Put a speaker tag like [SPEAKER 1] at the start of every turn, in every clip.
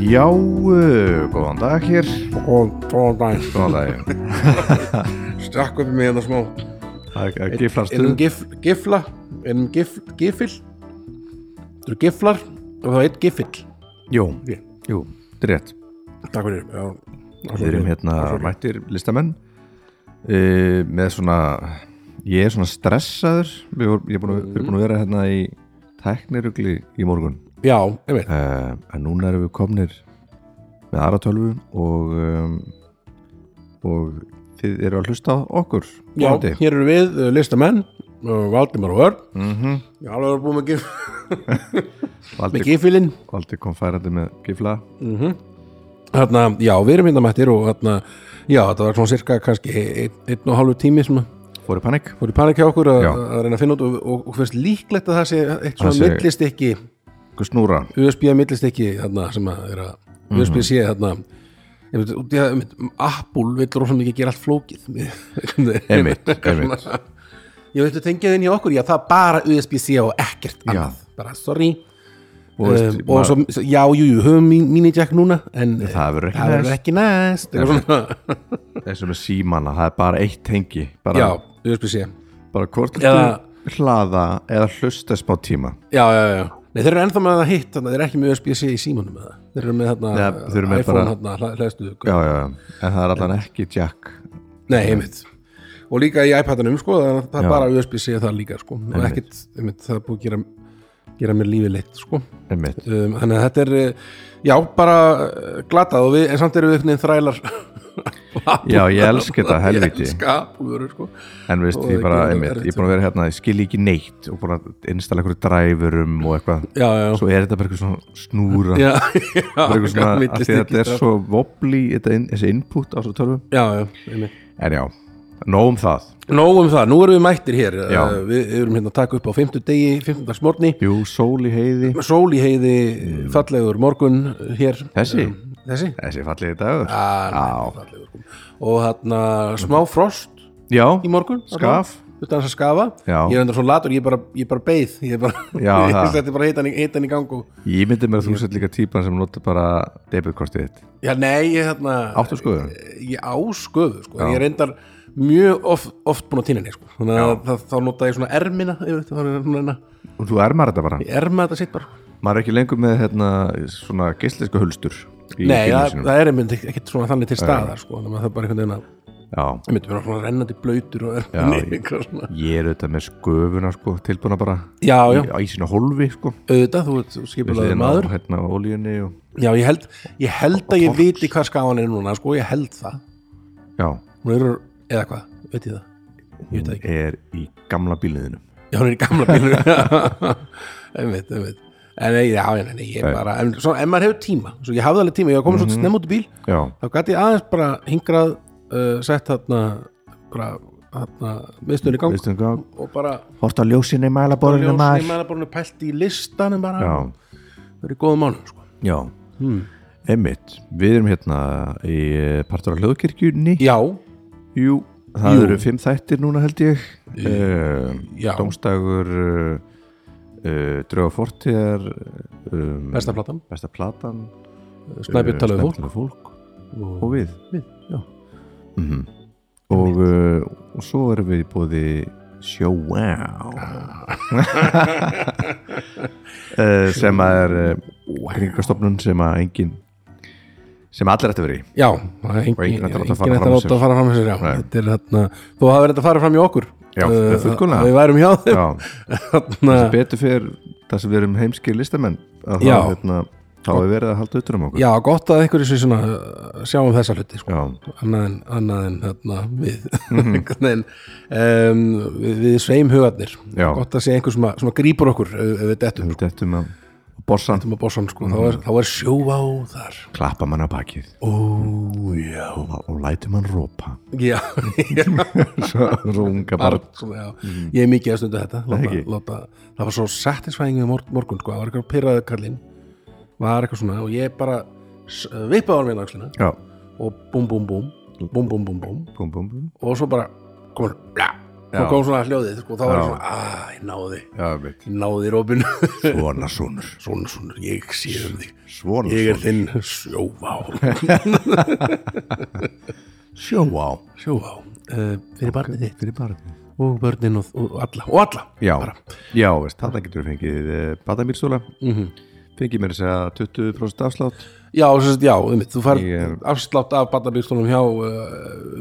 [SPEAKER 1] Já, uh, góðan dag hér
[SPEAKER 2] og tóðan
[SPEAKER 1] Góðan dag
[SPEAKER 2] stakk upp með hérna smá
[SPEAKER 1] Það er giflar
[SPEAKER 2] einum
[SPEAKER 1] stuð
[SPEAKER 2] gif, gifla einum gif, gifil þú eru giflar og það er eitt gifill
[SPEAKER 1] Jú, jú, þetta er rétt
[SPEAKER 2] takk fyrir já,
[SPEAKER 1] Við erum hérna mættir listamenn uh, með svona ég er svona stressaður Við vorum- ég er búin að, við erum búin að vera hérna í tæknirugli í morgun
[SPEAKER 2] já, einmitt
[SPEAKER 1] uh, en núna erum við komnir með aðra tölvu og um, og þið eru að hlusta á okkur
[SPEAKER 2] já,
[SPEAKER 1] vonandi.
[SPEAKER 2] hér eru við uh, listamenn uh, Valdimar og Örn mm
[SPEAKER 1] Mhm.
[SPEAKER 2] -hmm. já, alveg erum búin með, gif,
[SPEAKER 1] Valdi,
[SPEAKER 2] með gifilinn
[SPEAKER 1] Valdi kom færandi með gifla
[SPEAKER 2] hérna, já, við erum hérna mættir og hérna, já, þetta var svona cirka kannski einn, einn og hálfu tími sem að
[SPEAKER 1] fór í panik
[SPEAKER 2] fór í panik hjá okkur að,
[SPEAKER 1] Já.
[SPEAKER 2] að reyna að finna út og, og, og finnst líklegt að það sé eitt svona
[SPEAKER 1] sé-
[SPEAKER 2] millistikki
[SPEAKER 1] Ykkur snúra
[SPEAKER 2] USB millistekki þarna sem að er að
[SPEAKER 1] Mhm.
[SPEAKER 2] USB sé þarna ég veit, út í að einmitt, Apple vill rosa mikið gera allt flókið
[SPEAKER 1] Einmitt,
[SPEAKER 2] Eitthvað
[SPEAKER 1] einmitt.
[SPEAKER 2] svona. ég veit, þú tengið inn í okkur já, það er bara USB C og ekkert
[SPEAKER 1] Já.
[SPEAKER 2] annað bara, sorry
[SPEAKER 1] Og
[SPEAKER 2] og,
[SPEAKER 1] veist,
[SPEAKER 2] um, og
[SPEAKER 1] maður-
[SPEAKER 2] svo, svo- já, jú, jú, höfum mín- minijack núna en eh,
[SPEAKER 1] Það verður ekki
[SPEAKER 2] það verður
[SPEAKER 1] næst.
[SPEAKER 2] ekki næst eitthvað svona.
[SPEAKER 1] eins og með símana, það er bara eitt tengi bara,
[SPEAKER 2] já, USB-C
[SPEAKER 1] bara hvort
[SPEAKER 2] Eða-
[SPEAKER 1] viltu hlaða eða hlusta smá tíma
[SPEAKER 2] já, já, já Nei, þeir eru ennþá með það hitt, þannig að þeir eru ekki með USB-C í símanum með það. Þeir eru með þarna
[SPEAKER 1] Nei, þeir eru með
[SPEAKER 2] iPhone
[SPEAKER 1] bara-
[SPEAKER 2] þarna, hla- hleðstöðu.
[SPEAKER 1] já, já, já. en það er allan ekki jack
[SPEAKER 2] Nei, einmitt Og líka í iPadunum, sko, þannig að það
[SPEAKER 1] Já.
[SPEAKER 2] er bara USB-C það líka, sko Og
[SPEAKER 1] Einmitt.
[SPEAKER 2] ekkit, einmitt, það er búið að gera, gera mér lífið leitt, sko um,
[SPEAKER 1] einmitt,
[SPEAKER 2] Þannig að þetta er, eh, já, bara eh, glatað og við, en samt erum við einhvern veginn þrælar
[SPEAKER 1] já, ég elska þetta
[SPEAKER 2] Ég
[SPEAKER 1] helviti,
[SPEAKER 2] elska Apple-vörur, sko
[SPEAKER 1] en veist
[SPEAKER 2] Og
[SPEAKER 1] ég
[SPEAKER 2] það
[SPEAKER 1] bara,
[SPEAKER 2] gerir
[SPEAKER 1] einmitt,
[SPEAKER 2] erfitt,
[SPEAKER 1] ég er búin að vera hérna ég skil ekki neitt og búin að installa einhverju dræfurum og eitthvað,
[SPEAKER 2] Já, já,
[SPEAKER 1] svo er þetta bara eitthvað svona snúra,
[SPEAKER 2] já,
[SPEAKER 1] bara eitthvað
[SPEAKER 2] já,
[SPEAKER 1] svona
[SPEAKER 2] milli
[SPEAKER 1] af því að þetta er
[SPEAKER 2] stykki,
[SPEAKER 1] svo vobli, þetta inn, þessi input á svo tölvum,
[SPEAKER 2] Já, já, einmitt
[SPEAKER 1] en já nóg um það,
[SPEAKER 2] Nóg um það, nú erum við mættir hér
[SPEAKER 1] Já.
[SPEAKER 2] Eh, Við erum hérna að taka upp á 50 degi, 15 dags morgni
[SPEAKER 1] jú, sól í heiði
[SPEAKER 2] Sól í heiði, fallegur morgun eh, hér
[SPEAKER 1] Mm. Þessi?
[SPEAKER 2] Um, Þessi?
[SPEAKER 1] þessi fallið dagur
[SPEAKER 2] Já, fallegur sko. og þarna smá frost
[SPEAKER 1] já,
[SPEAKER 2] í morgun þarna,
[SPEAKER 1] skaf
[SPEAKER 2] utan þess að skafa,
[SPEAKER 1] Já.
[SPEAKER 2] ég er enda svo latur ég bara, ég bara beið ég bara,
[SPEAKER 1] Já,
[SPEAKER 2] ég
[SPEAKER 1] það.
[SPEAKER 2] setti bara heitan, í- heitan í gang og,
[SPEAKER 1] Ég myndi mér að þú sett líka típan sem notar bara debitkortið þitt. Eh,
[SPEAKER 2] já nei, ég þarna
[SPEAKER 1] Áttu
[SPEAKER 2] sko,
[SPEAKER 1] skoðun?
[SPEAKER 2] ég á sköðu, sko, ég er endar mjög oft, oft búin að týna henni, sko þannig að það, þá nota ég svona ermina ég veit, þannig að svona,
[SPEAKER 1] Og þú ermar þetta bara.
[SPEAKER 2] ég erma þetta sitt bara
[SPEAKER 1] Maður er ekki lengur með hérna, svona geislisku hulstur í
[SPEAKER 2] nei,
[SPEAKER 1] bílnum
[SPEAKER 2] það,
[SPEAKER 1] sínum.
[SPEAKER 2] það er einmitt ekkert svona þannig til staðar, sko, þannig að það er bara einhvern veginn að
[SPEAKER 1] Já,
[SPEAKER 2] ég myndi vera svona rennandi blöytur og
[SPEAKER 1] Já,
[SPEAKER 2] erminni,
[SPEAKER 1] ég-
[SPEAKER 2] eitthvað svona.
[SPEAKER 1] ég er auðvitað með sköfuna sko, tilbúna bara
[SPEAKER 2] já, já,
[SPEAKER 1] í, í sína hólfi sko.
[SPEAKER 2] auðvitað, þú ert skipulaði
[SPEAKER 1] á,
[SPEAKER 2] maður
[SPEAKER 1] hérna, á olíunni og...
[SPEAKER 2] Já, ég held, ég held að ég viti hvað skafan er núna, sko, ég held það
[SPEAKER 1] Já,
[SPEAKER 2] Hún er, eða hvað, veit ég það Ég veit það ekki,
[SPEAKER 1] er í gamla bíliðinu.
[SPEAKER 2] já, hún er í gamla bílur Einmitt, einmitt En nei, já, já, nei, Mhm. ég bara En, svona, en maður hefur tíma, svo ég hafði alveg tíma Ég var komin svolítið snemm út í bíl
[SPEAKER 1] Já,
[SPEAKER 2] Þá gæti ég aðeins bara hingrað uh, Sett þarna, bara, þarna Miðstöðun í gang
[SPEAKER 1] veistu um hvað?
[SPEAKER 2] Og bara,
[SPEAKER 1] Hort á ljósinni í mælaborðinu
[SPEAKER 2] ljósin í
[SPEAKER 1] maður.
[SPEAKER 2] mælaborinu pælt í listanum bara
[SPEAKER 1] Já,
[SPEAKER 2] Það er í góðum mánum, sko
[SPEAKER 1] já. Einmitt, við erum hérna í eh, partur á hljóðkirkjunni.
[SPEAKER 2] Já,
[SPEAKER 1] Jú, það
[SPEAKER 2] Jú.
[SPEAKER 1] eru fimm þættir núna held ég
[SPEAKER 2] já.
[SPEAKER 1] uh, Dómstagur uh, uh, Drauga fortíðar um,
[SPEAKER 2] besta platan
[SPEAKER 1] besta platan
[SPEAKER 2] Snæbjörn
[SPEAKER 1] eh,
[SPEAKER 2] talaði fólk
[SPEAKER 1] Snæbjörn talaði fólk
[SPEAKER 2] Og-
[SPEAKER 1] og við, við já. Mm og, uh, og svo erum við bóði Show Wow
[SPEAKER 2] Ah.
[SPEAKER 1] uh, sem að er uh, kringastofnun sem að engin sem allir ætti að vera í
[SPEAKER 2] Já, það er engin,
[SPEAKER 1] enginn
[SPEAKER 2] engin
[SPEAKER 1] ætti að láta
[SPEAKER 2] þetta
[SPEAKER 1] fara fram hjá sér.
[SPEAKER 2] láta að fara fram með sér já.
[SPEAKER 1] Nei.
[SPEAKER 2] Þetta er þarna, þú hafa verið að fara fram í okkur
[SPEAKER 1] Já,
[SPEAKER 2] Eh,
[SPEAKER 1] fullkomlega.
[SPEAKER 2] að Við værum hjá þeim
[SPEAKER 1] Já
[SPEAKER 2] þarna,
[SPEAKER 1] sem betur fyrir það sem við erum heimski listamenn að
[SPEAKER 2] Já.
[SPEAKER 1] það hérna, þá er verið að halda utur um okkur
[SPEAKER 2] Já, gott að einhverju sem svona eh, sjáum þessa hluti sko.
[SPEAKER 1] Já. Mhm.
[SPEAKER 2] annað en, annað en þarna, við einhvern veginn um, við, við sveim hugarnir
[SPEAKER 1] Já. Mhm.
[SPEAKER 2] gott að sé einhver sem, að- sem að grípur okkur eh, ef ef við dettum sko,
[SPEAKER 1] við dettum að borsan
[SPEAKER 2] um að bossan, sko.
[SPEAKER 1] Mhm.
[SPEAKER 2] þá, er, þá er sjó á þar
[SPEAKER 1] klappa mann á bakið
[SPEAKER 2] Ó, já
[SPEAKER 1] og, og lætum hann rópa
[SPEAKER 2] Já,
[SPEAKER 1] svo runga bara
[SPEAKER 2] Barn, svona, já. ég er mikið að stundu þetta láta,
[SPEAKER 1] ekki?
[SPEAKER 2] láta, það var svo satisfæðing við mor morgun sko, það var eitthvað pyrraðu kallinn var eitthvað svona og ég bara s- vippaði á mér nákslina
[SPEAKER 1] Já.
[SPEAKER 2] og búm búm búm búm búm búm búm
[SPEAKER 1] Búm, búm, búm.
[SPEAKER 2] og svo bara komur bla, þá kom svona hljóðið sko, þá var
[SPEAKER 1] Já.
[SPEAKER 2] ég svona, að, ég náði
[SPEAKER 1] já, einmitt.
[SPEAKER 2] ég náði Robin
[SPEAKER 1] svona sonur
[SPEAKER 2] svona, svona, ég sé um þig
[SPEAKER 1] svona
[SPEAKER 2] ég er
[SPEAKER 1] sonur,
[SPEAKER 2] þinn sjóvá
[SPEAKER 1] sjóá
[SPEAKER 2] sjóvá, uh, fyrir barnið þitt
[SPEAKER 1] fyrir barni
[SPEAKER 2] og börnin og, og alla, og alla
[SPEAKER 1] já,
[SPEAKER 2] Bara.
[SPEAKER 1] já veist, þarna getur við fengið eh, batamýrstóla
[SPEAKER 2] Mhm.
[SPEAKER 1] fengið mér að segja 20% afslátt
[SPEAKER 2] já, sérst, já um, þú fær
[SPEAKER 1] Ég er-
[SPEAKER 2] afslátt af barnabýrstunum hjá uh,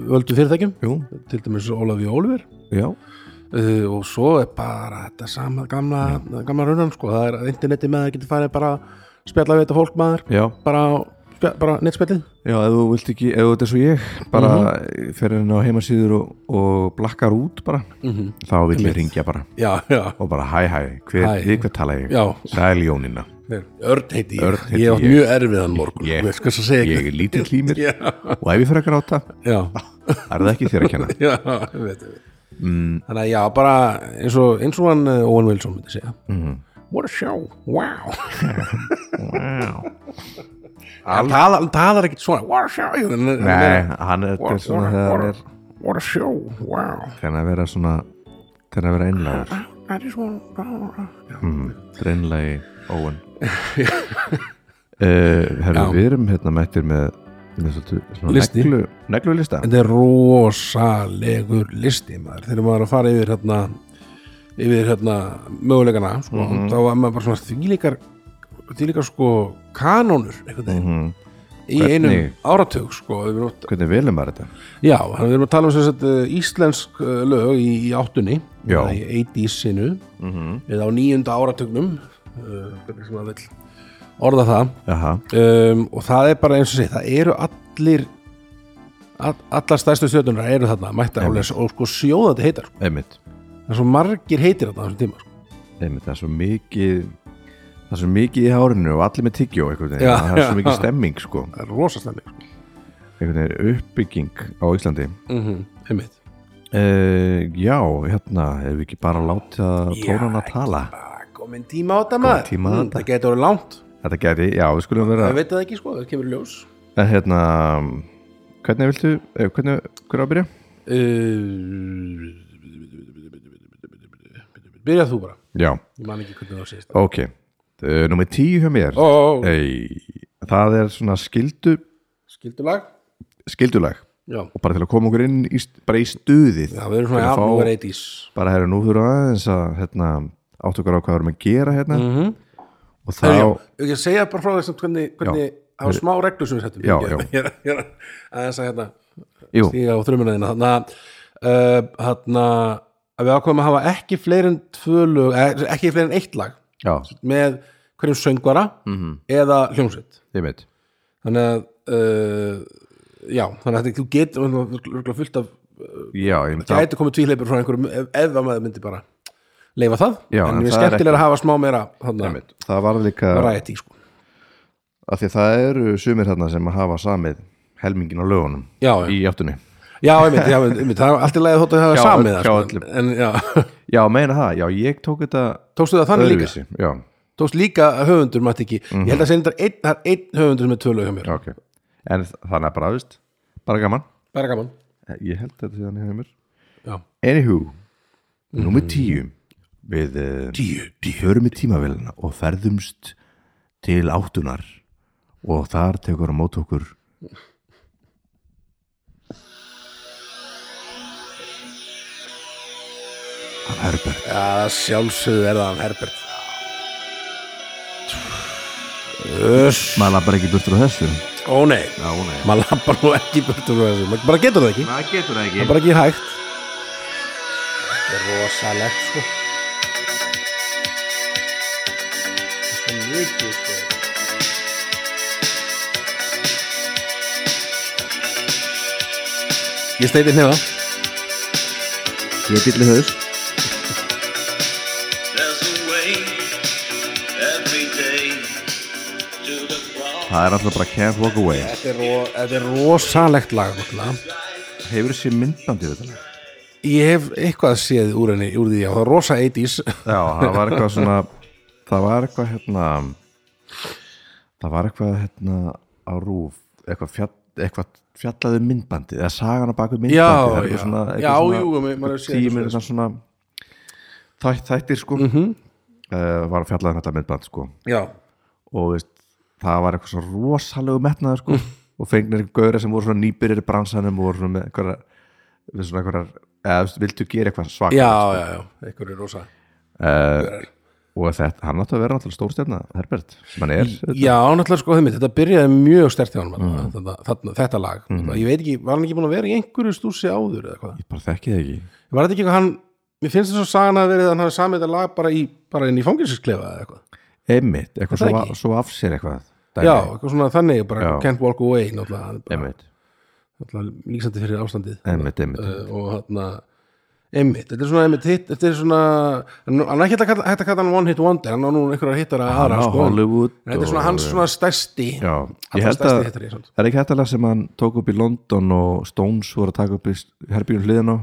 [SPEAKER 2] völdu fyrirtækjum
[SPEAKER 1] Jú.
[SPEAKER 2] til dæmis Ólafi Ólver
[SPEAKER 1] já,
[SPEAKER 2] uh, og svo er bara þetta sama gamla, gamla raunan sko, það er að interneti með það getur farið bara að spjalla við þetta fólk maður
[SPEAKER 1] já,
[SPEAKER 2] bara, á- spja- bara nettspjallið
[SPEAKER 1] já ef þú vilt ekki ef þetta er svo ég, bara mm
[SPEAKER 2] Mhm.
[SPEAKER 1] -hmm. fer henni á heimasíður og, og blakkar út bara,
[SPEAKER 2] Mhm.
[SPEAKER 1] -hmm. þá vil ég ringja bara
[SPEAKER 2] já, já,
[SPEAKER 1] og bara hæ hæ, hver,
[SPEAKER 2] Hæ.
[SPEAKER 1] við hvað tala ég
[SPEAKER 2] Já.
[SPEAKER 1] sæl Jónina,
[SPEAKER 2] Örn heiti ég,
[SPEAKER 1] Örn heiti
[SPEAKER 2] ég átt
[SPEAKER 1] ég.
[SPEAKER 2] mjög erfiðan morgun
[SPEAKER 1] Ég.
[SPEAKER 2] ég skal svo segja
[SPEAKER 1] ég
[SPEAKER 2] ekki
[SPEAKER 1] er lítill límir
[SPEAKER 2] Já.
[SPEAKER 1] og ef ég fer að gráta,
[SPEAKER 2] já,
[SPEAKER 1] það er það ekki þér að kenna
[SPEAKER 2] já, ég veit það mm. þannig að já, bara eins og, eins og hann uh, Owen Wilson myndi segja mm.
[SPEAKER 1] Mhm.
[SPEAKER 2] what a show, wow hann talar, hann talar ekkit svona what a show Hann er- hann
[SPEAKER 1] nei,
[SPEAKER 2] er-
[SPEAKER 1] hann er, þetta er
[SPEAKER 2] what,
[SPEAKER 1] svona
[SPEAKER 2] what,
[SPEAKER 1] þegar hann
[SPEAKER 2] what,
[SPEAKER 1] er
[SPEAKER 2] a- what a show, wow
[SPEAKER 1] þegar að vera svona þegar að vera einlægur Mhm.
[SPEAKER 2] I just want to
[SPEAKER 1] Dreinlegi Óen uh, Herru,
[SPEAKER 2] Já.
[SPEAKER 1] við erum hérna mættir með, með svolítið, svona
[SPEAKER 2] Listi.
[SPEAKER 1] neglu, neglulista
[SPEAKER 2] Þetta er rosalegur listi maður þegar maður er að fara yfir hérna yfir hérna möguleikana sko,
[SPEAKER 1] Mhm.
[SPEAKER 2] þá var maður bara svona þvílíkar þvílíkar sko kanónur einhvern veginn í einum
[SPEAKER 1] Mhm. Hvernig?
[SPEAKER 2] áratug sko við erum, oft-
[SPEAKER 1] Hvernig velum maður þetta?
[SPEAKER 2] já, þannig við erum að tala um þess að íslensk eh, lög í, í áttunni
[SPEAKER 1] Já.
[SPEAKER 2] eða í 80-sinu mm -hmm. eða á nýjunda áratugnum uh, hvernig sem maður vill orða það
[SPEAKER 1] Jaha,
[SPEAKER 2] um, og það er bara eins og sé það eru allir all, allar stærstu stjórnunar eru þarna mættar
[SPEAKER 1] Einmitt.
[SPEAKER 2] og, og sko sjóðandi heitar sko.
[SPEAKER 1] einmitt
[SPEAKER 2] það er svo margir heitir þarna á þessum tíma sko.
[SPEAKER 1] Einmitt, það er svo mikið það er svo mikið í hárinu og allir með tyggjó einhvern veginn,
[SPEAKER 2] Já,
[SPEAKER 1] það er svo
[SPEAKER 2] já.
[SPEAKER 1] mikið stemming sko,
[SPEAKER 2] það er rosa slemmi sko.
[SPEAKER 1] einhvern veginn uppbygging á Íslandi
[SPEAKER 2] mm
[SPEAKER 1] Mhm.
[SPEAKER 2] -hmm. einmitt
[SPEAKER 1] uh, Já, hérna erum við ekki bara að láta tónan að tala
[SPEAKER 2] komin tíma Ah, á þetta maður
[SPEAKER 1] tíma á
[SPEAKER 2] Mm,
[SPEAKER 1] þetta.
[SPEAKER 2] það getur orðið langt,
[SPEAKER 1] Þetta gæti, já, við skulum vera
[SPEAKER 2] það veit það ekki sko það kemur í ljós
[SPEAKER 1] En hérna, hvernig viltu eh, hvernig, hver á að byrja?
[SPEAKER 2] uh, byrjað þú bara
[SPEAKER 1] Já,
[SPEAKER 2] ég man ekki hvernig það sést
[SPEAKER 1] Ok, uh, nummer tíu hjá mér
[SPEAKER 2] ó, ó,
[SPEAKER 1] Eh.
[SPEAKER 2] ó,
[SPEAKER 1] Ei, Það er svona skildu
[SPEAKER 2] skildulag
[SPEAKER 1] skildulag
[SPEAKER 2] já,
[SPEAKER 1] og bara til að koma okkur inn í, st- bara í stuðið
[SPEAKER 2] já, við erum
[SPEAKER 1] Til
[SPEAKER 2] svona
[SPEAKER 1] að fá-
[SPEAKER 2] afnúver 80s
[SPEAKER 1] bara herri, nú þurfum við aðeins að hérna, átt okkur á hvað við erum að gera hérna
[SPEAKER 2] Mhm.
[SPEAKER 1] -hmm. og þá
[SPEAKER 2] Já, ég segja bara frá þessum hvernig, hvernig á smá reglu sem við settum
[SPEAKER 1] Já,
[SPEAKER 2] Ég-
[SPEAKER 1] já.
[SPEAKER 2] ég er- ég er að þess að hérna
[SPEAKER 1] jú,
[SPEAKER 2] stíga á þrjumina þína þannig að uh, þarna að við ákveðum að hafa ekki fleiri en tvö lög, eh, ekki fleiri en eitt lag
[SPEAKER 1] já,
[SPEAKER 2] með hverjum söngvara -hmm.
[SPEAKER 1] Mhm.
[SPEAKER 2] eða hljómsveit
[SPEAKER 1] ég veit
[SPEAKER 2] þannig að uh, já, þannig að þetta- þú getur og þú er örugglega fullt af
[SPEAKER 1] Já, ég veit
[SPEAKER 2] gæti komið tvíhleipur frá einhverjum ef, ef að maður myndi bara leifa það
[SPEAKER 1] Já,
[SPEAKER 2] en,
[SPEAKER 1] en
[SPEAKER 2] við
[SPEAKER 1] það er
[SPEAKER 2] skemmtilega að hafa smá meira
[SPEAKER 1] það,
[SPEAKER 2] þannig
[SPEAKER 1] veit. það var líka
[SPEAKER 2] að ræti sko.
[SPEAKER 1] af því að það eru sumir hérna sem að hafa samið helmingin á lögunum
[SPEAKER 2] já, já.
[SPEAKER 1] í áttunni
[SPEAKER 2] Já, einmitt, já, einmitt, það er allt í lagi þótt að hafa
[SPEAKER 1] Hjá-
[SPEAKER 2] samið það
[SPEAKER 1] hjá
[SPEAKER 2] sko.
[SPEAKER 1] öllum.
[SPEAKER 2] en já,
[SPEAKER 1] Já, meina það, já, ég tók þetta
[SPEAKER 2] tókstu það þannig líka
[SPEAKER 1] öðruvísi Mhm. Já,
[SPEAKER 2] tókst líka að höfundur mætti ekki ég held að segja þetta einn, það er einn höfundur sem er tvölu hjá mér,
[SPEAKER 1] ok En þannig að bara, veist, bara gaman
[SPEAKER 2] bara gaman
[SPEAKER 1] Ég held þetta þannig hefur mér
[SPEAKER 2] já.
[SPEAKER 1] Anywho, nummer tíu Við uh,
[SPEAKER 2] tíu, tíu
[SPEAKER 1] förum í tímavélina og ferðumst til áttunar og þar tekur á mót okkur af Herbert
[SPEAKER 2] já, það sjálfsögðu er það hann Herbert Öss
[SPEAKER 1] Maður labbar ekki burtur á þessu
[SPEAKER 2] ó nei,
[SPEAKER 1] Já, nei
[SPEAKER 2] maður lappar nú ekki burtu frá þessu, maður bara getur það ekki
[SPEAKER 1] Það getur það
[SPEAKER 2] það er
[SPEAKER 1] ekki
[SPEAKER 2] bara ekki hægt þetta er rosalegt sko þetta er mikið sko Ég steiti hérna
[SPEAKER 1] Ég býtli haus
[SPEAKER 3] There's a way every day to the cross.
[SPEAKER 1] Það er alltaf bara Can't Walk Away
[SPEAKER 2] Þetta er, ro þetta er rosalegt lag náttúrulega.
[SPEAKER 1] Hefur þessi myndbandi við þetta?
[SPEAKER 2] Ég hef eitthvað séð úr henni úr því já, það er rosa 80s
[SPEAKER 1] Já, það var eitthvað svona það var eitthvað hérna það var eitthvað hérna á rúf eitthvað fjall, eitthvað fjallaðu myndbandið eða sagana baku myndbandið
[SPEAKER 2] Já,
[SPEAKER 1] það er eitthvað
[SPEAKER 2] já.
[SPEAKER 1] svona, eitthvað
[SPEAKER 2] Já,
[SPEAKER 1] svona,
[SPEAKER 2] jú, ma- maður hefur séð
[SPEAKER 1] tíu
[SPEAKER 2] eitthvað
[SPEAKER 1] mínútna svona þætt, þættir sko
[SPEAKER 2] Mhm.
[SPEAKER 1] mm var að fjallaðu þetta myndband sko
[SPEAKER 2] já,
[SPEAKER 1] og veist, það var eitthvað svo rosalegu metnaður sko og fengnir einhver gauðra sem voru svona nýbyrjir í bransanum og voru svona með einhverjar við svona einhverjar, eða þú veist, vildu gera eitthvað svak
[SPEAKER 2] já, já, já, einhverju rosa
[SPEAKER 1] og þetta, hann átti að vera náttúrulega stórstjarna Herbert, sem hann er
[SPEAKER 2] Já, náttúrulega sko þeimitt, þetta byrjaði mjög stert hjá honum mm. þetta, þetta, þetta lag,
[SPEAKER 1] Mm.
[SPEAKER 2] ég veit ekki var hann ekki búin að vera í einhverju stúsi áður eða hvað
[SPEAKER 1] ég bara þekki það ekki
[SPEAKER 2] Var þetta ekki eitthvað hann Mér finnst þess að sagan að verið að hann hafi samið þetta lag bara, í, bara inn í fangelsisklefa eða eitthvað
[SPEAKER 1] einmitt, eitthvað
[SPEAKER 2] það
[SPEAKER 1] svo,
[SPEAKER 2] ekki?
[SPEAKER 1] svo af sér eitthvað dæmi.
[SPEAKER 2] Já, eitthvað svona þannig, bara
[SPEAKER 1] Já.
[SPEAKER 2] can't walk away náttúrulega, hann er bara-
[SPEAKER 1] einmitt,
[SPEAKER 2] náttúrulega lýsandi fyrir ástandið
[SPEAKER 1] einmitt, einmitt
[SPEAKER 2] uh, og hann Einmitt, þetta er svona einmitt hitt, þetta er svona hann hann er ekki hægt að kalla- hægt að kalla hann one hit wonder hann á nú einhverjar hittara
[SPEAKER 1] hann
[SPEAKER 2] aðra
[SPEAKER 1] á
[SPEAKER 2] sko, en-
[SPEAKER 1] Ah, Hollywood
[SPEAKER 2] en þetta er svona
[SPEAKER 1] og-
[SPEAKER 2] hans svona stærsti
[SPEAKER 1] já, ég
[SPEAKER 2] allra
[SPEAKER 1] held
[SPEAKER 2] stærsti
[SPEAKER 1] að
[SPEAKER 2] hittari samt.
[SPEAKER 1] það er ekki hættalega sem hann tók upp í London og Stones voru að taka upp í herbjörn hliðin á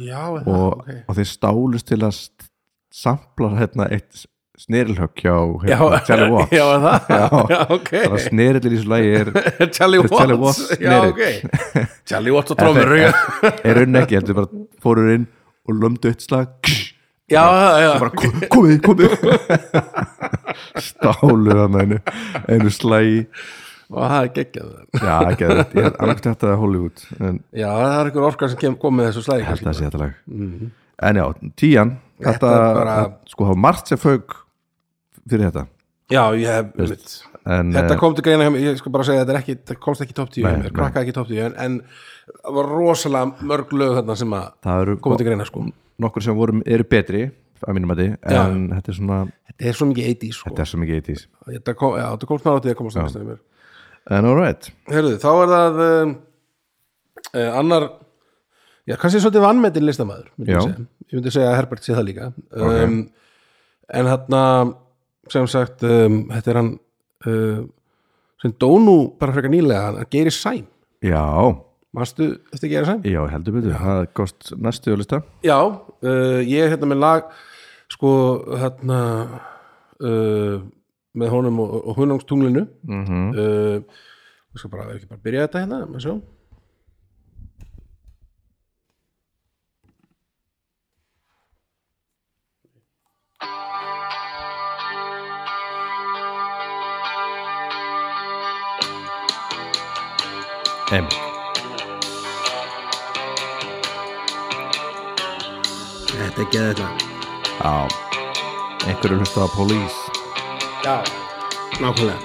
[SPEAKER 2] Já, og,
[SPEAKER 1] og,
[SPEAKER 2] okay.
[SPEAKER 1] og þeir stálust til að st- sampla hérna eitt snerilhögg hjá
[SPEAKER 2] já,
[SPEAKER 1] hérna, Charlie Watts
[SPEAKER 2] Já, er það,
[SPEAKER 1] Já.
[SPEAKER 2] já ok
[SPEAKER 1] það snerill í þessu lagi er,
[SPEAKER 2] Charlie Watts,
[SPEAKER 1] Charlie Watts
[SPEAKER 2] já,
[SPEAKER 1] snerill.
[SPEAKER 2] ok Charlie Watts og trómur
[SPEAKER 1] er,
[SPEAKER 2] já,
[SPEAKER 1] er unn ekki heldur bara fórur inn og lömdu eitt slag
[SPEAKER 2] já, já,
[SPEAKER 1] bara kom- komið, komið stálu hann einu, einu slagi
[SPEAKER 2] og það er geggjað
[SPEAKER 1] já, ekki að þetta, ég er annars þetta er Hollywood en
[SPEAKER 2] já, það er einhver orka sem kem, kom með þessu sko. slæði
[SPEAKER 1] ég held að það sé þetta lag en já, tíjan, Mhm. þetta,
[SPEAKER 2] Þetta er bara-
[SPEAKER 1] sko hafa margt sem fauk fyrir þetta
[SPEAKER 2] já, ég hef mitt.
[SPEAKER 1] en,
[SPEAKER 2] þetta
[SPEAKER 1] eh,
[SPEAKER 2] kom til greina hjá mér, ég skal bara segja þetta er ekki, þetta komst ekki í topp 10
[SPEAKER 1] Nei, nei.
[SPEAKER 2] mér, krakkaði ekki í topp 10 en, en það var rosalega mörg lög þarna sem að
[SPEAKER 1] það eru
[SPEAKER 2] koma til greina sko
[SPEAKER 1] nokkur sem voru, eru betri að mínum að því, en þetta er svona
[SPEAKER 2] þetta er svo mikið 80 sko
[SPEAKER 1] þetta er svo mikið 80s
[SPEAKER 2] þetta kom, já, þetta komst náður til að komast næst mér
[SPEAKER 1] en alright,
[SPEAKER 2] Herðu, þá er það uh, uh, annar já, kannski svolítið vannmetinn listamaður myndi ég
[SPEAKER 1] Já.
[SPEAKER 2] segja. ég myndi segja að Herbert sé það líka um, en hérna sem sagt, um, þetta er hann uh, sem dó nú bara frekar nýlega, hann gerir sæm
[SPEAKER 1] já
[SPEAKER 2] manstu eftir gerir sæm?
[SPEAKER 1] já, heldur betur, það kost næstu á lista
[SPEAKER 2] Já, uh, ég er hérna með lag sko hérna uh, með honum og, og hunangstúnglinu mm
[SPEAKER 1] Mhm.
[SPEAKER 2] -hmm. uh, ég skal bara, ef ekki bara byrja þetta hérna með sjá
[SPEAKER 1] em,
[SPEAKER 2] Þetta er geðið lag
[SPEAKER 1] já einhverju hlusta á Police
[SPEAKER 2] Já, nákvæmlega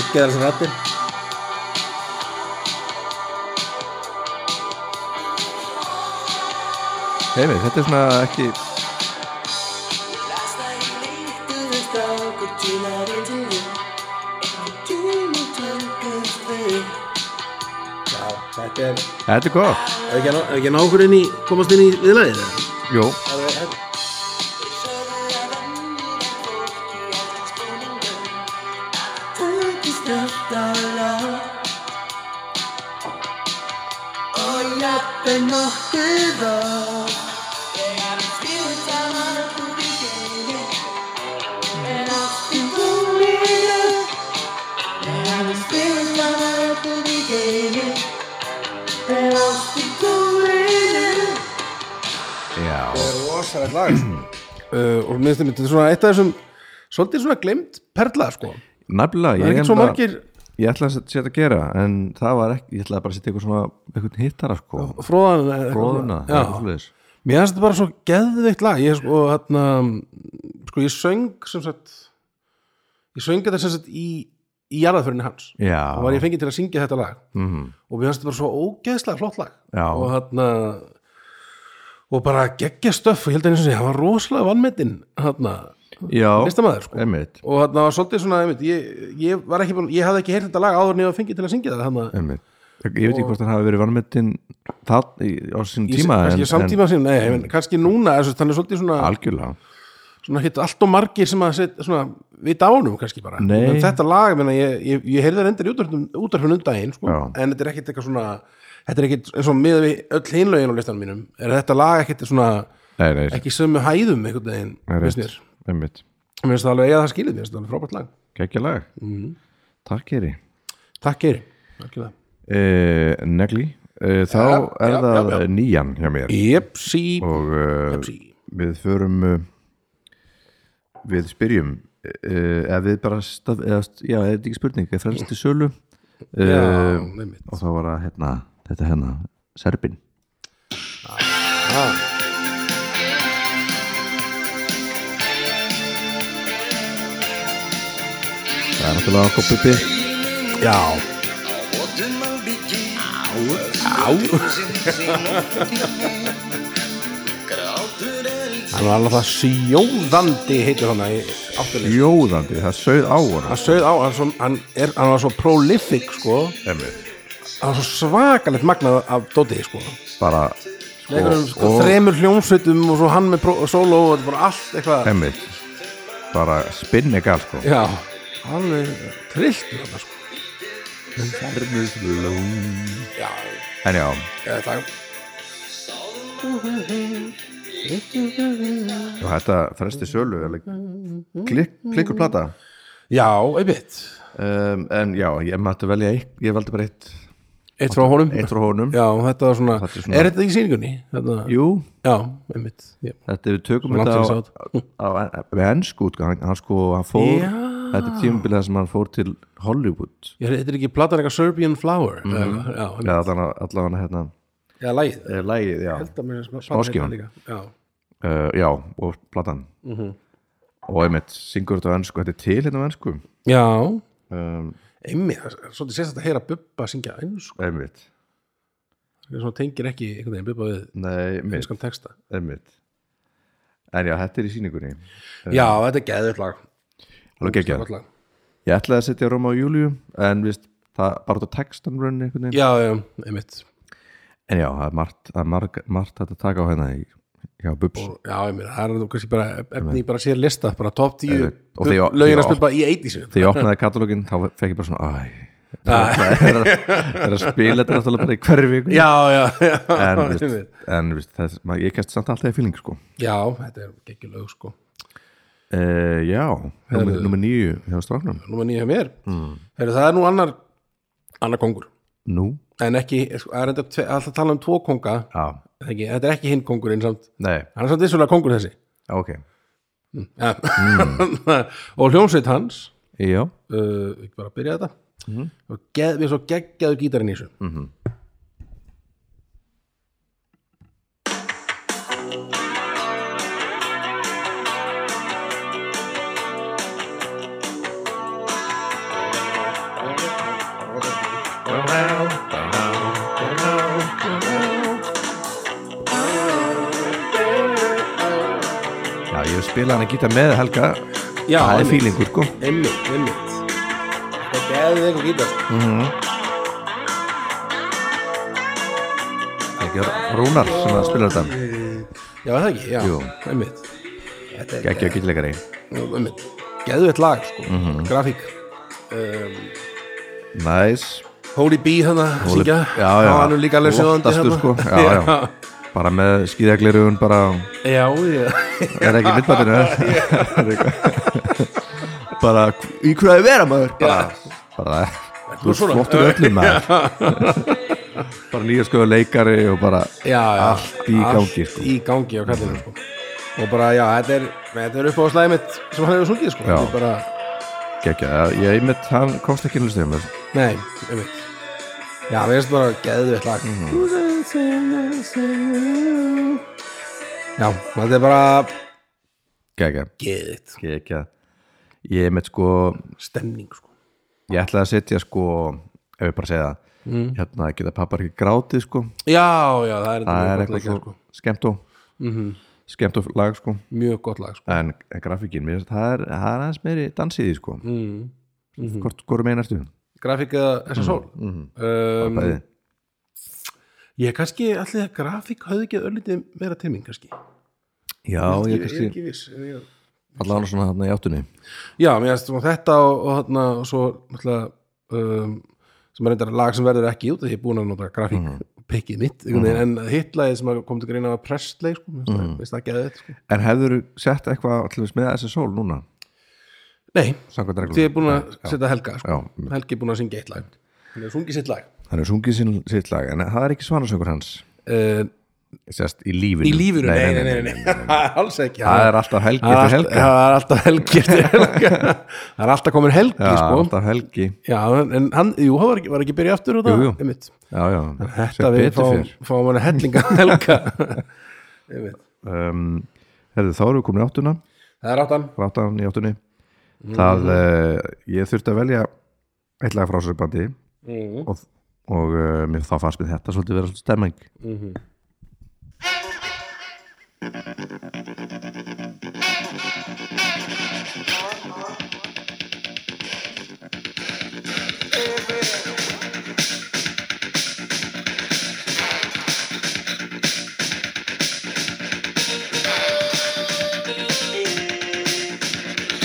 [SPEAKER 2] Ekki þar sem rættir
[SPEAKER 1] heimi, þetta er svona ekki
[SPEAKER 2] Já, þetta er
[SPEAKER 1] þetta er gott,
[SPEAKER 2] Er ekki að ná- er ekki að ná okkur inn í, komast inn í viðlagið það?
[SPEAKER 1] jú,
[SPEAKER 4] And I'll speak to you.
[SPEAKER 1] já
[SPEAKER 2] Rosalegt lag uh, Og minnst einmitt, þetta er svona eitt af þessum Svolítið svona glemt perla sko Það
[SPEAKER 1] nefnilega,
[SPEAKER 2] er
[SPEAKER 1] ég,
[SPEAKER 2] ekki svo
[SPEAKER 1] nefnilega-
[SPEAKER 2] margir
[SPEAKER 1] ég ætla að setja að gera en það var ekki, ég ætlaði bara að setja eitthvað svona eitthvað hittara sko,
[SPEAKER 2] fróðan eða eitthvað
[SPEAKER 1] bróðuna
[SPEAKER 2] svona. Já, mér finnst þetta bara svo geðveikt lag Ég sko, hérna Sko, ég söng sem sagt Ég söng þetta sem sagt í Í jarðaförinni hans
[SPEAKER 1] Já.
[SPEAKER 2] Og var ég fengið til að syngja þetta lag
[SPEAKER 1] mm,
[SPEAKER 2] og mér finnst þetta bara svo ógeðslega flott lag
[SPEAKER 1] Já.
[SPEAKER 2] og þarna og bara geggja stöff og ég held að eins og sé, hann var rosalega vannmetinn þarna,
[SPEAKER 1] já,
[SPEAKER 2] listamaður sko
[SPEAKER 1] einmitt
[SPEAKER 2] og þarna var svolítið svona, einmitt, ég, ég var ekki búin, ég hafði ekki heyrt þetta lag áður en ég var fengið til að syngja hérna. það þarna,
[SPEAKER 1] einmitt Ég veit ekki hvort hann hafi verið vannmettin það í- á sínum
[SPEAKER 2] ég,
[SPEAKER 1] tíma
[SPEAKER 2] kannski samtíma sín, nei, en, kannski núna þessu, þannig svolítið svona,
[SPEAKER 1] Algjörlega
[SPEAKER 2] svona hitt allt og margir sem að set, svona, við dánum kannski bara
[SPEAKER 1] Nei.
[SPEAKER 2] en þetta lag, menna, ég, ég, ég heyrði það endur í útvarpinu- útvarpinu um daginn, sko,
[SPEAKER 1] Já.
[SPEAKER 2] en þetta er ekkit eitthvað svona þetta er ekkit, eins og miðað við öll hinlögin á listanum mínum, er þetta lag ekkit svona
[SPEAKER 1] Nei, nei,
[SPEAKER 2] ekki sömu hæðum einhvern veginn
[SPEAKER 1] nei,
[SPEAKER 2] finnst
[SPEAKER 1] rétt,
[SPEAKER 2] mér.
[SPEAKER 1] einmitt
[SPEAKER 2] Mér finnst það alveg eiga það skilið, mér finnst það alveg frábært lag
[SPEAKER 1] Kækjalag mm.
[SPEAKER 2] Mhm.
[SPEAKER 1] Takk Eri
[SPEAKER 2] Takk Geiri Algjörlega.
[SPEAKER 1] uh, Negli uh, Þá er það nýjan hjá mér
[SPEAKER 2] Jepsi
[SPEAKER 1] Og uh,
[SPEAKER 2] Jepsi.
[SPEAKER 1] við förum uh, Við spyrjum uh, Eða við bara stað, eða, st- Já, eða þetta er ekki spurning Við fremst til sölu
[SPEAKER 2] Já,
[SPEAKER 1] uh,
[SPEAKER 2] einmitt.
[SPEAKER 1] Og þá var það hérna Þetta er hérna Serbin
[SPEAKER 2] Já.
[SPEAKER 1] Það er náttúrulega okkur bubbi
[SPEAKER 2] Já Það var alveg það sjóðandi heitir hann í áttuleik
[SPEAKER 1] Jóðandi, það sögð á honum
[SPEAKER 2] Hann sögð á, hann, svo, hann, er, hann var svo prolific sko
[SPEAKER 1] Einmitt.
[SPEAKER 2] Hann var svo svakalegt magnað af dótið sko
[SPEAKER 1] Bara
[SPEAKER 2] Leikur um sko,
[SPEAKER 1] og-
[SPEAKER 2] þremur hljómsveitum og svo hann með pró, solo og þetta er bara allt eitthvað
[SPEAKER 1] Emmitt Bara spinni gal sko
[SPEAKER 2] Já, alveg trillt með þetta sko Já,
[SPEAKER 1] En já,
[SPEAKER 2] ég veit það
[SPEAKER 1] og þetta fresti sölu alveg klik, klikkur plata
[SPEAKER 2] Já, einmitt
[SPEAKER 1] um, En já, ég mætti velja eitt Ég valdi bara eitt,
[SPEAKER 2] Eitt frá honum
[SPEAKER 1] eitt frá honum
[SPEAKER 2] Já, þetta var svona,
[SPEAKER 1] Þetta er svona-
[SPEAKER 2] Er þetta í sýningunni? Þetta...
[SPEAKER 1] Jú,
[SPEAKER 2] Já, einmitt já.
[SPEAKER 1] þetta við tökum
[SPEAKER 2] Langt
[SPEAKER 1] þetta
[SPEAKER 2] fyrir
[SPEAKER 1] á, á, á með ennsku útgang hann, hann sko, hann fór
[SPEAKER 2] Já.
[SPEAKER 1] Þetta er tímabilið sem hann fór til Hollywood
[SPEAKER 2] Ég- Þetta er ekki platan eitthvað Serbian Flower
[SPEAKER 1] Mhm.
[SPEAKER 2] mm. Já, einmitt.
[SPEAKER 1] Eða allan, allan hérna
[SPEAKER 2] já lagið
[SPEAKER 1] eh, Lægið, já Smáskífan.
[SPEAKER 2] Smáskífan Já,
[SPEAKER 1] uh, Já, og platan Og einmitt, syngur þetta á ennsku Þetta er til hérna á ennsku
[SPEAKER 2] já.
[SPEAKER 1] um,
[SPEAKER 2] einmitt það er Svolítið sérst að heyra Bubba syngja eins
[SPEAKER 1] Eh, Einmitt
[SPEAKER 2] Svona tengir ekki einhvern veginn Bubba við
[SPEAKER 1] Nei, einmitt
[SPEAKER 2] einskan texta
[SPEAKER 1] Einmitt. En já, þetta er í síningunni
[SPEAKER 2] Já, þetta er geðvöld lag
[SPEAKER 1] Alveg geggjað.
[SPEAKER 2] Gott lag.
[SPEAKER 1] Ég ætlaði að setja Róma og Júlíu En viðst, það bara þetta textan runni einhvern veginn
[SPEAKER 2] Já, já, einmitt
[SPEAKER 1] En já, það er margt, það er marg, margt hægt að taka á hérna í, hjá Bubs og,
[SPEAKER 2] Já, einmitt, það er nú kannski bara efni í bara sér lista, bara top 10
[SPEAKER 1] Einmitt. Og þegar-
[SPEAKER 2] lögin að
[SPEAKER 1] þegar-
[SPEAKER 2] spila bara í 80
[SPEAKER 1] Þegar ég opnaði katalógin, þá fekk ég bara svona Æ, það er, að- það er að spila þetta náttúrulega bara í hverju viku
[SPEAKER 2] Ah. Já, já, já
[SPEAKER 1] En,
[SPEAKER 2] einmitt.
[SPEAKER 1] viðst, en viðst, það, er- maður- ég kæst samt alltaf í fíling sko
[SPEAKER 2] Já, þetta er ekki lög sko
[SPEAKER 1] uh, Já, númer, númer nýju hjá stráknum
[SPEAKER 2] Númer nýja hjá mér Heru, Það er nú annar annar kongur
[SPEAKER 1] Nú,
[SPEAKER 2] en ekki, sko, það er enda tve- alltaf að tala um tvo konga
[SPEAKER 1] já,
[SPEAKER 2] er ekki, þetta er ekki hinn kongurinn samt
[SPEAKER 1] nei,
[SPEAKER 2] hann er samt þessulega kongur þessi
[SPEAKER 1] ok
[SPEAKER 2] ja. Mm. og hljómsveit hans
[SPEAKER 1] Já,
[SPEAKER 2] uh, ekki bara að byrja þetta
[SPEAKER 1] Mhm.
[SPEAKER 2] og geð, við erum svo geggjaðu gítarinn í þessu
[SPEAKER 1] Mm. já ég hef spilað hann að gíta með Helga
[SPEAKER 2] Já,
[SPEAKER 1] Það er
[SPEAKER 2] einmitt.
[SPEAKER 1] fílingur sko
[SPEAKER 2] einmitt, einmitt þetta geðu eitthvað gítar
[SPEAKER 1] Ekki Rúnar sem að spila þetta
[SPEAKER 2] já, er það ekki, já,
[SPEAKER 1] Jú.
[SPEAKER 2] einmitt þetta er
[SPEAKER 1] Ekki að gítleikari
[SPEAKER 2] einmitt geðu eitt lag, sko,
[SPEAKER 1] Mhm.
[SPEAKER 2] grafík um,
[SPEAKER 1] Næs
[SPEAKER 2] Holy Bee hann að
[SPEAKER 1] Holy-
[SPEAKER 2] syngja
[SPEAKER 1] Já, já.
[SPEAKER 2] og hann er líka alveg sjóðandi hérna.
[SPEAKER 1] Flottastur,
[SPEAKER 2] þarna.
[SPEAKER 1] sko. Já, já. Bara með skýðaglirugun bara
[SPEAKER 2] Já, já,
[SPEAKER 1] Er ekki myndbættinu Bara Í hverju að vera maður Bara, bara Þú er
[SPEAKER 2] svona?
[SPEAKER 1] flottur öllum maður Bara nýja skoðu leikari og bara
[SPEAKER 2] já, já
[SPEAKER 1] Allt í gangi,
[SPEAKER 2] Allt
[SPEAKER 1] sko.
[SPEAKER 2] í gangi á kallinu sko. Og bara, já, þetta er, þetta er upp á slæði mitt sem hann hefur sungið, sko
[SPEAKER 1] Já.
[SPEAKER 2] Þetta er bara,
[SPEAKER 1] Gekja, ég einmitt, hann komst ekki nýstum mér
[SPEAKER 2] Nei, einmitt Já, við erum bara geðið eitt lag Mhm. Já, þetta er bara
[SPEAKER 1] Gekja,
[SPEAKER 2] geðið
[SPEAKER 1] gekja Ég einmitt sko,
[SPEAKER 2] Stemning, sko
[SPEAKER 1] ég ætlaði að setja sko Ef ég bara segja það
[SPEAKER 2] Mm.
[SPEAKER 1] Hérna geta pappar ekki grátið sko
[SPEAKER 2] Já, já, það er,
[SPEAKER 1] Það
[SPEAKER 2] mjög
[SPEAKER 1] er
[SPEAKER 2] gott
[SPEAKER 1] eitthvað
[SPEAKER 2] lag,
[SPEAKER 1] svo
[SPEAKER 2] sko. Mhm.
[SPEAKER 1] skemmt og Skemmt og lag sko
[SPEAKER 2] Mjög gott lag, sko
[SPEAKER 1] En grafíkin, mér, finnst það, er, það er aðeins meiri dansiði sko mm.
[SPEAKER 2] Mhm.
[SPEAKER 1] Hvort hvort meina
[SPEAKER 2] Um,
[SPEAKER 1] ertu?
[SPEAKER 2] Grafík eða SSL mm -hmm. um,
[SPEAKER 1] Bæði
[SPEAKER 2] Ég kannski, allir að grafík höfðu ekki örlítið meira til mín, kannski
[SPEAKER 1] Já, ég
[SPEAKER 2] Ég er
[SPEAKER 1] kannski
[SPEAKER 2] ekki viss en ég-
[SPEAKER 1] allan svona þarna í áttunni
[SPEAKER 2] Já, mér finnst svona þetta og, og, þarna, og svo náttúrulega um, sem er reyndar lag sem verður ekki út því ég er búin að nota grafík pikkið mitt mm -hmm. en hittlæðið sem að kom til
[SPEAKER 1] Mm.
[SPEAKER 2] greina var prestleg sko, mér finnst það- mér finnst það geðið sko.
[SPEAKER 1] En hefur sett eitthvað allir með þessi sól núna?
[SPEAKER 2] Nei,
[SPEAKER 1] samkvæmt reglum
[SPEAKER 2] þið er búin að setja Helga sko.
[SPEAKER 1] Já,
[SPEAKER 2] Helgi er búin að syngja eitt lag Hann er sungið sitt lag
[SPEAKER 1] hann er sungið sín, sitt lag en það er ekki svanasöngur hans Eh,
[SPEAKER 2] uh,
[SPEAKER 1] sérst í lífinu
[SPEAKER 2] Í lífinu, nei, nei, nei, nei, alls ekki
[SPEAKER 1] það er alltaf helgi
[SPEAKER 2] Það
[SPEAKER 1] eftir
[SPEAKER 2] er
[SPEAKER 1] helga
[SPEAKER 2] alltaf- það er alltaf helgi eftir helga Það er alltaf komin helgi
[SPEAKER 1] já,
[SPEAKER 2] sko.
[SPEAKER 1] alltaf helgi
[SPEAKER 2] Já, en- en hann, jú, hann var ekki, var ekki byrja aftur og það,
[SPEAKER 1] Jú, jú.
[SPEAKER 2] einmitt
[SPEAKER 1] já, já,
[SPEAKER 2] Þetta við fáum, fáum hann að hellinga helga Einmitt.
[SPEAKER 1] um, herðu, þá erum við komin í áttuna
[SPEAKER 2] Það er áttan
[SPEAKER 1] ráttan í áttunni það, uh, ég þurfti að velja eitt lag frá þessu bandi og, og uh, mér þá fannst mér þetta svolítið vera svolítið stemming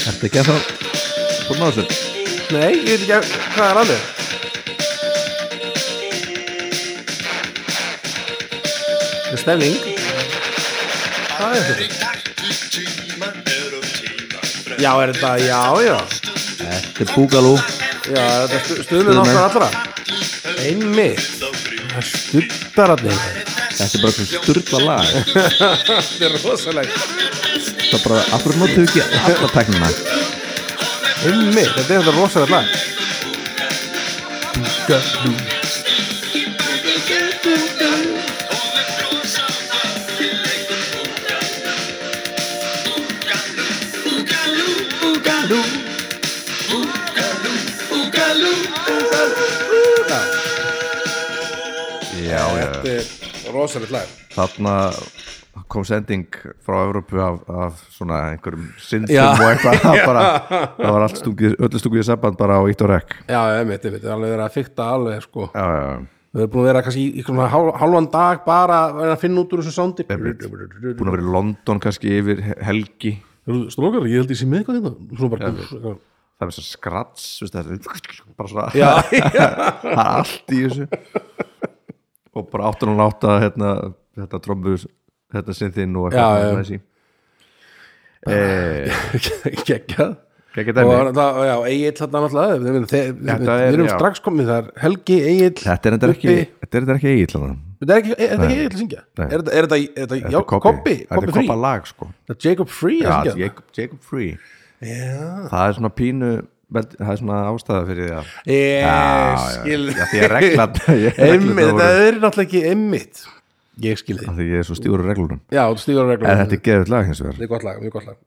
[SPEAKER 1] Ertu ekki að það búin á þessu?
[SPEAKER 2] Nei, ég veit ekki að, hvað er annað Það er stefning Hvað er þetta? Já, er þetta, já, já
[SPEAKER 1] Þetta er Búgalú
[SPEAKER 2] Já, er þetta stu- stuðmenn okkar allra Einmitt Það er stuttararnir
[SPEAKER 1] Þetta er bara svona sturgla lag
[SPEAKER 2] Þetta er rosalegt
[SPEAKER 1] Það er bara, af hverju notu ekki alla tæknina
[SPEAKER 2] Einmitt, þetta er þetta rosalegt lag
[SPEAKER 1] Já,
[SPEAKER 2] Þetta er rosalegt lag
[SPEAKER 1] Þarna kom sending frá Evrópu af, af svona einhverjum syndum
[SPEAKER 2] Já.
[SPEAKER 1] og eitthvað það, bara, það var allt stungið, öllu stungið í samband bara á ítt og rekk
[SPEAKER 2] Já, einmitt, einmitt, það er alveg verið að fykta alveg sko
[SPEAKER 1] Já, já, já
[SPEAKER 2] Við erum búin að vera kannski í ykkur svona hál- hálfan dag bara að reyna að finna út úr þessu soundi
[SPEAKER 1] Búin að vera í London kannski yfir helgi
[SPEAKER 2] Strókar, ég held ég sé með eitthvað þetta Svona bara
[SPEAKER 1] Það er þess að skrats, veist þetta bara svona
[SPEAKER 2] Já,
[SPEAKER 1] það er allt í þessu og bara áttur og láta hérna, þetta trombus þetta sinþinn og
[SPEAKER 2] Já, já.
[SPEAKER 1] eitthvað þessi eh,
[SPEAKER 2] geggjað
[SPEAKER 1] ekki
[SPEAKER 2] Og
[SPEAKER 1] dæmi
[SPEAKER 2] það, já, Egil þarna náttúrulega Við við- við-
[SPEAKER 1] Þetta
[SPEAKER 2] við-
[SPEAKER 1] er-
[SPEAKER 2] við erum
[SPEAKER 1] já.
[SPEAKER 2] strax komið þar Helgi, Egil
[SPEAKER 1] þetta er þetta ekki
[SPEAKER 2] Bubbi.
[SPEAKER 1] þetta er þetta ekki eigið þetta
[SPEAKER 2] Þetta er ekki, er þetta ekki Egil að syngja
[SPEAKER 1] Nei.
[SPEAKER 2] Er þetta, er þetta, er þetta, já,
[SPEAKER 1] er
[SPEAKER 2] Kobbi
[SPEAKER 1] þetta er
[SPEAKER 2] Kobbi Frí
[SPEAKER 1] koppa lag sko
[SPEAKER 2] Það er Jacob Free
[SPEAKER 1] já,
[SPEAKER 2] að syngja
[SPEAKER 1] Jacob, Jacob Free já. það er svona pínu vel- það er svona ástæða fyrir því að
[SPEAKER 2] Ég
[SPEAKER 1] Já, já.
[SPEAKER 2] Eh, skil
[SPEAKER 1] Já, því að reglan- ég- reglurnar
[SPEAKER 2] Einmitt,
[SPEAKER 1] voru-
[SPEAKER 2] þetta er náttúrulega ekki einmitt Ég skil þið
[SPEAKER 1] af því ég er svo stífur á reglunum
[SPEAKER 2] Já, þú stíður að regla
[SPEAKER 1] en þetta er geðið lag hins vegar
[SPEAKER 2] Þetta er gott lag, mjög gott lag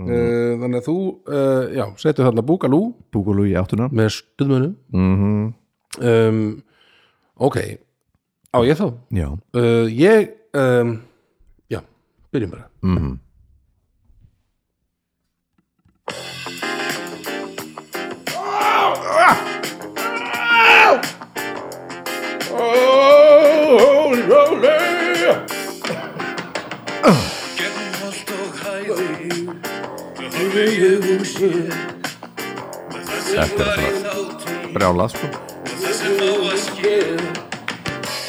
[SPEAKER 2] uh, Þannig að þú, uh, já, setur þarna Búgalú
[SPEAKER 1] Búkulú í áttuna
[SPEAKER 2] með stuðmönu
[SPEAKER 1] mm
[SPEAKER 2] um, Ok, á ég þá
[SPEAKER 1] já
[SPEAKER 2] uh, Ég, um, já, byrjum bara
[SPEAKER 1] Mhm.
[SPEAKER 3] Gegn holt og hæði
[SPEAKER 1] þetta er svona brjálað sko
[SPEAKER 3] Þessi má að skil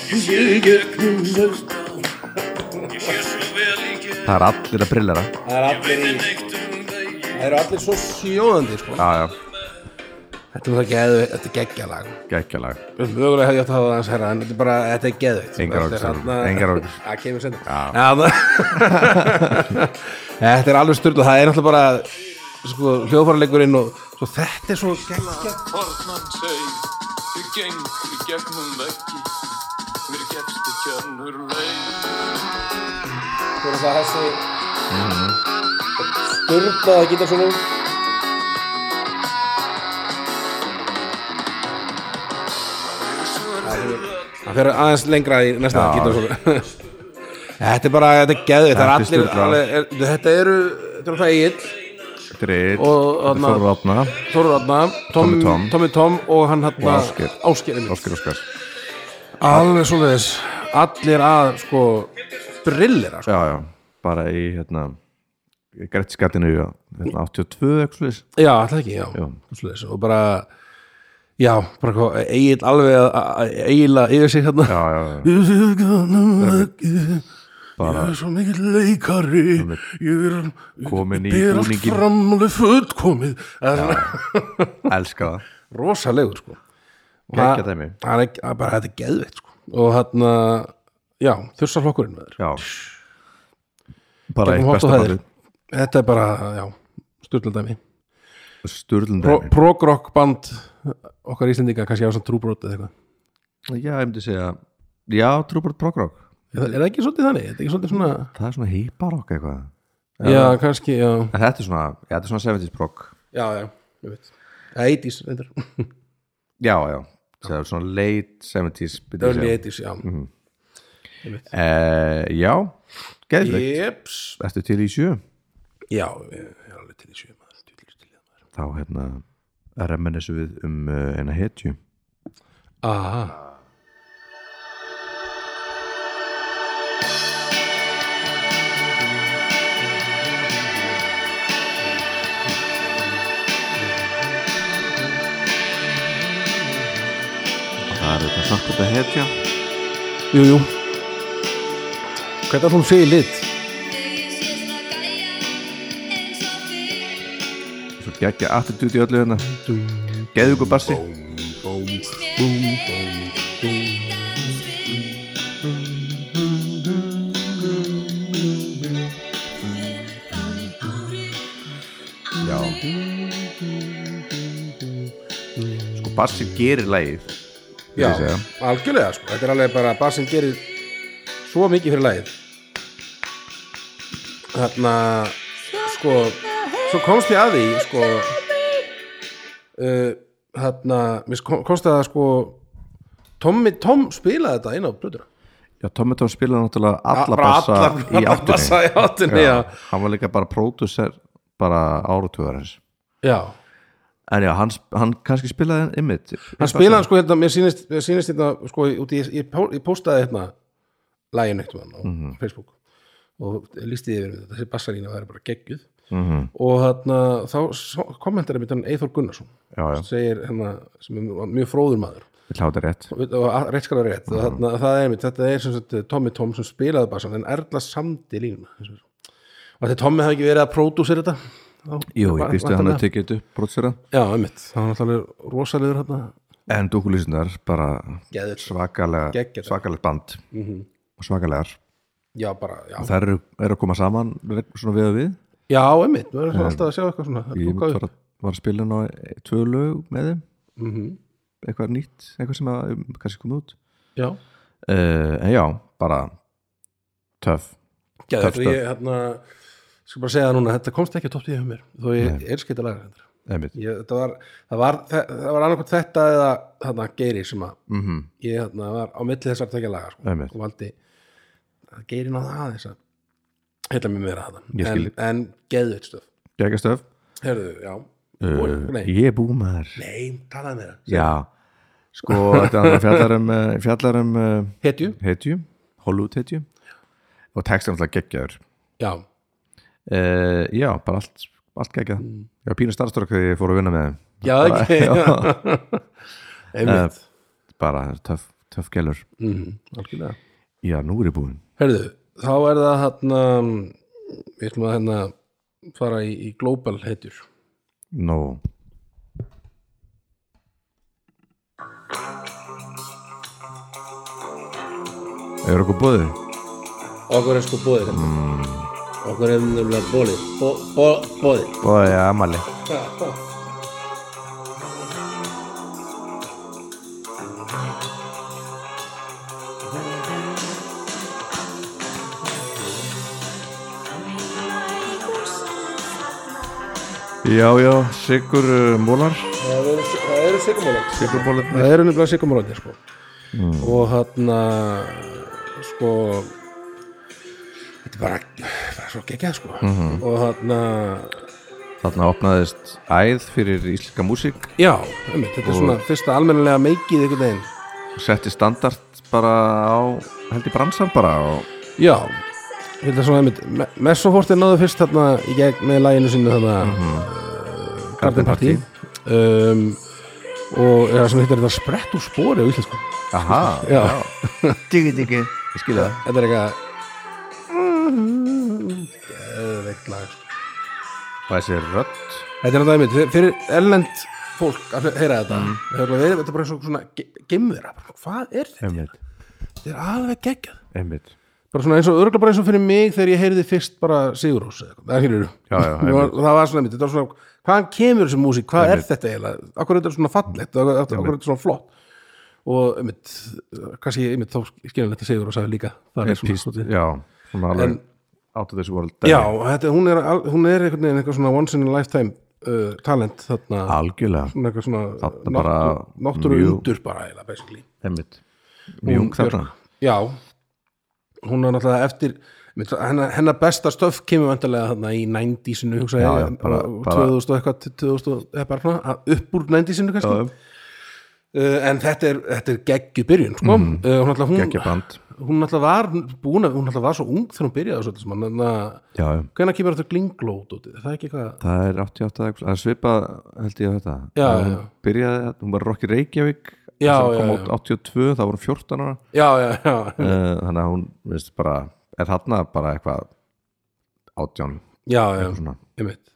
[SPEAKER 3] Ég sé í gegnum sérstá Ég sé svo vel í gegn
[SPEAKER 1] það er allir að brillera
[SPEAKER 2] Það er allir í,
[SPEAKER 3] Neitt um veginn
[SPEAKER 2] það eru allir svo sjóðandi sko.
[SPEAKER 1] já, já,
[SPEAKER 2] Þetta er það geðu, þetta er geggja lag
[SPEAKER 1] geggja lag
[SPEAKER 2] Mögulega hefði ég átt að hafa það hans herra en þetta er bara, þetta er geðveikt
[SPEAKER 1] Engar
[SPEAKER 2] Þetta er
[SPEAKER 1] áhyggjur,
[SPEAKER 2] þarna-
[SPEAKER 1] engar áhyggjur.
[SPEAKER 2] Það kemur sendur Þetta er alveg styrla, það er náttúrulega bara sko, hljóðfæraleikurinn og svo þetta er svo geggja
[SPEAKER 3] Hornan seg Ég geng í gegnum veggi Mér gefst ekki önnur leið
[SPEAKER 2] Þú veist að þessi styrla að geta svona Það fyrir aðeins lengra í næsta
[SPEAKER 1] Já.
[SPEAKER 2] geta svona Þetta er bara, þetta er geðveikt
[SPEAKER 1] Þetta er
[SPEAKER 2] Það er allir,
[SPEAKER 1] sturlað.
[SPEAKER 2] alveg, er, þetta eru Þetta eru það eigill
[SPEAKER 1] Greit,
[SPEAKER 2] Og, þarna-
[SPEAKER 1] Þorur Átna
[SPEAKER 2] Þóru Ráðna,
[SPEAKER 1] Tommy Tom.
[SPEAKER 2] Tommy Tom og hann hérna- hann
[SPEAKER 1] Og Ásgeir.
[SPEAKER 2] Áskir
[SPEAKER 1] Óskar Óskar
[SPEAKER 2] Alveg svo þess Allir að sko brillera sko.
[SPEAKER 1] Já, já, bara í hérna Grettskattinu hérna, 82 eitthvað svoleiðis.
[SPEAKER 2] Já, alltaf ekki, já,
[SPEAKER 1] Já.
[SPEAKER 2] Svoleiðis. Og bara Já, bara hvað, eigin alveg að- að eigila yfir sig hérna
[SPEAKER 1] Já, já, já,
[SPEAKER 2] Ég
[SPEAKER 1] bara
[SPEAKER 2] Ég er svo mikill leikari Ég er
[SPEAKER 1] Kominn í
[SPEAKER 2] ber allt
[SPEAKER 1] búninginn.
[SPEAKER 2] framlega fullkomið er
[SPEAKER 1] elska það
[SPEAKER 2] rosalegur sko Og
[SPEAKER 1] Geggjað
[SPEAKER 2] það-
[SPEAKER 1] dæmi.
[SPEAKER 2] það er ekki- það er bara þetta er geðveitt sko og þarna já þursarflokkurinn með þér
[SPEAKER 1] Já Bara eitt
[SPEAKER 2] Gegnum hopp
[SPEAKER 1] besta
[SPEAKER 2] og hæðir.
[SPEAKER 1] ballið
[SPEAKER 2] þetta er bara já styrlundæmi
[SPEAKER 1] Sturlundæmi
[SPEAKER 2] Pro- prog-rock band okkar Íslendinga kannski á svona trúbrót eða eitthvað
[SPEAKER 1] Já, ég myndi segja Já, Trúbert Prokrok
[SPEAKER 2] er, það- er það ekki svolítið þannig? Er það ekki svolítið svona
[SPEAKER 1] Það er svona hýparokk eitthvað
[SPEAKER 2] já, kannski já
[SPEAKER 1] En þetta er svona, já, þetta er svona 70s prog
[SPEAKER 2] já já ég veit Það er 80s reyndar.
[SPEAKER 1] Já, já, það er svona late 70s myndi ég
[SPEAKER 2] early
[SPEAKER 1] segja.
[SPEAKER 2] 80s já
[SPEAKER 1] Eh, Já, geðveikt
[SPEAKER 2] jeps
[SPEAKER 1] Ertu til í sjö?
[SPEAKER 2] já ég er alveg til í sjö maður Djöfull er til í það, maður.
[SPEAKER 1] Þá hérna remmenisum við um uh, eina hetju
[SPEAKER 2] aha
[SPEAKER 1] Það er þetta samt þetta hetja
[SPEAKER 2] jú jú hvernig að hún sé í lit
[SPEAKER 1] Svo geggja attitude í öllu hérna Geðugur bassi Já Sko bassi gerir lægið myndi
[SPEAKER 2] já
[SPEAKER 1] ég segja.
[SPEAKER 2] algjörlega sko þetta er alveg bara bassin gerir svo mikið fyrir lagið þarna sko svo komst ég að því sko uh, þarna mér sko- komst að sko Tommy Tom spilaði þetta inn á blöður
[SPEAKER 1] Já, Tommy Tom spilaði náttúrulega alla
[SPEAKER 2] Bara
[SPEAKER 1] bassa
[SPEAKER 2] alla-
[SPEAKER 1] í
[SPEAKER 2] alla
[SPEAKER 1] áttinni
[SPEAKER 2] bassa í áttinni, já.
[SPEAKER 1] Hann var líka bara pródusser bara áratugarins
[SPEAKER 2] já
[SPEAKER 1] En já, hann, sp- hann kannski spilaði einmitt
[SPEAKER 2] hann spilaði sko hérna mér sýnist, mér sýnist hérna sko út í, ég, pó- ég postaði hérna lægin eitt mann á
[SPEAKER 1] Mhm.
[SPEAKER 2] Facebook og lísti yfir þetta, þessi bassalína væri bara geggjuð
[SPEAKER 1] Mhm.
[SPEAKER 2] og þarna þá sá- kommentar er mitt hann Eithor Gunnarsson
[SPEAKER 1] Já, já,
[SPEAKER 2] segir hérna, sem er mjög- mjög fróður maður
[SPEAKER 1] við hláta rétt
[SPEAKER 2] og og rétt skala
[SPEAKER 1] Mhm.
[SPEAKER 2] rétt og þarna, það er mitt, þetta er sem sagt Tommy Tom sem spilaði bassan en Erla samdi línuna eins og þessu. og þetta Tommy hafði ekki verið að pródúsir þetta þá-
[SPEAKER 1] Jú, ég býst við að hann
[SPEAKER 2] væntanlega.
[SPEAKER 1] að tekið þetta upp pródusera
[SPEAKER 2] já, einmitt, það var náttúrulega rosalegur hérna
[SPEAKER 1] En dúkulísunar bara
[SPEAKER 2] Geðveikt.
[SPEAKER 1] svakalega
[SPEAKER 2] Geggjað. Mhm.
[SPEAKER 1] svakalegt band og svakalegar
[SPEAKER 2] já, bara, já,
[SPEAKER 1] Þær eru, eru að koma saman reg- svona við og við
[SPEAKER 2] Já, einmitt, við erum svona alltaf að sjá eitthvað svona
[SPEAKER 1] Ég
[SPEAKER 2] lúkka
[SPEAKER 1] var,
[SPEAKER 2] upp.
[SPEAKER 1] að- var að spila ná tvö lög með þeim
[SPEAKER 2] Mhm.
[SPEAKER 1] eitthvað nýtt, eitthvað sem að, um, kannski kom út
[SPEAKER 2] Já,
[SPEAKER 1] uh, En já, bara töff
[SPEAKER 2] Geðveikt,
[SPEAKER 1] töff
[SPEAKER 2] og ég hérna skal bara segja það núna, þetta komst ekki á topp 10 hjá mér þó ég er skeitt að laga þetta
[SPEAKER 1] einmitt.
[SPEAKER 2] ég, þetta var, það var, þe- það var annarkvæmt þetta eða þarna geiri sem að
[SPEAKER 1] Mhm,
[SPEAKER 2] ég þarna var á milli þessar tvekja laga sko,
[SPEAKER 1] Einmitt.
[SPEAKER 2] og valdi að geiri náða aðeins að heilla mér meira
[SPEAKER 1] Ég
[SPEAKER 2] þetta en,
[SPEAKER 1] skil.
[SPEAKER 2] en geðveitt stöf
[SPEAKER 1] Geggjastöf
[SPEAKER 2] Herðu, já,
[SPEAKER 1] uh,
[SPEAKER 2] Búin, nei,
[SPEAKER 1] Ég er búmaður
[SPEAKER 2] nei, talaði meira
[SPEAKER 1] Já, sko, þetta er fjallar um, eh, fjallar um eh,
[SPEAKER 2] Hetju,
[SPEAKER 1] hetju, Hollywood hetju og textin alltaf geggjaður
[SPEAKER 2] já,
[SPEAKER 1] uh, Já, bara allt, allt geggjað
[SPEAKER 2] Mm.
[SPEAKER 1] Ég var pínu starfstörk þegar ég fór að vinna með þeim
[SPEAKER 2] já, ekki einmitt
[SPEAKER 1] bara töff, töff gælur
[SPEAKER 2] Mhm, algjörlega
[SPEAKER 1] Já, nú er ég búinn
[SPEAKER 2] Herðu, þá er það hérna við ætlum að hérna fara í, í global heitur
[SPEAKER 1] Nó, er okkur búið?
[SPEAKER 2] Okkur er sko bóðir mm. Okkur er nefnilega bóðir Bó, bó, Bóðir
[SPEAKER 1] Búið, já, amali Já, já, Sigur uh, Mólar
[SPEAKER 2] Það eru, það eru sykumólar
[SPEAKER 1] Sigur Mólar
[SPEAKER 2] Það eru nefnilega sykumólar sko. og hérna sko þetta er bara, bara svo geggjað sko og hérna
[SPEAKER 1] Þarna opnaðist æð fyrir íslenska músík
[SPEAKER 2] já, einmitt, þetta er svona fyrsta almennilega meikið einhvern veginn
[SPEAKER 1] og setti standart bara á held í bransan bara og
[SPEAKER 2] Já, ég held að svona einmitt Me- Messofort er náðu fyrst þarna í gegn með læginu sínu þarna mm Garden Party um, og eða sem hittar þetta sprett úr spori á íslensku
[SPEAKER 1] Aha,
[SPEAKER 2] Já,
[SPEAKER 1] diggi diggi Ég skilja það
[SPEAKER 2] þetta er eitthvað
[SPEAKER 1] og þessi rödd
[SPEAKER 2] Þetta er náttúrulega einmitt, fyrir erlend fólk að heyra þetta Það er bara verið, þetta er bara eins og svona gemvera, hvað er þetta?
[SPEAKER 1] einmitt,
[SPEAKER 2] Þetta er alveg geggjað
[SPEAKER 1] einmitt
[SPEAKER 2] Bara svona eins og, örgulega bara eins og fyrir mig þegar ég heyrði fyrst bara Sigurós eða eitthvað, það skilur
[SPEAKER 1] Já, já,
[SPEAKER 2] var, Það var svona einmitt, þetta var svona, hvaðan kemur þessi músík, hvað er þetta eiginlega? Akkur er þetta svona fallegt, akkur er þetta svona flott Og einmitt, kannski einmitt þá skilur þetta Sigurós að líka Það er svona, svona,
[SPEAKER 1] já, svona alveg out of this world dæmi.
[SPEAKER 2] Já, þetta, hún, er, al- hún er einhvern veginn eitthvað svona once in a lifetime uh, talent þarna
[SPEAKER 1] algjörlega,
[SPEAKER 2] svona eitthvað svona
[SPEAKER 1] Þarna
[SPEAKER 2] náttú-
[SPEAKER 1] bara
[SPEAKER 2] náttúru
[SPEAKER 1] mjög-
[SPEAKER 2] undur bara eiginlega basically
[SPEAKER 1] einmitt mjúk
[SPEAKER 2] Björk.
[SPEAKER 1] þarna
[SPEAKER 2] já, hún er náttúrulega eftir mynd- hennar, hennar besta stöf kemur vantarlega þarna í 90-sinu hugsa
[SPEAKER 1] Já, já,
[SPEAKER 2] ég, en-
[SPEAKER 1] bara-
[SPEAKER 2] og
[SPEAKER 1] bara-
[SPEAKER 2] 2000 og eitthvað til 2000 og- eða bara svona að- upp úr 90-sinu kannski
[SPEAKER 1] Já, já.
[SPEAKER 2] uh, en þetta er, þetta er geggju byrjun sko.
[SPEAKER 1] Mhm.
[SPEAKER 2] uh, hún náttúrulega
[SPEAKER 1] geggja
[SPEAKER 2] hún,
[SPEAKER 1] band
[SPEAKER 2] hún náttúrulega var búin að hún náttúrulega var svo ung þegar hún byrjaði þessu öllu saman, en að-
[SPEAKER 1] já, já.
[SPEAKER 2] hvenær kemur þetta glinglót út er það ekki eitthvað
[SPEAKER 1] það er 88 eitthvað- það er svipað held ég að þetta
[SPEAKER 2] Já,
[SPEAKER 1] hún
[SPEAKER 2] já.
[SPEAKER 1] byrjaði, hún var Rocky Reykjavík
[SPEAKER 2] Já,
[SPEAKER 1] sem kom
[SPEAKER 2] já,
[SPEAKER 1] út 82, það voru 14 ára
[SPEAKER 2] já, já, já,
[SPEAKER 1] Eh, þannig að hún veist, bara, er þarna bara eitthvað átján
[SPEAKER 2] já, já.
[SPEAKER 1] svona.
[SPEAKER 2] einmitt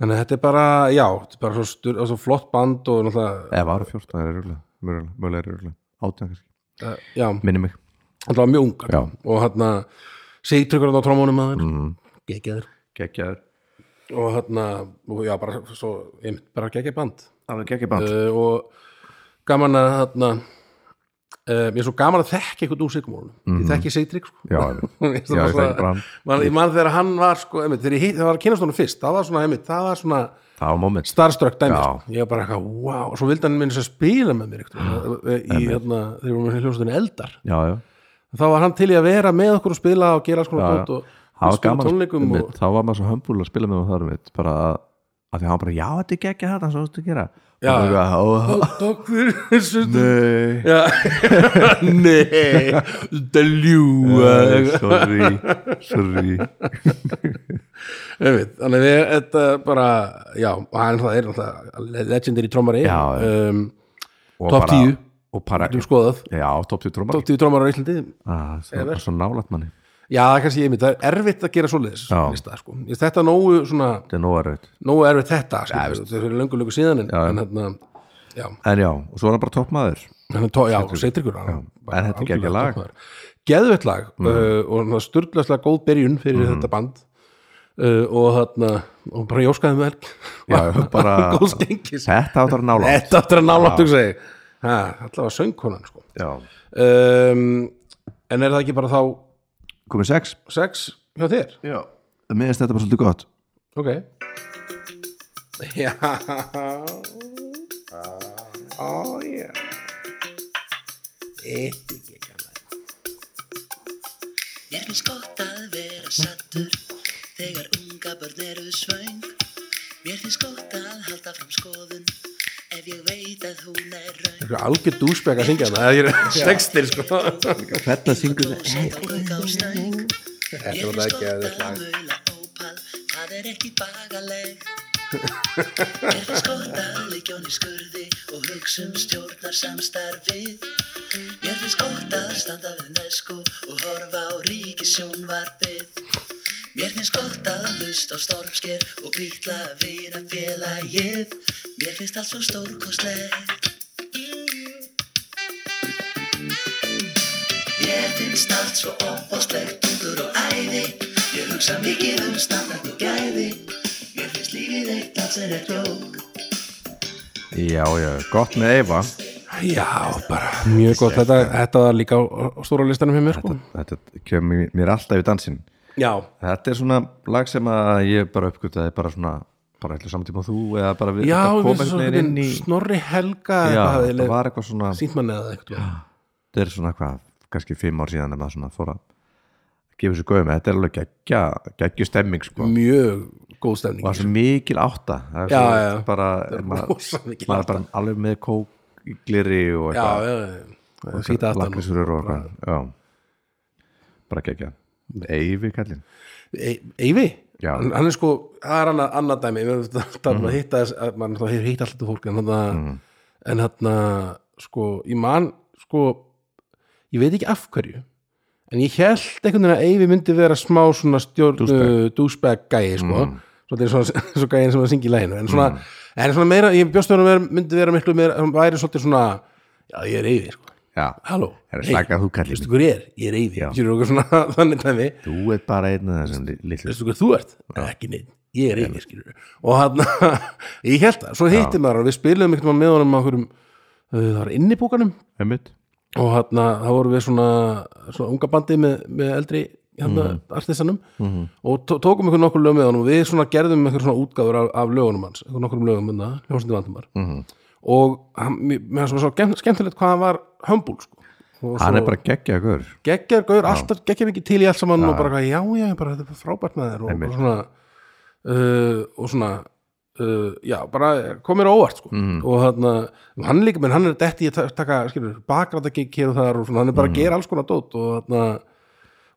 [SPEAKER 2] þannig að þetta er bara, já, þetta er bara svo, styr, svo flott band og náttúrulega
[SPEAKER 1] eða var 14 er rúglega, mögulega, mögulega er rúglega átján kannski,
[SPEAKER 2] uh, já,
[SPEAKER 1] minni mig
[SPEAKER 2] alltaf mjög ungar
[SPEAKER 1] Já. Mhm.
[SPEAKER 2] og hann að sigtryggur á trómunum að þeir mm. geggjaður
[SPEAKER 1] geggjaður,
[SPEAKER 2] og hann að, já, bara svo, einmitt, bara geggjað band
[SPEAKER 1] alveg geggjaband
[SPEAKER 2] uh, og gaman að hann að Uh, ég er svo gaman að þekki eitthvað úr sigmólunum ég þekki Sigtrygg sko.
[SPEAKER 1] Mhm. Já, einmitt.
[SPEAKER 2] Ég
[SPEAKER 1] Já, ég
[SPEAKER 2] svona-
[SPEAKER 1] þekki bara hann.
[SPEAKER 2] Man- ég man þegar hann var sko, einmitt, þegar ég hitt- þegar var að kynast honum fyrst það var svona, einmitt, það var svona
[SPEAKER 1] það var moment
[SPEAKER 2] starstruck dæmi
[SPEAKER 1] Já.
[SPEAKER 2] sko. ég var bara eitthvað, wow, svo vildi hann minna að spila með mér eitthvað, í hérna þegar við varum hljómsveitin eldar
[SPEAKER 1] já, já,
[SPEAKER 2] þá var hann til í að vera með okkur og spila og gera alls konar
[SPEAKER 1] Já,
[SPEAKER 2] dót og
[SPEAKER 1] það var
[SPEAKER 2] spila
[SPEAKER 1] gaman
[SPEAKER 2] tónleikum
[SPEAKER 1] einmitt,
[SPEAKER 2] og,
[SPEAKER 1] þá var maður svo hömbúl að spila með það einmitt, bara að, að því hann var bara, já, þetta er geggja þetta svo þetta gera
[SPEAKER 2] Já,
[SPEAKER 1] Og það var
[SPEAKER 2] og tók fyrir þessu
[SPEAKER 1] Nei,
[SPEAKER 2] Já. nei, þetta er ljúga
[SPEAKER 1] sorry, sorry
[SPEAKER 2] Ég veit, þannig að við þetta bara já, og hann það er náttúrulega legendary trommari
[SPEAKER 1] Já, já.
[SPEAKER 2] um,
[SPEAKER 1] Og
[SPEAKER 2] Topp
[SPEAKER 1] bara-
[SPEAKER 2] tíu.
[SPEAKER 1] Og bara,
[SPEAKER 2] þú skoðað,
[SPEAKER 1] já, top 10 trómar
[SPEAKER 2] top 10 trommar á Íslandi
[SPEAKER 1] Ah, það var svo nálægt manni
[SPEAKER 2] já, það er kannski ég mynd, það er erfitt að gera svoleiðis
[SPEAKER 1] Já.
[SPEAKER 2] lista, sko. Ég- þetta nógu svona
[SPEAKER 1] Þetta er nóaröð
[SPEAKER 2] nógu erfitt þetta skilur við, þetta er löngu löngu síðan en,
[SPEAKER 1] Já, já.
[SPEAKER 2] en hérna já,
[SPEAKER 1] En já, og svo er hann bara toppmaður
[SPEAKER 2] hann er tó, já, Seitrikur hann
[SPEAKER 1] Já,
[SPEAKER 2] bara
[SPEAKER 1] en þetta er geggjað lag. Mm.
[SPEAKER 2] algjörlega toppmaður. geðveitt lag uh, og það styrlaslega góð byrjun fyrir þetta band uh, og þarna og bara jóskaði um með
[SPEAKER 1] Já,
[SPEAKER 2] helg
[SPEAKER 1] bara
[SPEAKER 2] góð skengis
[SPEAKER 1] Þetta áttur að nála
[SPEAKER 2] þetta áttur að nála þú segi ha, allavega söngkonan sko
[SPEAKER 1] Já,
[SPEAKER 2] um, en er það ekki bara þá
[SPEAKER 1] komið sex
[SPEAKER 2] sex hjá þér?
[SPEAKER 1] Já Mér finnst þetta bara svolítið gott
[SPEAKER 2] ok já oh yeah eitt ekki ekki
[SPEAKER 5] Mér finnst gott að vera sattur þegar unga börn eru svöng. Mér finnst gott að halda fram skoðun ef ég veit að hún er raun.
[SPEAKER 2] Eitthvað algjör dúsbæk að syngja hana Það er sextir sko
[SPEAKER 1] Þetta syngur
[SPEAKER 5] Og setja kök á stöng. Mér finnst gott að mula ópal, það er ekki bagaleg. Mér finnst gott að leikja hún í skurði og hugsa um stjórnar samstarfið. Mér finnst gott að standa við nesku og horfa á ríkisjónvarpið. Mér finnst gott að hlusta á stormsker og býtla að vina félagið. Mér finnst allt svo stórkostlegt. Mér finnst allt svo opbóstlegt undur og æði Ég hugsa mikið um standart og gæði Mér finnst lífið eitt allt sem er klók
[SPEAKER 1] Já, já, gott með Eva
[SPEAKER 2] Já, bara mjög gott Þetta, þetta var líka á, á stóra listanum hjá mér sko
[SPEAKER 1] Þetta kemur mér alltaf í dansinn
[SPEAKER 2] Já,
[SPEAKER 1] Þetta er svona lag sem að ég bara uppgötaði bara svona bara eitthvað samtíma og þú eða bara við
[SPEAKER 2] já
[SPEAKER 1] þetta kom
[SPEAKER 2] við
[SPEAKER 1] einhvern
[SPEAKER 2] svo
[SPEAKER 1] veginn inn í
[SPEAKER 2] snorri helga
[SPEAKER 1] Já,
[SPEAKER 2] eitthvað
[SPEAKER 1] það
[SPEAKER 2] hafði
[SPEAKER 1] var eitthvað svona
[SPEAKER 2] Sýnt manni eða eitthvað
[SPEAKER 1] þetta er svona hvað, kannski fimm ár síðan en maður svona fór að gefa sér gauð með þetta er alveg geggja, geggju stemming sko.
[SPEAKER 2] Mjög góð stefning
[SPEAKER 1] og það er svo mikil átta það er
[SPEAKER 2] Já,
[SPEAKER 1] svo
[SPEAKER 2] já.
[SPEAKER 1] bara
[SPEAKER 2] er
[SPEAKER 1] maður,
[SPEAKER 2] rosa mikil
[SPEAKER 1] maður er bara alveg með kók í gliri og
[SPEAKER 2] Já,
[SPEAKER 1] eitthvað
[SPEAKER 2] já, já Sýta aftan
[SPEAKER 1] lakrísurur og eitthvað já. bara geggja Eyvi kallinn
[SPEAKER 2] E- Eyvi?
[SPEAKER 1] Já. Mhm.
[SPEAKER 2] Hann hann er sko, það er annað, annað dæmi Við erum þetta að hitta þess að mann hefur hitt alltaf fólk en þarna en þarna, sko, ég man sko, ég veit ekki af hverju en ég held einhvern veginn að Eyvi myndi vera smá svona stjórn
[SPEAKER 1] Douchebag. Mhm.
[SPEAKER 2] dúsbæk gæi, sko Svo þetta er svona, svo gæðin sem að syngja í læginu en svona, en svona meira, ég bjóst að vera, myndi vera miklu meira, hann væri svolítið svona já, ég er eyfi, sko,
[SPEAKER 1] já,
[SPEAKER 2] halló
[SPEAKER 1] það er
[SPEAKER 2] hey,
[SPEAKER 1] slakað þú kallir
[SPEAKER 2] veistu hver ég er, ég er eyfi
[SPEAKER 1] Já.
[SPEAKER 2] skilur okkur svona, þannig dæmi
[SPEAKER 1] þú er bara einn af þessum li- litlu
[SPEAKER 2] veistu hvað þú ert? ekki neitt, ég er yfir skilur og hann, ég held það, svo hitti maður og við spilum einhvern veginn með honum á hverjum það var inn í bókanum
[SPEAKER 1] einmitt
[SPEAKER 2] og hann, það voru við svona, svona unga bandi með, með eldri hann,
[SPEAKER 1] Mhm.
[SPEAKER 2] artistanum og tó- tókum einhvern nokkur lög með honum og við svona gerðum einhver svona útgáfur af, af lögunum hans, einhvern nokkur lögum hérna, hljómsandi vandumar mm
[SPEAKER 1] Mhm.
[SPEAKER 2] -hmm. og hann, mér mér fannst svo skemmt- skemmtilegt hvað hann var hömbúl sko Og
[SPEAKER 1] hann er
[SPEAKER 2] svo-
[SPEAKER 1] bara geggjað gaur
[SPEAKER 2] geggjar gaur, alltaf geggjar mikið til í allt saman og bara, já, já, bara, þetta er bara frábært með þér og,
[SPEAKER 1] Einmitt.
[SPEAKER 2] og svona uh, og svona uh, já, bara komir á óvart sko. mm. og þarna, hann líka, menn hann er detti í að ta- taka, skilur, bakrætagikk hér og þar og svona, hann er bara að gera alls konar dót og þarna,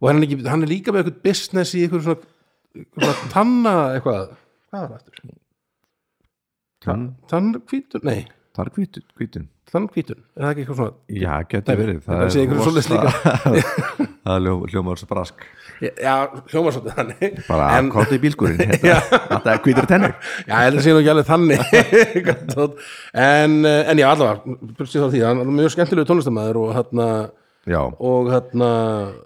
[SPEAKER 2] og hann er, ekki, hann er líka með eitthvað business í eitthvað svona, eitthvað svona tanna eitthvað, hvað var það aftur?
[SPEAKER 1] Tann-
[SPEAKER 2] Tannkvítun, nei,
[SPEAKER 1] það er hvítun, hvítun
[SPEAKER 2] tannkvítun er það ekki eitthvað svona
[SPEAKER 1] já, getur verið
[SPEAKER 2] Þetta sé einhverju svoleiðis
[SPEAKER 1] rosa- það er ljó- hljómar svo brask
[SPEAKER 2] já, hljómar svolítið þannig
[SPEAKER 1] bara
[SPEAKER 2] En-
[SPEAKER 1] kóta í bílskurinn þetta þetta er hvítur tennur
[SPEAKER 2] Já, þetta sé nú ekki alveg þannig Eitthvað dót. en, eh, en já, allavega Bursið þá því, hann er mjög skemmtilegu tónlistamæður og hérna
[SPEAKER 1] já,
[SPEAKER 2] og hérna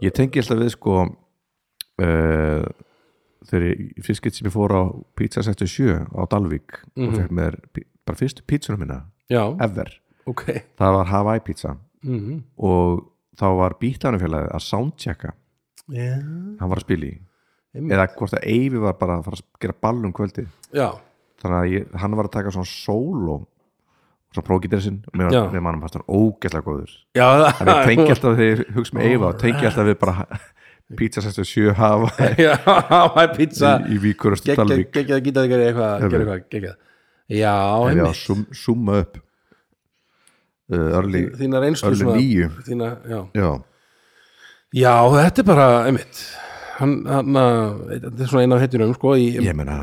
[SPEAKER 1] ég tengi alltaf við sko uh, þegar ég fyrst gett sem ég fór á pizza 67 á Dalvík og fekk með bara fyrstu pizzuna minna
[SPEAKER 2] Já,
[SPEAKER 1] ever,
[SPEAKER 2] ok
[SPEAKER 1] það var Hawaii pizza
[SPEAKER 2] mm
[SPEAKER 1] og þá var bítlanumfélagi að soundchecka
[SPEAKER 2] yeah.
[SPEAKER 1] hann var að spila í
[SPEAKER 2] Einmitt.
[SPEAKER 1] eða hvort að Eyvi var bara að fara að gera ball um kvöldi
[SPEAKER 2] Já,
[SPEAKER 1] þannig að ég, hann var að taka svona solo svona prógítirsinn og mér
[SPEAKER 2] Já.
[SPEAKER 1] var- mér mannum fast hann ógeðslega góður
[SPEAKER 2] já
[SPEAKER 1] þannig að ég tengi alltaf þegar ég hugsa með Eyva og tengi alltaf við bara pizza 67 hafa
[SPEAKER 2] Já, hæ, pizza
[SPEAKER 1] í, í víkurastu
[SPEAKER 2] Gekkjað
[SPEAKER 1] Dalvík
[SPEAKER 2] gekkjað að geta þig eitthvað
[SPEAKER 1] Einmitt.
[SPEAKER 2] Gera eitthvað, gekkjað Já,
[SPEAKER 1] en já,
[SPEAKER 2] einmitt
[SPEAKER 1] sum- summa upp uh, örli
[SPEAKER 2] Þína reynslu
[SPEAKER 1] Öllu nýju.
[SPEAKER 2] Þína, já
[SPEAKER 1] já,
[SPEAKER 2] Já, þetta er bara, einmitt Hann, hann, að- þetta er svona eina af heitjunum, sko í,
[SPEAKER 1] ég meina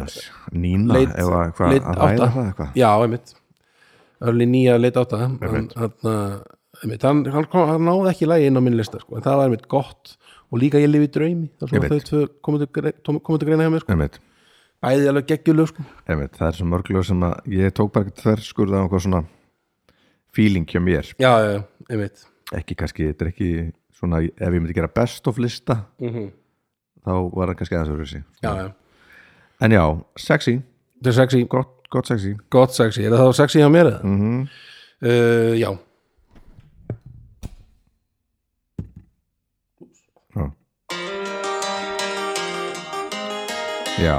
[SPEAKER 1] Nína
[SPEAKER 2] Leit-
[SPEAKER 1] eða eitthvað
[SPEAKER 2] leit
[SPEAKER 1] að ræða
[SPEAKER 2] átta.
[SPEAKER 1] það eitthvað
[SPEAKER 2] Já, einmitt Örli nýja leit átta hann,
[SPEAKER 1] Einmitt.
[SPEAKER 2] hann, eh, einmitt, hann, hann, kom, hann náði ekki lagi inn á minn lista sko, en það var einmitt gott og líka ég lifi í draumi það er svona
[SPEAKER 1] Einmitt.
[SPEAKER 2] þau tvö komið til grei- tom- komu til greina hjá mér sko.
[SPEAKER 1] einmitt,
[SPEAKER 2] bæði alveg geggjulög sko.
[SPEAKER 1] einmitt, það er svo mörglega sem að ég tók bara þver skurða á eitthvað svona feeling hjá mér
[SPEAKER 2] já, já, já, einmitt
[SPEAKER 1] ekki kannski, þetta er ekki svona ef ég myndi gera best of lista þá var það kannski aðeins að rúsi
[SPEAKER 2] Mhm. já, já.
[SPEAKER 1] en já, sexy,
[SPEAKER 2] þetta er sexy,
[SPEAKER 1] gott, Mhm. gott sexy
[SPEAKER 2] gott sexy er það þá sexy hjá mér eða? Mm uh, já,
[SPEAKER 1] já, já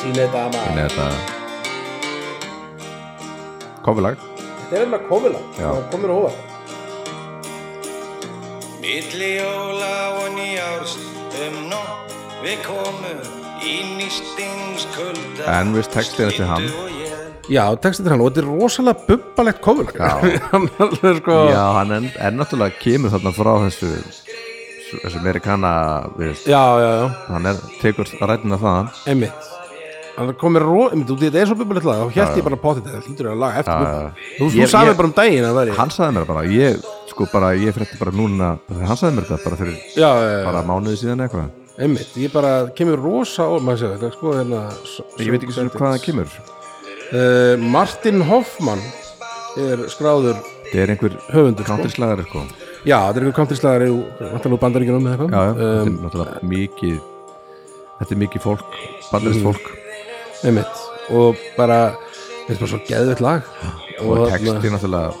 [SPEAKER 2] sína þetta að
[SPEAKER 1] en þetta kofulag
[SPEAKER 2] þetta er einmitt komila,
[SPEAKER 1] Já.
[SPEAKER 2] það komir á óvart
[SPEAKER 3] Milli jóla og nýjárs um nótt við komum í nýstingskulda
[SPEAKER 1] En viðst textinn eftir hann.
[SPEAKER 2] já, textin til hann og þetta er rosalega bubbalegt komila
[SPEAKER 1] Já.
[SPEAKER 2] hann er alveg sko
[SPEAKER 1] já, hann en, en náttúrulega kemur þarna frá þessu þessu meiri kanna viðst,
[SPEAKER 2] já, já, já.
[SPEAKER 1] hann er, tekur rættina þaðan
[SPEAKER 2] einmitt hann komið róð, einmitt, út í þetta er svo bubbalegt lag þá hérst ég bara potið þetta, hlýtur að laga eftir
[SPEAKER 1] Já, já.
[SPEAKER 2] bubba þú, þú
[SPEAKER 1] Ég-
[SPEAKER 2] sagði
[SPEAKER 1] ég-
[SPEAKER 2] bara um daginn að veri já,
[SPEAKER 1] hann sagði mér bara, ég sko bara ég frétti bara núna, hann sagði mér þetta bara fyrir
[SPEAKER 2] já, já,
[SPEAKER 1] bara mánuði síðan eitthvað
[SPEAKER 2] einmitt, ég bara kemur rosa og maður sé þetta, sko hérna,
[SPEAKER 1] ég veit ekki sem hvað það kemur
[SPEAKER 2] uh, Martin Hoffmann er skráður
[SPEAKER 1] þetta er einhver
[SPEAKER 2] Höfundur, sko.
[SPEAKER 1] counterslagari sko já,
[SPEAKER 2] já, þetta er einhver countryslagari vantanlega bandaríkjunum eða
[SPEAKER 1] já,
[SPEAKER 2] eitthvað
[SPEAKER 1] þetta er
[SPEAKER 2] um,
[SPEAKER 1] náttúrulega mikið þetta er mikið fólk, ballarist fólk
[SPEAKER 2] einmitt, og bara þetta er bara svo geðvitt lag hérna-
[SPEAKER 1] og
[SPEAKER 2] þarna-
[SPEAKER 1] texti náttúrulega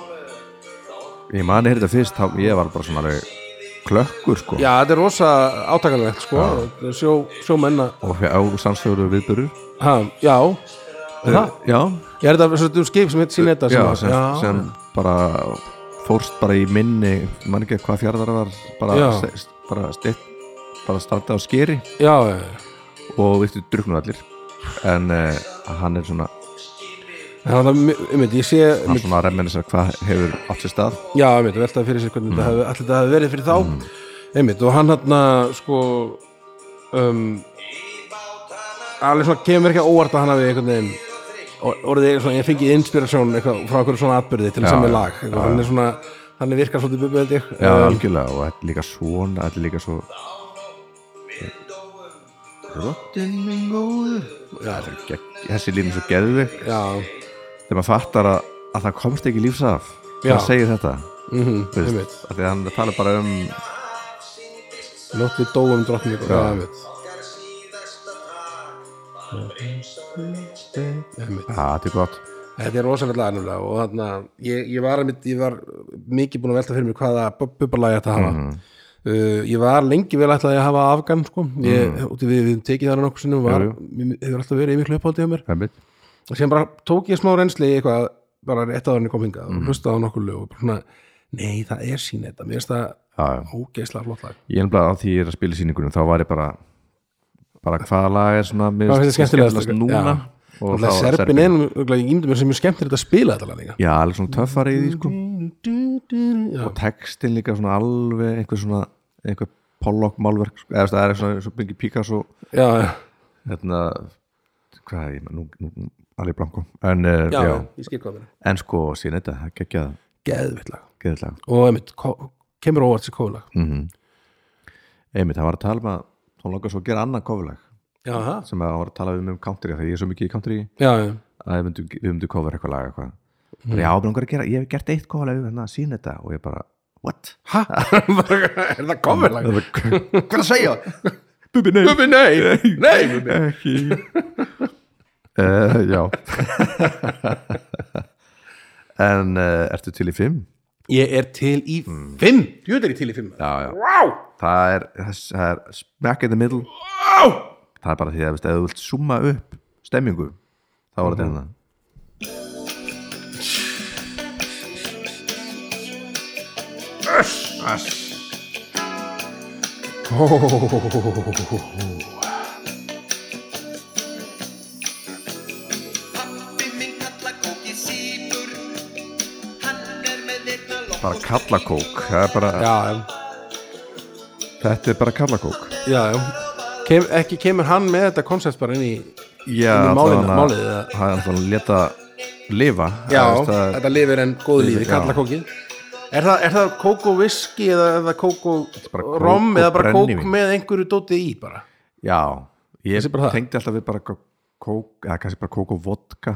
[SPEAKER 1] ég mani þetta fyrst, þá, ég var bara svona alveg klökkur sko
[SPEAKER 2] já, þetta er rosa átakalegt, sko sjó, sjómenna,
[SPEAKER 1] og fjá sannsögur viðbörur
[SPEAKER 2] ha, já það
[SPEAKER 1] já,
[SPEAKER 2] Ég er þetta svolítið um skip sem heit Sinetta
[SPEAKER 1] já,
[SPEAKER 2] sem,
[SPEAKER 1] sem,
[SPEAKER 2] var-
[SPEAKER 1] sem bara fórst bara í minni mann ekki hvað fjardar var bara,
[SPEAKER 2] Já.
[SPEAKER 1] se- bara stett bara standað á skeri
[SPEAKER 2] já, já, já.
[SPEAKER 1] og viltu drukna allir en uh, hann er svona
[SPEAKER 2] Það er það, einmitt, ég sé
[SPEAKER 1] hann
[SPEAKER 2] einmitt,
[SPEAKER 1] svona reminisar hvað hefur átt sér stað
[SPEAKER 2] Já, einmitt, veltaði fyrir sér hvernig
[SPEAKER 1] Mm.
[SPEAKER 2] þetta hefði allir þetta hefði verið fyrir þá einmitt, og hann hann sko um, alveg svona kemur ekki á óvart að hann hafi einhvern veginn or- orðið, svona, ég fengið inspirasjón eitthvað, frá einhverju svona atbyrði til
[SPEAKER 1] Já,
[SPEAKER 2] þess að
[SPEAKER 1] já,
[SPEAKER 2] með lag
[SPEAKER 1] já,
[SPEAKER 2] eitthvað, hann er svona, hann er virkar svolítið bubbið
[SPEAKER 1] já,
[SPEAKER 2] um,
[SPEAKER 1] algjörlega og þetta er líka svona þetta er líka svo Drottin eh, minn góður Það er gegg- Þessi línu er svo geðvik
[SPEAKER 2] já,
[SPEAKER 1] Þegar maður fattar að, að það komst ekki lífs af
[SPEAKER 2] Já.
[SPEAKER 1] Það segir þetta
[SPEAKER 2] mhm,
[SPEAKER 1] þú
[SPEAKER 2] einmitt
[SPEAKER 1] veist, af Því að hann talar bara um
[SPEAKER 2] Nótt við dóum um drottningu
[SPEAKER 1] Já.
[SPEAKER 2] Já, ég veit Einmitt.
[SPEAKER 1] Já, þetta er gott
[SPEAKER 2] Þetta er rosalega nefnilega og þarna ég, ég, var, einmitt- ég var mikið búin að velta fyrir mér hvaða bubbalagi þetta hafa
[SPEAKER 1] Mhm.
[SPEAKER 2] uh, Ég var lengi vel ætlaði að hafa afgan sko. ég, úti, við, við höfum tekið þarna nokkuð sinnum var,
[SPEAKER 1] Mhm. Jú,
[SPEAKER 2] mér hefur alltaf verið yfir hlöpaldi á mér
[SPEAKER 1] Einmitt.
[SPEAKER 2] og sem bara tók ég smá reynsli í eitthvað bara rétt að hann kom hingað
[SPEAKER 1] Mhm.
[SPEAKER 2] og hlustaði á nokkur lög og bara svona, nei það er sín þetta mér finnst það
[SPEAKER 1] Já, já.
[SPEAKER 2] ógeislega flott lag
[SPEAKER 1] Ég er bara á því ég er að spila í sýningunum þá var ég bara bara hvaða lag er svona mér
[SPEAKER 2] Hvað
[SPEAKER 1] finnst
[SPEAKER 2] finnst þér skemmtilegast? sko.
[SPEAKER 1] núna og
[SPEAKER 2] Já. Náttúrulega
[SPEAKER 1] þá var
[SPEAKER 2] Serbin er, nú- örugglega, ég ímyndi mér sem mjög skemmtir þetta að spila þetta lag líka
[SPEAKER 1] Já, alveg svona töffari í því sko
[SPEAKER 2] Já,
[SPEAKER 1] og textin líka svona alveg einhver svona einhver Pollock málverk sko. eða þú veist, það er svona svo byggi Picasso
[SPEAKER 2] já, já,
[SPEAKER 1] hérna hvað er ég með, nú, nú alveg blanko en, uh, já,
[SPEAKER 2] já, ég skil hvað það
[SPEAKER 1] en sko síðan þetta, það gekkja
[SPEAKER 2] Geðvitt lag
[SPEAKER 1] geðilega
[SPEAKER 2] Og einmitt, ko- kemur óvart sér kóðlag
[SPEAKER 1] mm -hmm. einmitt, það var að tala um að hún langar svo að gera annan kofulag
[SPEAKER 2] Já, ha?
[SPEAKER 1] sem að það var að tala um um country af því ég er svo mikið í country
[SPEAKER 2] já, já,
[SPEAKER 1] að við myndum, við myndum cover eitthvað lag eitthvað mm. já, mér langar að gera, ég hef gert eitt cover lag að sína þetta og ég bara, what?
[SPEAKER 2] ha? er það kóðlag?
[SPEAKER 1] Hvað er að segja? Bubi, nei,
[SPEAKER 2] Bubi, nei, nei Bubi.
[SPEAKER 1] ekki uh, já en uh, ertu til í fimm?
[SPEAKER 2] Ég er til í fimm Jú, þetta er ég til í fimm
[SPEAKER 1] já, já,
[SPEAKER 2] Vá,
[SPEAKER 1] það er, það er smack in the middle það er bara því að veist, ef þú vilt summa upp stemmingu, þá var þetta hérna
[SPEAKER 5] Pappi minn kalla kóki sípur Hann er með einna lokk
[SPEAKER 1] bara kallakók, það er bara
[SPEAKER 2] já, já,
[SPEAKER 1] þetta er bara kallakók
[SPEAKER 2] já, já. Kem, Ekki kemur hann með þetta koncept bara inn í
[SPEAKER 1] já,
[SPEAKER 2] Inn í málinu-
[SPEAKER 1] allavega-
[SPEAKER 2] málið, eða?
[SPEAKER 1] það er alltaf að leta lifa
[SPEAKER 2] Já,
[SPEAKER 1] það, veist, það,
[SPEAKER 2] þetta lifir en góð lífi,
[SPEAKER 1] Já.
[SPEAKER 2] kalla kókið Er það, er það kók og viski eða er það kók
[SPEAKER 1] bara
[SPEAKER 2] og
[SPEAKER 1] kók
[SPEAKER 2] rom
[SPEAKER 1] og
[SPEAKER 2] eða bara kók
[SPEAKER 1] brennivín.
[SPEAKER 2] með einhverju dótið í bara?
[SPEAKER 1] já,
[SPEAKER 2] Þessi bara
[SPEAKER 1] ég
[SPEAKER 2] það.
[SPEAKER 1] tengdi alltaf við bara kó- kók eða kannski bara kók og vodka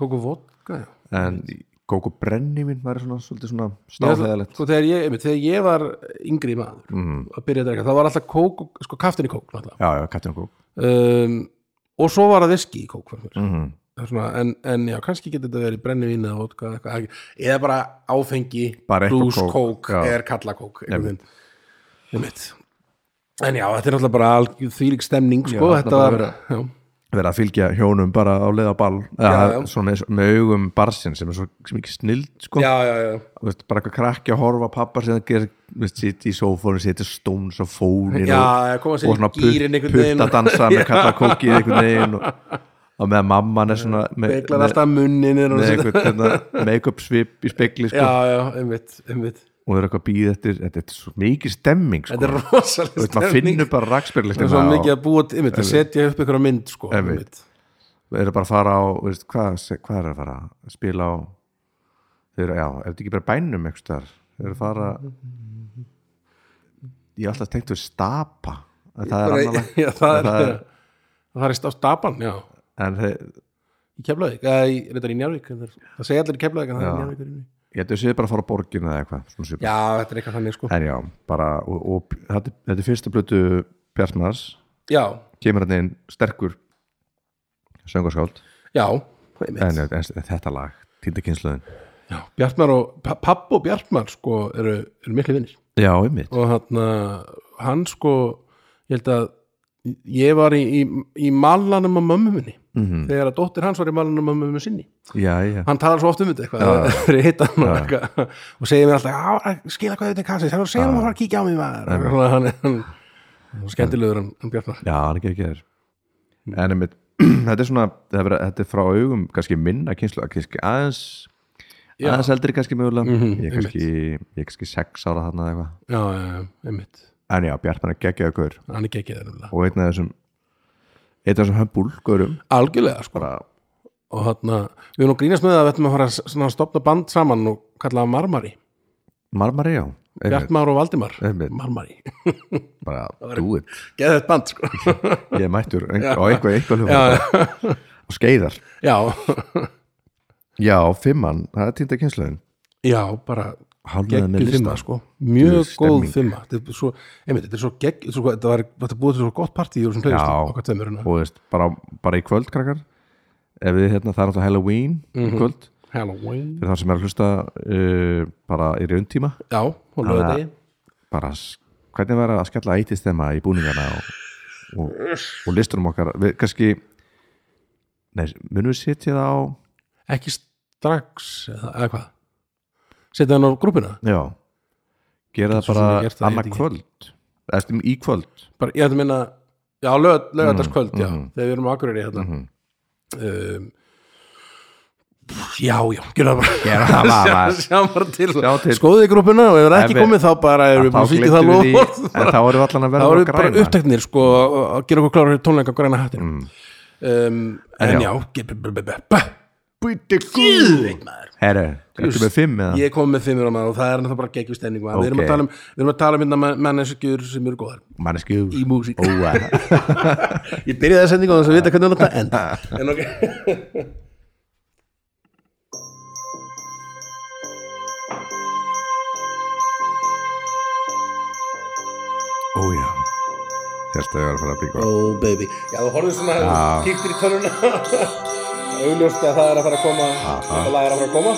[SPEAKER 2] Kók og vodka, já
[SPEAKER 1] en kók og brennivinn var svona svolítið svona
[SPEAKER 2] Mér
[SPEAKER 1] stáðheðalegt
[SPEAKER 2] fannst- sko, þegar, ég, einmitt, þegar ég var yngri maður
[SPEAKER 1] Mm.
[SPEAKER 2] að byrja að drega, það var alltaf kók og- sko kaftin í kók náttúrulega.
[SPEAKER 1] já, já, kattin og kók
[SPEAKER 2] um, og svo var það viski í kók fannst mér.
[SPEAKER 1] mm
[SPEAKER 2] Það er svona, en, en já, kannski getur þetta verið brennivín eða vodka eitthvað, ekki- eða bara áfengi
[SPEAKER 1] Bara eitthvað
[SPEAKER 2] brús,
[SPEAKER 1] kók,
[SPEAKER 2] kók,
[SPEAKER 1] já.
[SPEAKER 2] er kalla kók einhvern veginn. einmitt en já, þetta er náttúrulega bara alg- þvílík stemning sko,
[SPEAKER 1] Já,
[SPEAKER 2] þetta
[SPEAKER 1] þarna
[SPEAKER 2] var
[SPEAKER 1] bara
[SPEAKER 2] já,
[SPEAKER 1] verið að fylgja hjónum bara á leið á ball
[SPEAKER 2] já.
[SPEAKER 1] eða, svona með, með augum barsin sem er svo sem ekki snild sko.
[SPEAKER 2] já, já, já,
[SPEAKER 1] Þú veist, bara eitthvað krakki að horfa á pappa sem það gerir, þú veist, sitt í sófónu setja stóns á fónin
[SPEAKER 2] Já,
[SPEAKER 1] og,
[SPEAKER 2] já, koma
[SPEAKER 1] og
[SPEAKER 2] sér í
[SPEAKER 1] svona
[SPEAKER 2] gírinn einhvern veginn.
[SPEAKER 1] putta dansa með kalla kókið einhvern veginn og, og með að mamman er svona með,
[SPEAKER 2] beglar alltaf munnin er hún
[SPEAKER 1] með
[SPEAKER 2] að setja-
[SPEAKER 1] einhvern hérna, make-up svip í spegli sko,
[SPEAKER 2] já, já, einmitt, einmitt
[SPEAKER 1] og það er eitthvað býð eftir þetta er svo mikið stemming sko.
[SPEAKER 2] þetta er rosalega
[SPEAKER 1] Þú veist, maður finnur bara hérna rakspyrlikt
[SPEAKER 2] það er svo mikið að búa til, einmitt, að setja upp einhverja mynd sko,
[SPEAKER 1] Einmitt. Við erum bara að fara á, þú veist, hvað, hvað er að fara að spila á þau eru, já, ef þetta ekki bara bænum eitthvað þar, þau eru að fara ég er alltaf tengt við stapa en það er
[SPEAKER 2] Bara-
[SPEAKER 1] annarlega
[SPEAKER 2] já, það er,
[SPEAKER 1] En það er-
[SPEAKER 2] það er í staf stapan, já
[SPEAKER 1] en þeir,
[SPEAKER 2] í Keflavík, eða í, reyndar í Njarvík en það er- það segja allir í Keflavík en það er í
[SPEAKER 1] Já.
[SPEAKER 2] Njarvík er inni.
[SPEAKER 1] ég þau séu bara að fara á borginu eða eitthvað, svona svipað
[SPEAKER 2] já, þetta er eitthvað þannig sko
[SPEAKER 1] en já, bara, og, og þetta, er- þetta er fyrsta blötu Bjartmars,
[SPEAKER 2] já,
[SPEAKER 1] kemur hann inn sterkur söngarskáld,
[SPEAKER 2] já,
[SPEAKER 1] en,
[SPEAKER 2] einmitt
[SPEAKER 1] en, en þetta lag tíndakynsluðin,
[SPEAKER 2] já, Bjartmar og, pa- papp og Bjartmar sko eru, eru miklu vinnir
[SPEAKER 1] já, einmitt
[SPEAKER 2] og hann, hann sko ég held að ég var í, í, í malanum á mömmu minni
[SPEAKER 1] Mhm.
[SPEAKER 2] þegar að dóttir hans var í malanum á mömmu sinni
[SPEAKER 1] já, já,
[SPEAKER 2] hann talar svo oft um þetta eitthvað þegar ég hitta hann og eitthvað, og segir mér alltaf "Á, skila hvað þetta er kassi, þannig að segja hann að fara að kíkja á mig maður og svona, hann er hann, hann er skemmtilegur hann, hann Bjarnar
[SPEAKER 1] Já, hann er ekki ekki þér Mm. En einmitt, þetta er svona þetta er, verið- þetta er frá augum, kannski minna kynslu kannski aðeins
[SPEAKER 2] Já.
[SPEAKER 1] aðeins eldri kannski mögulega
[SPEAKER 2] Mhm,
[SPEAKER 1] ég, er kannski, ég er kannski sex ára þarna eða eitthvað
[SPEAKER 2] já, já, já, einmitt,
[SPEAKER 1] En já, Bjartmann er geggjaðu gaur
[SPEAKER 2] hann er gekkið þeir
[SPEAKER 1] og einn af þessum einn af þessum hömbúl gaurum
[SPEAKER 2] algjörlega sko
[SPEAKER 1] bara,
[SPEAKER 2] og hann, við erum nú að grínast með það að við ætlum að fara að s- svona, að stopna band saman og kalla það Marmari
[SPEAKER 1] marmari já
[SPEAKER 2] Bjartmar og Valdimar
[SPEAKER 1] Einmitt.
[SPEAKER 2] Marmari,
[SPEAKER 1] bara do it
[SPEAKER 2] geða þetta band sko.
[SPEAKER 1] ég er mættur ein- á einhver einhver hljóð og skeiðar
[SPEAKER 2] já,
[SPEAKER 1] já, fimmann, það er týnda kynsluðin
[SPEAKER 2] já, bara
[SPEAKER 1] Hálfnaði með
[SPEAKER 2] geggjur
[SPEAKER 1] lista.
[SPEAKER 2] þimma sko. mjög
[SPEAKER 1] Djöfull
[SPEAKER 2] góð
[SPEAKER 1] stemning.
[SPEAKER 2] þimma þetta er svo, einmitt, þetta er svo gegg þetta er svo- þetta var, þetta búið til svo gott partí í þessum
[SPEAKER 1] já,
[SPEAKER 2] playlistu
[SPEAKER 1] og
[SPEAKER 2] okkar tveimur hérna.
[SPEAKER 1] þú veist, bara, bara í kvöld krakkar ef við hérna, það er náttúrulega Halloween
[SPEAKER 2] Mhm.
[SPEAKER 1] í kvöld,
[SPEAKER 2] Halloween
[SPEAKER 1] fyrir það sem er að hlusta uh, bara í rauntíma
[SPEAKER 2] já, og löðu
[SPEAKER 1] Þannig að- bara, s- hvernig verður að skella ætist þemma í búningana og, og, og listunum okkar við kannski nei, munum við setja það á
[SPEAKER 2] ekki strax eða, eða hvað setja hann á grúpuna
[SPEAKER 1] já, gera
[SPEAKER 2] Getur svo
[SPEAKER 1] það bara
[SPEAKER 2] sem gert það, ég veit
[SPEAKER 1] annað
[SPEAKER 2] ekki.
[SPEAKER 1] kvöld eða stum í kvöld
[SPEAKER 2] bara, ég ætla að minna já, lög, lögataskvöld, já,
[SPEAKER 1] mhm.
[SPEAKER 2] þegar við erum á Akureyri hérna um, já, já, gera það bara
[SPEAKER 1] Gera það bara,
[SPEAKER 2] Sjá-
[SPEAKER 1] maður.
[SPEAKER 2] sjá bara til,
[SPEAKER 1] Sjá til.
[SPEAKER 2] skoðið grúpuna og ef það er ekki
[SPEAKER 1] Ef við-
[SPEAKER 2] komið þá bara erum við búin að fylgja það
[SPEAKER 1] gleymdum við
[SPEAKER 2] lof
[SPEAKER 1] því- en þá erum við allan að
[SPEAKER 2] þá
[SPEAKER 1] verða að
[SPEAKER 2] erum við bara
[SPEAKER 1] græna. Mhm.
[SPEAKER 2] uppteknir sko, að gera okkur klára tónleika og græna hattin um, en,
[SPEAKER 1] En já.
[SPEAKER 2] já, ge- b- b- b- b- b-
[SPEAKER 1] býti
[SPEAKER 2] Guðveit maður
[SPEAKER 1] herru, ertu með fimm eða?
[SPEAKER 2] Ég kom með fimmur á maður og það er náttúrulega bara geggjum stemning okay. við, erum að
[SPEAKER 1] Ok.
[SPEAKER 2] tala um, við erum að tala um hérna men- manneskjur sem eru góðar
[SPEAKER 1] manneski
[SPEAKER 2] í músík
[SPEAKER 1] óa
[SPEAKER 2] Ég byrjaði að sendinga á þess að vita hvernig þetta enda En ok
[SPEAKER 1] ója þetta er að fara að byggja
[SPEAKER 2] Oh baby Já þú horfum svona kíktir í tölvuna Augljóst að það er að fara að koma Þetta lag er að fara að koma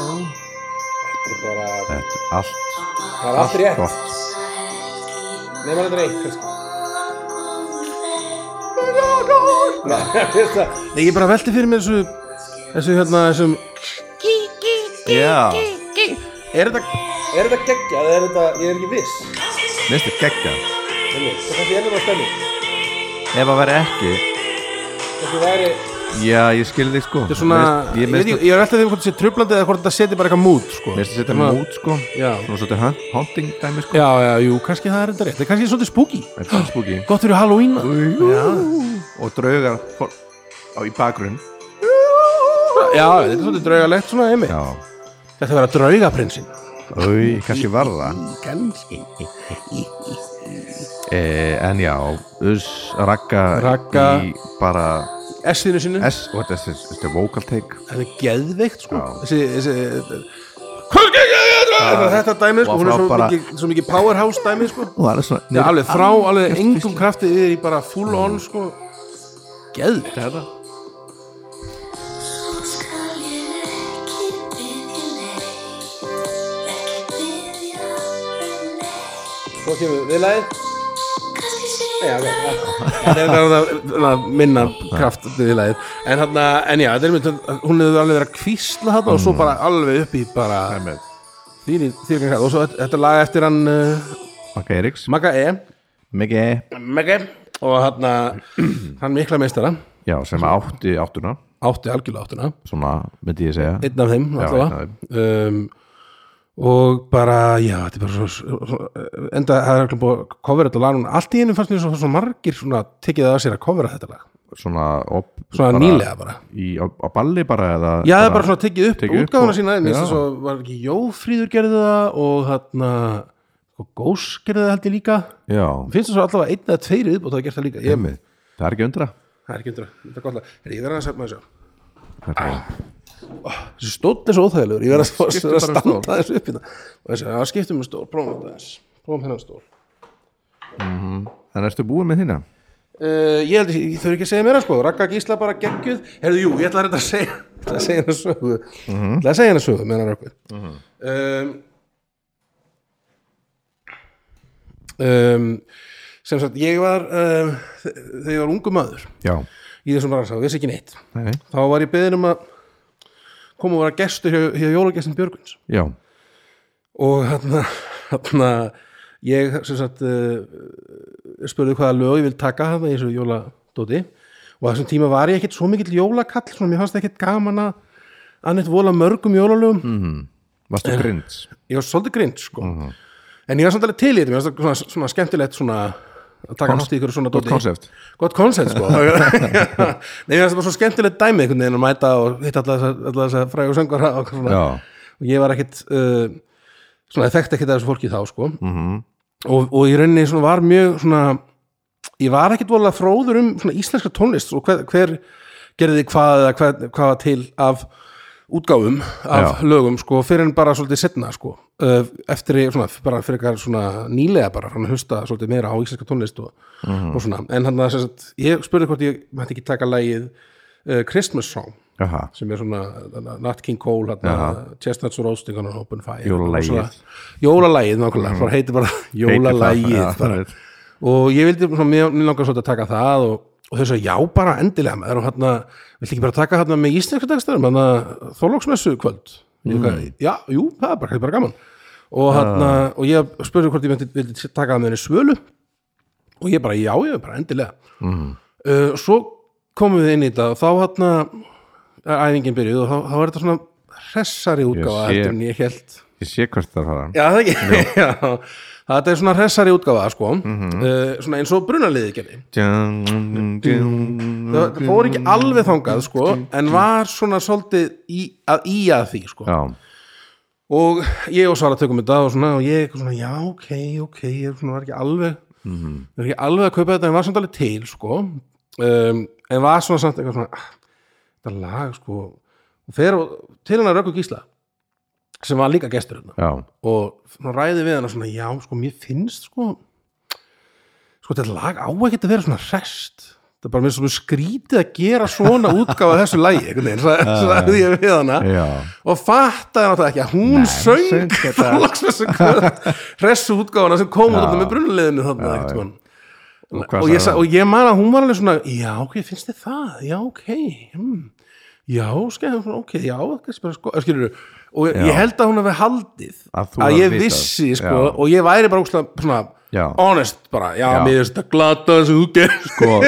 [SPEAKER 2] Þetta er bara
[SPEAKER 1] þetta er allt
[SPEAKER 2] Það er allt rétt
[SPEAKER 1] gott
[SPEAKER 2] Nei maður þetta er eitt kannski Nei, veist það. Nei ég bara velti fyrir mér þessu Þessu hérna þessum
[SPEAKER 1] já,
[SPEAKER 2] Er þetta Er þetta geggja eða er þetta Ég er ekki viss
[SPEAKER 1] minnst er geggja
[SPEAKER 2] Nei, Það kannski er þetta stemning
[SPEAKER 1] ef að vera ekki
[SPEAKER 2] Kannski væri
[SPEAKER 1] Já, ég skil þig sko
[SPEAKER 2] Þetta er svona,
[SPEAKER 1] Ég
[SPEAKER 2] ég, veit
[SPEAKER 1] minnst
[SPEAKER 2] ekki- ég er alltaf því hvort það sé trublandi eða hvort þetta seti bara eitthvað mút sko.
[SPEAKER 1] að setja
[SPEAKER 2] Svona-
[SPEAKER 1] mút sko
[SPEAKER 2] Já.
[SPEAKER 1] Svona svolítið hunt- haunting dæmi sko
[SPEAKER 2] Já, já, jú, kannski það er þetta rétt, Það er kannski svolítið spooky
[SPEAKER 1] Þetta er spúki
[SPEAKER 2] Gott fyrir Halloween maður. Já,
[SPEAKER 1] Og draugar for- á í bakgrunn
[SPEAKER 2] já, þetta er svolítið draugalegt svona heimi
[SPEAKER 1] Já
[SPEAKER 2] Þetta verður að drauga prinsinn
[SPEAKER 1] Új, kannski varða
[SPEAKER 2] Kannski
[SPEAKER 1] e, En já, uss, ragga
[SPEAKER 2] Ragga.
[SPEAKER 1] Í bara
[SPEAKER 2] S-inu sinu,
[SPEAKER 1] S Og þetta er- þetta er- þetta er vocal take
[SPEAKER 2] þetta er geðveikt sko.
[SPEAKER 1] Já.
[SPEAKER 2] Þessi, þessi Kannski geðveikt Þetta dæmi, sko,
[SPEAKER 1] Og
[SPEAKER 2] hún er
[SPEAKER 1] frá
[SPEAKER 2] svo,
[SPEAKER 1] bara-
[SPEAKER 2] mikið, svo mikið powerhouse dæmi sko.
[SPEAKER 1] Og það er svona
[SPEAKER 2] Já, alveg frá, alveg engum krafti yfir í bara full on sko. Geðveikt þetta Svo kemur við lagið Já, ok, já. Þetta er það að minna kraft við lagið en, þarna, en já, þetta er mynd, hún hefur alveg verið að kvísla þarna og svo bara alveg upp í bara þín í þýrkan og svo þetta- þetta lag eftir hann uh,
[SPEAKER 1] Magga Eriks
[SPEAKER 2] Magga E
[SPEAKER 1] Magga E
[SPEAKER 2] Magga E. og hann, hann mikla meistara
[SPEAKER 1] Já, sem átti áttuna
[SPEAKER 2] átti algjörlega áttuna
[SPEAKER 1] Svona myndi ég segja
[SPEAKER 2] einn af þeim
[SPEAKER 1] Já,
[SPEAKER 2] allavega um, og bara, já, þetta er bara svo, svo enda, það er alveg búið að covera þetta lag núna. allt í einu fannst mér svo, svo margir svona, tekið það að sér að covera þetta lag
[SPEAKER 1] Svona op,
[SPEAKER 2] svona
[SPEAKER 1] bara
[SPEAKER 2] nýlega bara
[SPEAKER 1] í, á, á balli bara eða
[SPEAKER 2] já, það er bara svona tekið upp
[SPEAKER 1] tekið upp
[SPEAKER 2] útgáfuna
[SPEAKER 1] og-
[SPEAKER 2] sína mér finnst
[SPEAKER 1] Já.
[SPEAKER 2] það svo, var ekki Jófríður gerði það og þarna og Gós gerði það held ég líka
[SPEAKER 1] Já,
[SPEAKER 2] Mér finnst það svo allavega einn eða tveir upp og það gert það líka ég,
[SPEAKER 1] Emmi, það er ekki undra
[SPEAKER 2] það er ekki undra, þetta er gott lag Heyrðu, ég verð að sætma þessu
[SPEAKER 1] Þetta er-
[SPEAKER 2] þessi stótt er svo óþægilegur ég verð að, að,
[SPEAKER 1] Skiptum
[SPEAKER 2] að
[SPEAKER 1] bara um
[SPEAKER 2] standa
[SPEAKER 1] stól.
[SPEAKER 2] þessu upp hérna. og þessi, já, skiptum um stól, prófum þetta aðeins prófum hennan stól
[SPEAKER 1] En ertu búin með þína?
[SPEAKER 2] Uh, ég held ég þau ekki að segja meira sko Ragga Gísla bara geggjuð Herðu, jú, ég ætla að reynda að segja ég ætla að segja hennar sögu Ég ætla að segja hennar sögu, meðan rökkur um, um, Sem sagt, ég var um, þe- þegar ég var ungu maður
[SPEAKER 1] Já
[SPEAKER 2] í þessum rannsá, vissi ekki neitt
[SPEAKER 1] Nei.
[SPEAKER 2] Þá var ég beðin um að koma og vera gestur hjá, hjá jólagestin Björguns
[SPEAKER 1] Já,
[SPEAKER 2] og hérna, hérna ég sem sagt uh, spurði hvaða lög ég vil taka þarna í þessu jóladóti og á þessum tíma var ég ekkert svo mikill jólakall svona mér fannst ekkert gaman að að neitt vola mörgum jólalögum
[SPEAKER 1] varstu
[SPEAKER 2] Eh.
[SPEAKER 1] grins Mhm.
[SPEAKER 2] ég var svolítið grind sko en ég var samt alveg til í þetta, mér fannst það svona, svona skemmtilegt svona að taka hátt í ykkur svona
[SPEAKER 1] Gott
[SPEAKER 2] dóti.
[SPEAKER 1] konsept.
[SPEAKER 2] gott koncept sko Nei, mér finnst það bara svo skemmtilegt dæmi einhvern veginn um að mæta og hitta alla þessa- alla þess að frægu söngvara og, eitthvað svona.
[SPEAKER 1] Já.
[SPEAKER 2] og ég var ekkit uh, svona þekkt ekkit að þessu fólki þá sko -hmm. og, og í rauninni svona var mjög svona ég var ekkit vola fróður um svona íslenska tónlist og hver, hver gerði hvað eða hvað, hvað var til af útgáfum af
[SPEAKER 1] Já.
[SPEAKER 2] lögum sko fyrir en bara svolítið setna sko Uh, eftir í- svona, bara fyrir eitthvað svona nýlega bara, hann hlusta svolítið meira á íslenska tónlist og, og svona, en hann að sem sagt, ég spurði hvort ég mætti ekki taka lagið uh, Christmas Song
[SPEAKER 1] Jaha.
[SPEAKER 2] sem er svona þarna, Nat King Cole hérna, Chestnuts Roasting on an Open Fire
[SPEAKER 1] Jólalagið.
[SPEAKER 2] Svona- Jólalagið, nákvæmlega, mm. heitir bara Jólalagið
[SPEAKER 1] Já,
[SPEAKER 2] bara.
[SPEAKER 1] það er-
[SPEAKER 2] og ég vildi, svona, mér, mér langar svolítið að taka það og, og þess að já, bara endilega maður og hérna, viltu ekki bara taka hérna með íslenska dagstæðum, hérna Þorlóksmessu kvöld mm. já, jú, það er bara, það er bara gaman og hérna, og ég spurði hvort ég vildi, vildi taka það með henni svölu og ég bara, já, ég er bara endilega uh, svo komum við inn í þetta og þá hérna er æfingin byrjuð og þá, þá er þetta svona hressari útgáfa
[SPEAKER 1] sé.
[SPEAKER 2] heldur en ég held
[SPEAKER 1] Ég sé hvert það er að fara.
[SPEAKER 2] Já, það ekki Já. Þetta er svona hressari útgáfa sko. uh, svona eins og brunaliði gerði
[SPEAKER 1] Djum, djum,
[SPEAKER 2] það það fór ekki alveg þangað sko, en var svona svolítið í, að í að því sko.
[SPEAKER 1] Já.
[SPEAKER 2] og ég og Sara tökum þetta og, svona, og ég eitthvað svona, já, ok, ok ég er svona, var ekki alveg mm er ekki alveg að kaupa þetta, en var samt alveg til sko. um, en var svona samt eitthvað svona, ah, þetta lag sko. og fer og, til hennar Röggu Gísla sem var líka gestur hérna
[SPEAKER 1] Já.
[SPEAKER 2] og svona ræði við hana svona já, sko, mér finnst sko sko, þetta lag á ekkert að vera svona rest þetta er bara mér svona skrítið að gera svona útgáfa af þessu lagi, einhvern veginn sa- sagði ég við hana
[SPEAKER 1] Já.
[SPEAKER 2] og fattaði náttúrulega ekki að hún söng
[SPEAKER 1] söng þetta.
[SPEAKER 2] þetta hressu útgáfana sem kom út
[SPEAKER 1] Já.
[SPEAKER 2] þarna með brunleðinu þarna
[SPEAKER 1] Já,
[SPEAKER 2] einhvern tímann.
[SPEAKER 1] Og hvað
[SPEAKER 2] og, ég,
[SPEAKER 1] sagði
[SPEAKER 2] sa-
[SPEAKER 1] hann?
[SPEAKER 2] og ég man að hún var alveg svona já, ok, finnst þið það, já, ok hmm. já, skemmt, ok, já kannski bara sko, skilur og ég,
[SPEAKER 1] Já.
[SPEAKER 2] ég held að hún hefði haldið
[SPEAKER 1] Að þú
[SPEAKER 2] að
[SPEAKER 1] hafir
[SPEAKER 2] ég
[SPEAKER 1] vitað.
[SPEAKER 2] vissi, sko,
[SPEAKER 1] Já.
[SPEAKER 2] og ég væri bara óslega, svona,
[SPEAKER 1] Já.
[SPEAKER 2] honest bara já,
[SPEAKER 1] Já.
[SPEAKER 2] mér finnst þetta glata þessu útgerð sko,
[SPEAKER 1] Sko,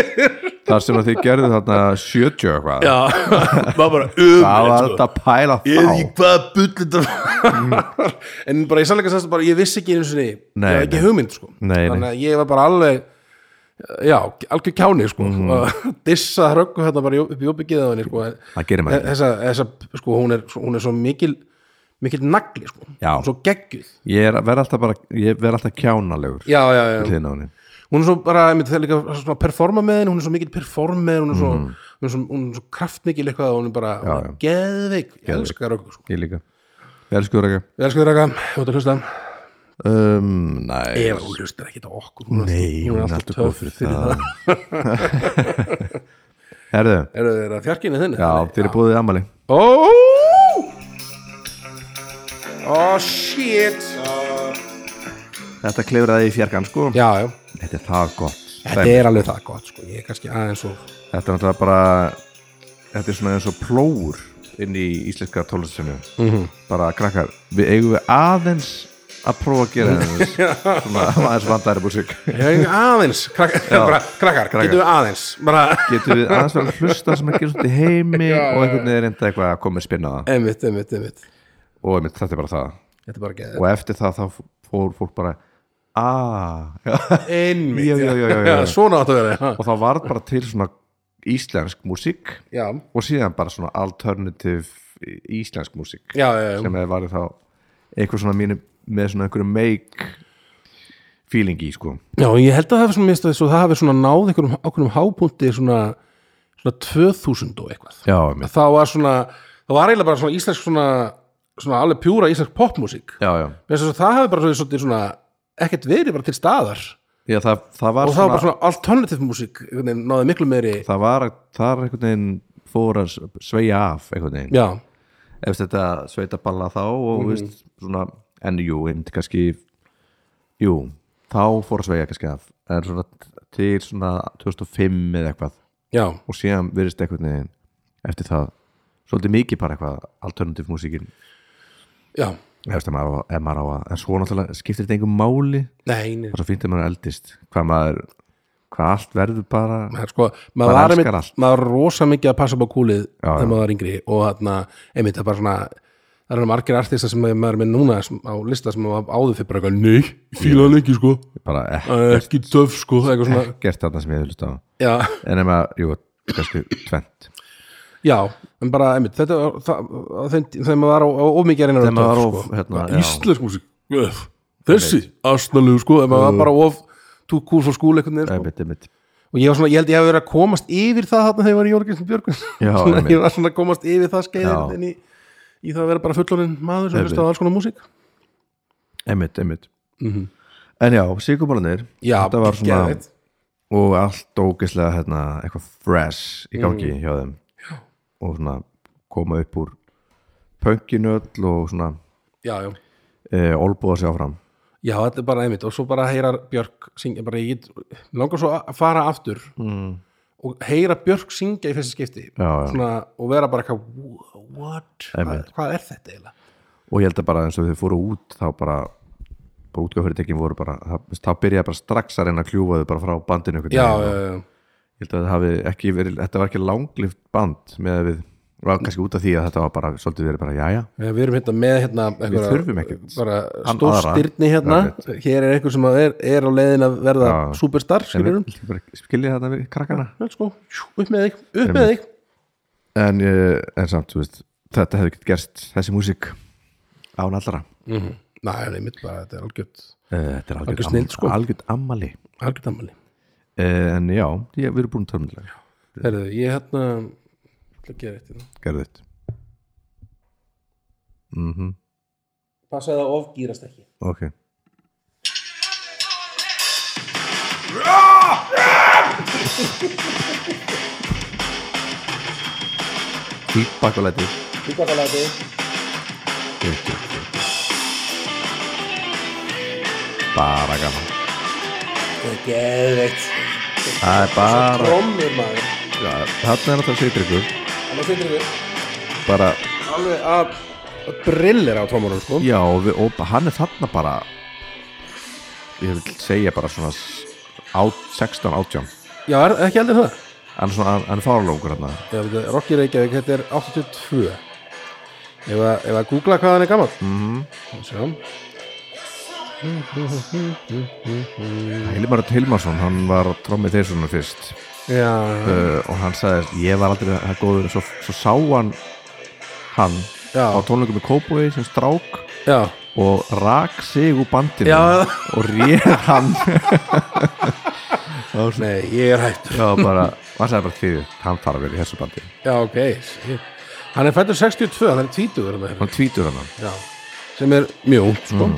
[SPEAKER 1] þar sem að þið gerðu þarna 70 og eitthvað.
[SPEAKER 2] já, var bara
[SPEAKER 1] Það var
[SPEAKER 2] um
[SPEAKER 1] þetta að pæla þá.
[SPEAKER 2] ég veit ekki hvað bull þetta var Mm. en bara ég sannleika sannst bara ég vissi ekki einu sinni,
[SPEAKER 1] Nei,
[SPEAKER 2] ég hef ekki
[SPEAKER 1] nei.
[SPEAKER 2] hugmynd sko.
[SPEAKER 1] Nei, nei.
[SPEAKER 2] þannig að ég var bara alveg já, algjör kjáni sko.
[SPEAKER 1] Mhm.
[SPEAKER 2] og dissa hröggu hérna bara í- upp í uppbyggiða henni sko.
[SPEAKER 1] Það gerir maður ekki.
[SPEAKER 2] þessa, þessa, sko, hún er, hún er svo mikil mikil nagli, sko.
[SPEAKER 1] Já.
[SPEAKER 2] svo geggjul
[SPEAKER 1] Ég er- verð alltaf bara, ég verð alltaf kjánalegur.
[SPEAKER 2] já, já, já,
[SPEAKER 1] Hliðin á henni.
[SPEAKER 2] hún er svo bara einmitt, það er líka, svona, performa með henni, hún er svo mikil performa með henni, hún er svo, hún er svo, hún er svo kraftmikil eitthvað og hún er bara
[SPEAKER 1] Mhm. Já,
[SPEAKER 2] hún er geðveik, ég
[SPEAKER 1] Geðveik.
[SPEAKER 2] elska röggu sko.
[SPEAKER 1] Ég líka. Ég elsku þú ekki.
[SPEAKER 2] ég elska röggu, þú ert að hlusta
[SPEAKER 1] Um, næ.
[SPEAKER 2] Ef hún hlustar ekki á okkur hún er
[SPEAKER 1] Nei,
[SPEAKER 2] alltaf- hún er alltaf töff fyrir það
[SPEAKER 1] Herðu,
[SPEAKER 2] Er það fjarkinni þinni?
[SPEAKER 1] já, þér er búið í amali.
[SPEAKER 2] Ó Ó, shit
[SPEAKER 1] Þetta klefraði í fjarkan, sko.
[SPEAKER 2] Já, já
[SPEAKER 1] Þetta er það gott.
[SPEAKER 2] Þetta er alveg það gott, sko Ég er kannski aðeins og
[SPEAKER 1] Þetta er náttúrulega bara, þetta er svona eins og plóur inn í íslenska tónlistasöfnum. -hmm. Bara krakkar, við eigum við aðeins að prófa að gera aðeins, svona aðeins vandæri músík.
[SPEAKER 2] Já, ég er aðeins Krak bara, Krakkar,
[SPEAKER 1] Krakkar.
[SPEAKER 2] getum við aðeins Bara
[SPEAKER 1] Getum við aðeins verið að hlusta sem er gerst út í heimi og einhvern veginn er enda eitthvað að koma að spinna það.
[SPEAKER 2] Einmitt, einmitt, einmitt
[SPEAKER 1] Og einmitt, þetta er bara það.
[SPEAKER 2] Þetta er bara
[SPEAKER 1] Og
[SPEAKER 2] geðið
[SPEAKER 1] eftir það þá fór fólk bara, aaa,
[SPEAKER 2] Einmitt
[SPEAKER 1] Já, já, já, já, já.
[SPEAKER 2] Svona átt að vera ha.
[SPEAKER 1] og þá var bara til svona íslensk músík
[SPEAKER 2] Já,
[SPEAKER 1] og síðan bara svona alternative íslensk músík
[SPEAKER 2] já, já, já.
[SPEAKER 1] sem hefði varðið þá eitthvað svona mínu með svona einhverju make feeling í sko
[SPEAKER 2] Já, ég held að það hafi svona, mist, svo það hafi svona náð einhverjum ákveðnum hápunkti svona, svona 2000 og eitthvað
[SPEAKER 1] já,
[SPEAKER 2] þá var svona, það var eiginlega bara svona íslensk svona, svona alveg pjúra íslensk popmusík
[SPEAKER 1] já, já.
[SPEAKER 2] Mér finnst þess að það hafi bara svolítið svona ekkert verið bara til staðar
[SPEAKER 1] já það, það var
[SPEAKER 2] og það var bara svona alternative músík einhvern veginn, náði miklu meiri
[SPEAKER 1] það var þar einhvern veginn fór að sveja af einhvern veginn
[SPEAKER 2] Já,
[SPEAKER 1] ef þetta sveita balla þá og veist, svona, en jú, einmitt kannski jú, þá fór að sveja kannski af en svona til svona 2005 eða eitthvað
[SPEAKER 2] já,
[SPEAKER 1] og síðan virðist einhvern veginn eftir það svolítið mikið bara eitthvað alternative músíkin
[SPEAKER 2] já
[SPEAKER 1] ef maður, á- ef maður á að en svo náttúrulega skiptir þetta engum máli
[SPEAKER 2] Nei, nei
[SPEAKER 1] og svo finnst maður eldist hvað maður, hvað allt verður bara
[SPEAKER 2] Það er sko, maður
[SPEAKER 1] Maður
[SPEAKER 2] var,
[SPEAKER 1] elskar
[SPEAKER 2] einmitt,
[SPEAKER 1] allt.
[SPEAKER 2] maður var rosa mikið að passa upp á kúlið
[SPEAKER 1] Já,
[SPEAKER 2] þegar
[SPEAKER 1] já.
[SPEAKER 2] maður var yngri og þarna, einmitt, það er bara svona það eru margir artista sem maður er með núna sem, á lista sem maður áður fyrir bara eitthvað nei, fílaðan ekki sko
[SPEAKER 1] bara ek-
[SPEAKER 2] Það er ekki töf sko eitthvað svona,
[SPEAKER 1] ekkert þarna sem ég hef hlust á
[SPEAKER 2] já,
[SPEAKER 1] en nema, jú, kannski tvent
[SPEAKER 2] já en bara, einmitt, þetta var það- á þeim tí- þegar maður var á, á of mikið að reyna að
[SPEAKER 1] Þegar
[SPEAKER 2] vera
[SPEAKER 1] maður
[SPEAKER 2] töff,
[SPEAKER 1] var of,
[SPEAKER 2] sko.
[SPEAKER 1] hérna,
[SPEAKER 2] Bara
[SPEAKER 1] já.
[SPEAKER 2] íslensk músík öff, þessi, astnalegu sko þegar maður var bara of too cool for school einhvern veginn sko.
[SPEAKER 1] einmitt, einmitt
[SPEAKER 2] og ég var svona, ég held ég hafi verið að komast yfir það þarna þegar ég var í Jórgensson Björgun
[SPEAKER 1] Já,
[SPEAKER 2] svona,
[SPEAKER 1] einmitt.
[SPEAKER 2] ég var svona að komast yfir það
[SPEAKER 1] Já.
[SPEAKER 2] skeiðin en í, í það að vera bara fullorinn maður sem
[SPEAKER 1] Einmitt.
[SPEAKER 2] hlusta á alls konar músík
[SPEAKER 1] einmitt, einmitt en já, síkumálanir
[SPEAKER 2] Mhm. já,
[SPEAKER 1] þetta var svona
[SPEAKER 2] geðveikt.
[SPEAKER 1] og allt ógeðslega hérna, eitthvað fresh í gangi
[SPEAKER 2] Mhm.
[SPEAKER 1] hjá þeim já. og svona koma upp úr pönkinu öll og svona
[SPEAKER 2] já, já,
[SPEAKER 1] e, olbúða sig áfram
[SPEAKER 2] já, þetta er bara einmitt og svo bara heyrar Björk syngja bara ég get, mig langar svo að fara aftur mm. og heyra Björk syngja í fyrsta skipti
[SPEAKER 1] Já, já.
[SPEAKER 2] Svona, og vera bara eitthvað "Wha- what, hvað,
[SPEAKER 1] Einmitt.
[SPEAKER 2] hvað er þetta eiginlega
[SPEAKER 1] og ég held að bara eins og þau fóru út þá bara, bara útgáfyrirtekin voru bara það, þá byrjaði bara strax að reyna að kljúfa þau bara frá bandinu einhvern
[SPEAKER 2] já,
[SPEAKER 1] veginn.
[SPEAKER 2] já, já,
[SPEAKER 1] ég held að það hafi ekki verið þetta var ekki langlift band með að við var kannski út af því að þetta var bara svolítið verið bara jæja
[SPEAKER 2] Já, Við erum hérna með hérna einhverja-
[SPEAKER 1] þurfum ekkert
[SPEAKER 2] bara
[SPEAKER 1] hann
[SPEAKER 2] stórstyrni
[SPEAKER 1] aðra.
[SPEAKER 2] hérna
[SPEAKER 1] Einmitt.
[SPEAKER 2] hér er einhver sem að er, er á leiðin að verða
[SPEAKER 1] Já.
[SPEAKER 2] superstar, skiljum
[SPEAKER 1] um? skiljið þetta við krakkana
[SPEAKER 2] let's go, Jú, upp með þig, upp með þig
[SPEAKER 1] en, eh, en samt, þú veist, þetta hefði ekki gerst þessi músík án allra
[SPEAKER 2] Mhm. Næ, nei, mitt bara, þetta er algjört
[SPEAKER 1] Eh, þetta er algjörð
[SPEAKER 2] Algjör snilld, sko.
[SPEAKER 1] algjörð ammali
[SPEAKER 2] algjört ammali
[SPEAKER 1] uh, en já, ég, við erum búin að um törmulega
[SPEAKER 2] Herðu, ég hérna ætla að gera eitt hérna.
[SPEAKER 1] gerðu þetta mm
[SPEAKER 2] Passa það ofgýrast ekki
[SPEAKER 1] ok feedback og læti
[SPEAKER 2] Líkafalæti
[SPEAKER 1] bara gaman
[SPEAKER 2] Geðveikt
[SPEAKER 1] það er bara
[SPEAKER 2] Trommur maður
[SPEAKER 1] Já, þarna er náttúrulega sigtryggur
[SPEAKER 2] Þannig finnir við
[SPEAKER 1] bara,
[SPEAKER 2] alveg að að brillir á trommurum sko
[SPEAKER 1] já, og, við, og hann er þarna bara ég vil segja bara svona s- á- 16, 18
[SPEAKER 2] Já, er, ekki heldur það
[SPEAKER 1] hann er svona, hann er fáralókur hann
[SPEAKER 2] Já, þetta er Rocky Reykjavík, þetta er 82 Ef að, ef að googla hvað hann er gammal mm -hmm. Sjá
[SPEAKER 1] Hilmar Hilmarsson, hann var trommið þeir svona fyrst
[SPEAKER 2] Já,
[SPEAKER 1] uh, og hann sagði, ég var aldrei það góður svo, svo sá hann hann
[SPEAKER 2] já,
[SPEAKER 1] á tónleikum í Kópói sem strák
[SPEAKER 2] já
[SPEAKER 1] og rak sig úr bandinu
[SPEAKER 2] Já.
[SPEAKER 1] og réð hann og svona,
[SPEAKER 2] Nei, ég er hættur
[SPEAKER 1] já, bara, og hann sagði bara því, hann þarf að vera í þessu bandi
[SPEAKER 2] Já, ok shit. Hann er fættur 62, hann er 20 er hann,
[SPEAKER 1] hann tvítur hann
[SPEAKER 2] Já, sem er mjög ungt, sko
[SPEAKER 1] Mm.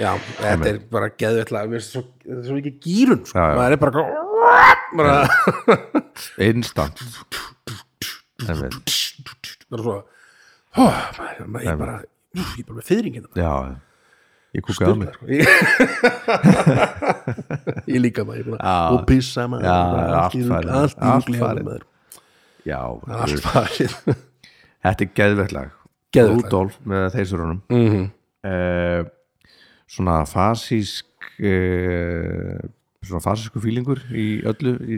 [SPEAKER 2] Já, þetta er bara geðveitlega Mér finnst svo- þetta er svo ekki gýrun, sko
[SPEAKER 1] Já, já.
[SPEAKER 2] Maður er bara, bara,
[SPEAKER 1] instant Einmitt.
[SPEAKER 2] bara svo Ó, maður, maður, ég bara Ég er bara með fyrring hérna sko.
[SPEAKER 1] já ég kúkaði á mig
[SPEAKER 2] ég líka maður ég búin
[SPEAKER 1] Já.
[SPEAKER 2] að- og pissa maður
[SPEAKER 1] Já,
[SPEAKER 2] bara allt í
[SPEAKER 1] allt
[SPEAKER 2] rugli-
[SPEAKER 1] farið.
[SPEAKER 2] allt í
[SPEAKER 1] Allt
[SPEAKER 2] rugli hjá
[SPEAKER 1] farið.
[SPEAKER 2] maður.
[SPEAKER 1] já,
[SPEAKER 2] allt farið
[SPEAKER 1] þetta er geðveikt lag
[SPEAKER 2] Geðveikt lag. Mhm.
[SPEAKER 1] Rudolf með þeysurunum mm -hmm. svona fasísk uh, svona fasísku fílingur í öllu í,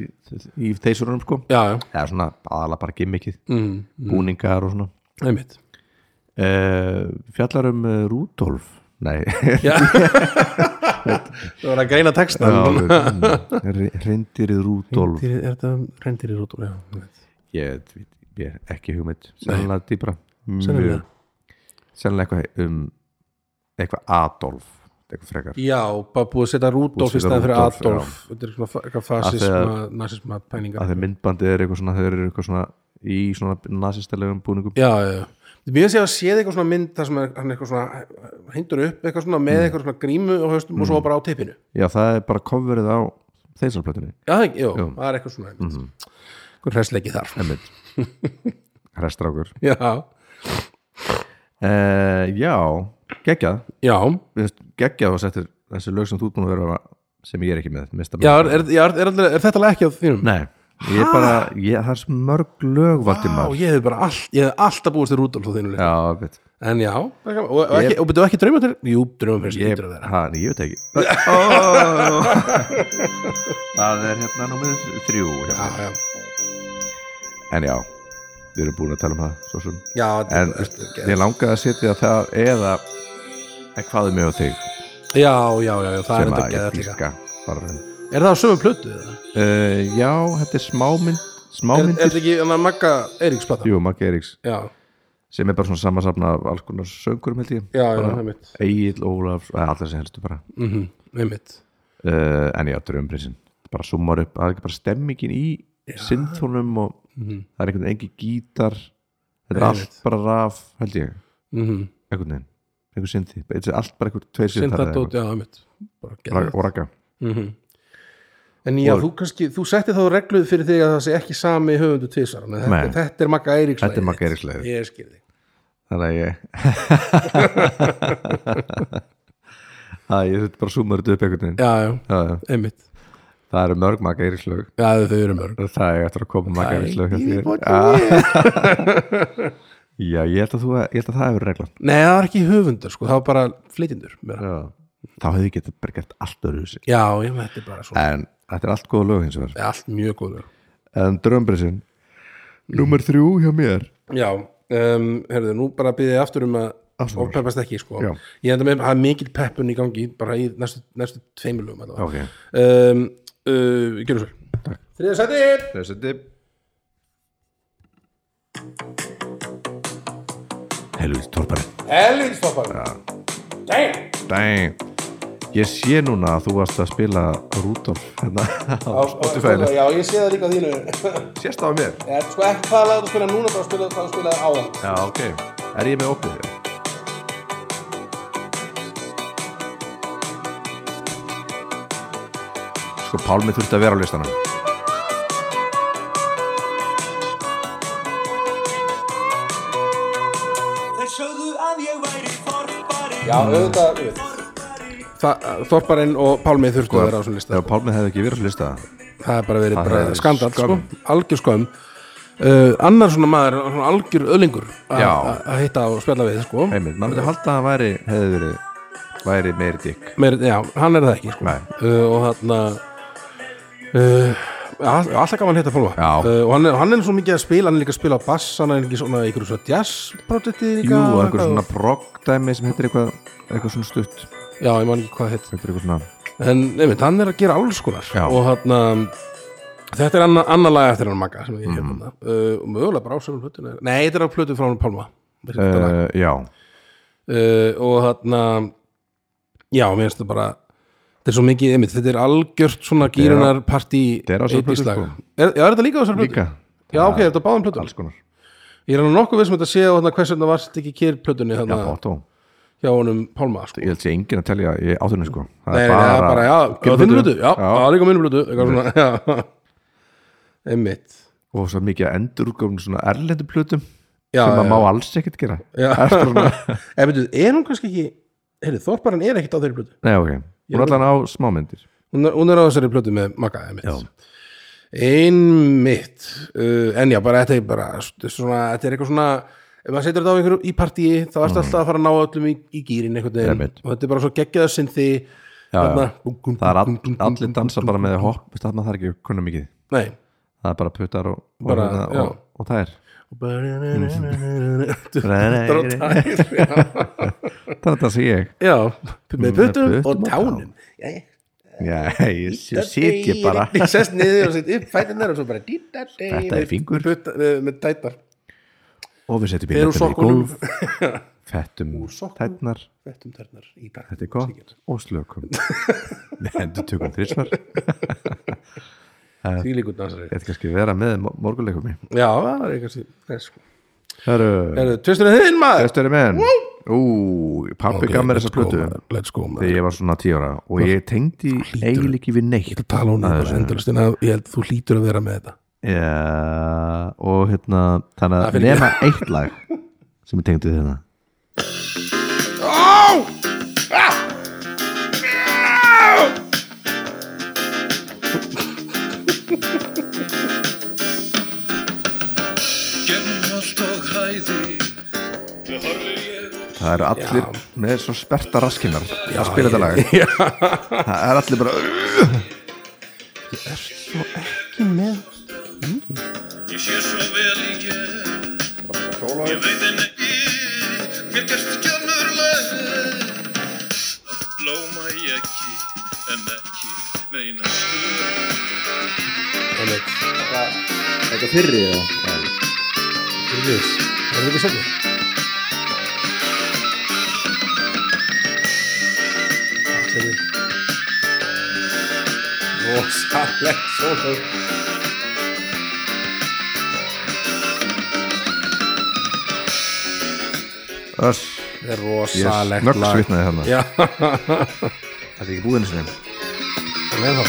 [SPEAKER 1] í þeysurunum sko
[SPEAKER 2] já, já,
[SPEAKER 1] eða svona aðalega bara gimmickið mm,
[SPEAKER 2] Mhm.
[SPEAKER 1] búningar og svona
[SPEAKER 2] einmitt
[SPEAKER 1] uh, fjallar um uh, Rudolf nei
[SPEAKER 2] það var að greina texta
[SPEAKER 1] reyndirið Rudolf
[SPEAKER 2] er þetta reyndir í rútur já, einmitt.
[SPEAKER 1] ég, veit- ég er ekki hugmynd sennilega dýbra
[SPEAKER 2] Sennilega.
[SPEAKER 1] Mjög- sennilega eitthvað um eitthvað Adolf eitthvað frekar
[SPEAKER 2] já, bara búið að setja Rudolf
[SPEAKER 1] Búið
[SPEAKER 2] í
[SPEAKER 1] að setja
[SPEAKER 2] staðan fyrir
[SPEAKER 1] Rudolf,
[SPEAKER 2] Adolf þetta er svona fa- eitthvað fasisma,
[SPEAKER 1] þegar-
[SPEAKER 2] nazisma
[SPEAKER 1] að
[SPEAKER 2] pælingar
[SPEAKER 1] þeir myndbandið er eitthvað svona þeir eru eitthvað svona í svona nazistalegum búningum
[SPEAKER 2] já, já, já Mér finnst ég að séð eitthvað svona mynd þar sem er, hann er eitthvað svona, hindur upp eitthvað svona
[SPEAKER 1] Mm.
[SPEAKER 2] með eitthvað svona grímu og höstum og svo bara á teipinu.
[SPEAKER 1] já það er bara coverið á þeisalplötunni
[SPEAKER 2] Já, það ekki, jú,
[SPEAKER 1] Jú. Mhm.
[SPEAKER 2] það er eitthvað svona einmitt. Hvað hressleiki þar?
[SPEAKER 1] emmitt restrákur
[SPEAKER 2] Já,
[SPEAKER 1] uh, já geggjað
[SPEAKER 2] já,
[SPEAKER 1] Mér finnst geggjað og settir þessi lög sem þú ert búin að vera sem ég er ekki með mista
[SPEAKER 2] já, er, er, já, er, er, er þetta alveg ekki á þínum?
[SPEAKER 1] nei ég er bara ég, það er svo mörg lög
[SPEAKER 2] Já,
[SPEAKER 1] Valdimar
[SPEAKER 2] ég hef bara all, ég hef alltaf búist til Rúdolf á þínum leik.
[SPEAKER 1] já veit
[SPEAKER 2] En já, það er gaman. og, og, ekki,
[SPEAKER 1] Ég-
[SPEAKER 2] og byrjuðu ekki drauma til? Jú, drauma fyrir sem
[SPEAKER 1] ég,
[SPEAKER 2] byrjuðu að vera.
[SPEAKER 1] ha, nei, ég veit ekki oh. það er hérna númið þrjú
[SPEAKER 2] Já,
[SPEAKER 1] hérna.
[SPEAKER 2] já,
[SPEAKER 1] en já við erum búin að tala um það svo sem
[SPEAKER 2] já,
[SPEAKER 1] en ég langaði að setja það eða en hvað er mjög þig
[SPEAKER 2] já, já, já, já, það er
[SPEAKER 1] sem
[SPEAKER 2] þetta
[SPEAKER 1] að
[SPEAKER 2] geða
[SPEAKER 1] ég
[SPEAKER 2] líka
[SPEAKER 1] dýrka bara uh,
[SPEAKER 2] er það á sömu plötu? eða?
[SPEAKER 1] já, þetta er smámynd
[SPEAKER 2] er er
[SPEAKER 1] smámyndir,
[SPEAKER 2] þetta ekki en að Magga Eiríksplata?
[SPEAKER 1] jú, Maggi Eiríks
[SPEAKER 2] já,
[SPEAKER 1] sem er bara svona samansafna af alls konar söngurum held ég
[SPEAKER 2] já, já,
[SPEAKER 1] Bara
[SPEAKER 2] einmitt
[SPEAKER 1] Egil, Ólafs, eða allir sem helstu bara
[SPEAKER 2] Mhm, einmitt
[SPEAKER 1] uh, en já, drömprinsin bara summar upp, það er ekki bara stemmingin í synthónum og það er einhvern veginn engin gítar þetta er allt
[SPEAKER 2] Mhm. Einmitt.
[SPEAKER 1] bara raf, held ég
[SPEAKER 2] Mhm,
[SPEAKER 1] einhvern veginn, einhvern synthi Þetta er allt bara einhvern tveir synthar eða
[SPEAKER 2] Synthadót, já, einmitt Bara
[SPEAKER 1] eitthvað.
[SPEAKER 2] geðveikt.
[SPEAKER 1] og raka
[SPEAKER 2] Mhm. En já,
[SPEAKER 1] Og-
[SPEAKER 2] þú kannski, þú settir þá regluð fyrir þig að það sé ekki sami höfundu tvisar en þetta,
[SPEAKER 1] Nei.
[SPEAKER 2] þetta er Magga Eiríks
[SPEAKER 1] Þetta er
[SPEAKER 2] lagið
[SPEAKER 1] Magga
[SPEAKER 2] þitt.
[SPEAKER 1] Eiríks lagið.
[SPEAKER 2] Ég skil þig
[SPEAKER 1] þannig að ég að ég þetta bara summar þetta upp einhvern veginn
[SPEAKER 2] Já, já,
[SPEAKER 1] Já, já.
[SPEAKER 2] einmitt
[SPEAKER 1] það eru mörg Magga Eiríkslög
[SPEAKER 2] Já, þau eru mörg
[SPEAKER 1] það er eftir að koma Magga Eiríkslög hjá þér. já, ég held að, þú, ég held að það hefur reglan
[SPEAKER 2] Nei, það var ekki höfundur, sko, það var bara flytindur Já,
[SPEAKER 1] já. þá hefði ég getið bara gert allt öðru
[SPEAKER 2] já, já, þetta er bara svona
[SPEAKER 1] en þetta er allt góða lög hins vegar
[SPEAKER 2] Þetta er Allt mjög góð lög.
[SPEAKER 1] en drömbrinsin, nummer þrjú hjá mér
[SPEAKER 2] Já, um, herðu, nú bara byrðið aftur um að
[SPEAKER 1] Afsakar.
[SPEAKER 2] ofpeppast ekki, sko
[SPEAKER 1] Já.
[SPEAKER 2] Ég enda með, það er mikill peppun í gangi bara í næstu, næstu tveimur lögum allavega.
[SPEAKER 1] ok,
[SPEAKER 2] um, uh, Gjörum svo Þriða sæti
[SPEAKER 1] þessi dip helvið torpari
[SPEAKER 2] Helvítstoppar
[SPEAKER 1] Dæn Ég sé núna að þú varst að spila Rudolf hérna á Spotify
[SPEAKER 2] Já, ég sé það líka á þínu
[SPEAKER 1] Sérst á mér
[SPEAKER 2] Ég er sko ekki hvað lagður að spila núna bara að spila hvað að spila áðan
[SPEAKER 1] Já, ok Er ég með opið þér? Sko, Pálmi þurfti að vera á listanum
[SPEAKER 6] Þeir sögðu að ég væri forfari
[SPEAKER 2] Já, auðvitað Sko, auðvitað. Þorparinn og Pálmið þurftu að vera á svona lista
[SPEAKER 1] Ef Pálmi hefði ekki verið á lista
[SPEAKER 2] Það er bara verið
[SPEAKER 1] Það
[SPEAKER 2] bara
[SPEAKER 1] er
[SPEAKER 2] skandal sko,
[SPEAKER 1] skömm.
[SPEAKER 2] algjör skömm uh, Annar svona maður, svona algjör öðlingur að-
[SPEAKER 1] Já.
[SPEAKER 2] að að hitta og spjalla við sko.
[SPEAKER 1] Heimir, maður myndi halda að hann væri, hefði verið væri meiri dikk
[SPEAKER 2] Meir, Já, hann er það ekki sko.
[SPEAKER 1] Nei.
[SPEAKER 2] uh, og þarna uh, all- alltaf gaman að hitta Pálma
[SPEAKER 1] Já.
[SPEAKER 2] uh, og hann er, hann er svo mikið að spila hann er líka að spila bass, hann er líka í svona ykkur svona jazz projekti líka
[SPEAKER 1] Jú, og
[SPEAKER 2] og
[SPEAKER 1] einhver
[SPEAKER 2] eitthvað.
[SPEAKER 1] svona progdæmi sem heitir eitthvað eitthvað svona stutt sem
[SPEAKER 2] Já, ég man ekki hvað hitt
[SPEAKER 1] heitir eitthvað svona
[SPEAKER 2] en nefnir, hann er að gera alls konar
[SPEAKER 1] Já.
[SPEAKER 2] og þarna þetta er anna, annar lag eftir hann Magga sem ég hef mm. uh, og mögulega bara á sömu plötuna nei, þetta er á plötu frá hann Pálma uh.
[SPEAKER 1] uh, Já,
[SPEAKER 2] Uh, og þarna já, mér finnst þetta bara þetta er svo mikið, einmitt, þetta er algjört svona
[SPEAKER 1] er á-
[SPEAKER 2] gírunar partí
[SPEAKER 1] þetta er á þessari
[SPEAKER 2] 80s
[SPEAKER 1] plötu,
[SPEAKER 2] lag.
[SPEAKER 1] sko.
[SPEAKER 2] er, já, er þetta líka á þessar plötu?
[SPEAKER 1] líka
[SPEAKER 2] já, ok, er þetta á báðum plötum
[SPEAKER 1] Alls konar
[SPEAKER 2] ég er hann nokkuð við sem þetta sé á þarna hversu þetta varst ekki kér plötunni
[SPEAKER 1] Já,
[SPEAKER 2] þarna
[SPEAKER 1] Otto
[SPEAKER 2] hjá honum Pálma sko.
[SPEAKER 1] ég held sé enginn að telja í átunni sko það
[SPEAKER 2] Nei, nei, það er bara, já,
[SPEAKER 1] Gjörðu
[SPEAKER 2] á þinni blötu, já,
[SPEAKER 1] Já.
[SPEAKER 2] já, líka á minni blötu eitthvað svona, já einmitt,
[SPEAKER 1] og svo mikið að endurúrgóðum svona erlendu plötum
[SPEAKER 2] já,
[SPEAKER 1] sem
[SPEAKER 2] já,
[SPEAKER 1] maður má alls ekkert gera
[SPEAKER 2] Já.
[SPEAKER 1] Eftir svona-
[SPEAKER 2] en veitu, er hún kannski ekki heyrðu, Þorparinn er ekkit á þeirri blötu
[SPEAKER 1] nei ok, hún
[SPEAKER 2] Ég-
[SPEAKER 1] er allan á smámyndir
[SPEAKER 2] hún er, hún er á þessari blötu með Magga, einmitt einmitt uh, en já, bara þetta er bara st- svona, þetta er eitthvað svona ef maður setur þetta á einhverju í partíi þá ertu alltaf að fara að ná öllum í, í gýrin einhvern veginn
[SPEAKER 1] Mhm. Einmitt.
[SPEAKER 2] og þetta er bara svo geggjaða sinn því
[SPEAKER 1] Já, já. það er all, allir dansa bara með hopp veist það maður þarf ekki að kunna mikið
[SPEAKER 2] nei
[SPEAKER 1] það er bara puttar og, og,
[SPEAKER 2] Bara,
[SPEAKER 1] hérna
[SPEAKER 2] já.
[SPEAKER 1] og, og það er
[SPEAKER 2] þetta er á
[SPEAKER 1] það
[SPEAKER 2] tær já.
[SPEAKER 1] er það sem ég
[SPEAKER 2] já, með
[SPEAKER 1] putum
[SPEAKER 2] puttum og
[SPEAKER 1] og
[SPEAKER 2] tánum já, já
[SPEAKER 1] já, ég sit ég bara
[SPEAKER 2] Ég sest niður og set upp fætinnar og svo bara Þetta
[SPEAKER 1] Þetta er fingur.
[SPEAKER 2] Með, með tætnar
[SPEAKER 1] og við setjum
[SPEAKER 2] Fer úr
[SPEAKER 1] bílnettin í
[SPEAKER 2] sokkunum.
[SPEAKER 1] gólf fettum
[SPEAKER 2] sokkunum.
[SPEAKER 1] tætnar
[SPEAKER 2] Vettum tærnar í dag
[SPEAKER 1] Þetta er gott og slökum Við hendur tökum þrísvar Þetta
[SPEAKER 2] Því líkur dansari
[SPEAKER 1] er kannski vera með mo- morgunleikum í
[SPEAKER 2] Já, það er sko- eitthvað síðan
[SPEAKER 1] Herru,
[SPEAKER 2] Tvisturinn þinn maður
[SPEAKER 1] bestur er menn Ú, pappi gaf mér þessa
[SPEAKER 2] let's go,
[SPEAKER 1] plötu
[SPEAKER 2] maður, Let's go maður
[SPEAKER 1] Þegar ég var svona tíu ára Og ég tengdi eiginlega ekki við neitt
[SPEAKER 2] Tala hún
[SPEAKER 1] Það er
[SPEAKER 2] bara
[SPEAKER 1] svona.
[SPEAKER 2] endurist En að- ég held þú hlýtur að vera með þetta
[SPEAKER 1] Já, Og hérna Þannig
[SPEAKER 2] Það
[SPEAKER 1] að
[SPEAKER 2] fyrir
[SPEAKER 1] nema eitt lag Sem ég tengdi við hérna
[SPEAKER 2] Ah!
[SPEAKER 3] Genn allt og hæði Við horfum ég og
[SPEAKER 1] Það eru allir með svo sperta raskinar Að spila þetta lag
[SPEAKER 2] Já.
[SPEAKER 1] Það er allir bara
[SPEAKER 3] Ég sé svo vel í gerð
[SPEAKER 5] Ég veit en ekki, mér gerst ekki önnur leið Að blóma í ekki, en ekki meina stuð
[SPEAKER 7] Þetta fyrri eða?
[SPEAKER 2] Fyrrliðs. Er þetta ekki sennið?
[SPEAKER 7] Rosalegt sóló
[SPEAKER 1] Öss,
[SPEAKER 2] Það er
[SPEAKER 1] ég
[SPEAKER 2] rosalegt
[SPEAKER 1] snögg svitnaði þarna
[SPEAKER 2] Já,
[SPEAKER 1] Þetta er ekki búinn sinni
[SPEAKER 2] það er þá.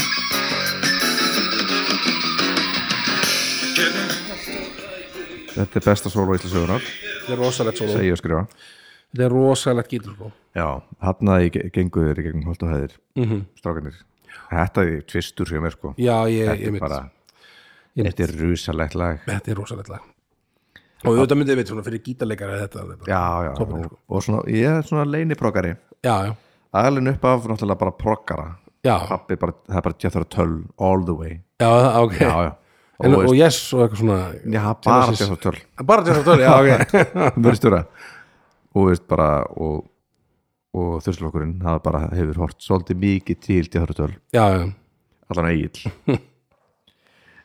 [SPEAKER 1] Þetta er besta solo í Íslasögunar,
[SPEAKER 2] Það er rosalegt sóló.
[SPEAKER 1] segi ég að skrifa
[SPEAKER 2] Þetta er rosalegt gítur, sko.
[SPEAKER 1] Já, hann að ég gengu þeir í gegnum holt og hæðir mm -hmm. Strákanir Þetta er tvistur hjá mér sko
[SPEAKER 2] Mhm. Já, ég,
[SPEAKER 1] Þetta
[SPEAKER 2] ég
[SPEAKER 1] er
[SPEAKER 2] mitt.
[SPEAKER 1] bara,
[SPEAKER 2] Ég mitt.
[SPEAKER 1] þetta er rusalegt lag
[SPEAKER 2] Þetta er rosalegt lag. Og auðvitað myndið við, svona, fyrir gítarleikara þetta. er bara-
[SPEAKER 1] Já, já,
[SPEAKER 2] Toppurinn, sko.
[SPEAKER 1] og, og svona, ég er svona leiniprogari
[SPEAKER 2] Já, já.
[SPEAKER 1] Aðalinn upp af náttúrulega bara progara
[SPEAKER 2] Já,
[SPEAKER 1] Pappi, bara, það er bara Jethro Tull all the way
[SPEAKER 2] já, það- ok.
[SPEAKER 1] Já, já, og,
[SPEAKER 2] En,
[SPEAKER 1] veist,
[SPEAKER 2] og yes og eitthvað svona
[SPEAKER 1] já bara
[SPEAKER 2] Genesis.
[SPEAKER 1] Jethro Tull
[SPEAKER 2] Bara til þess að tölja, já, ok.
[SPEAKER 1] verið stjóra og veist bara og, og þurslokkurinn hafa bara hefur hort svolítið mikið til til þörfutöl
[SPEAKER 2] Já, já.
[SPEAKER 1] allan eigill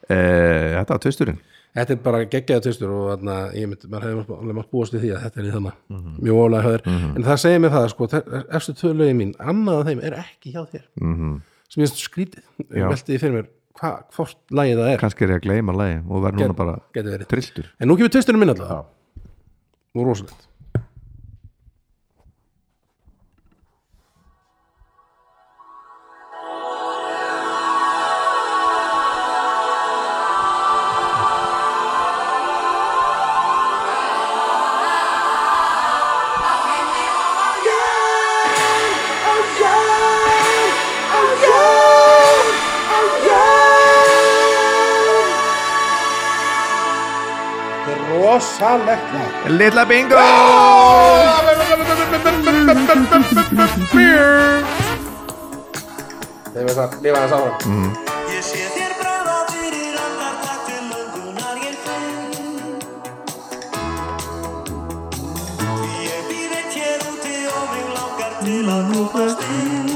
[SPEAKER 1] eh, þetta var tvisturinn
[SPEAKER 2] Þetta er bara geggjaða tvistur og þarna, ég myndi, maður hefði alveg mátt búast við því að þetta er í þannig mjög ólega höður, en það segir mér það sko, þe- efstu tvö lögin mín, annað af þeim er ekki hjá þér, -hmm. sem ég finnst skrítið,
[SPEAKER 1] Já.
[SPEAKER 2] ég velti því fyrir mér hva, hvort lagið það er,
[SPEAKER 1] kannski er ég að gleyma lagi og verð núna bara
[SPEAKER 2] geti verið
[SPEAKER 1] trilltur
[SPEAKER 2] en nú kemur tvisturinn minn allavega og rosalegt
[SPEAKER 1] Lilla bingo
[SPEAKER 6] Ég sé þér bregða fyrir allar takk til löngunar ég finn Því Ég býð eitt hér úti og mig langar til að komast inn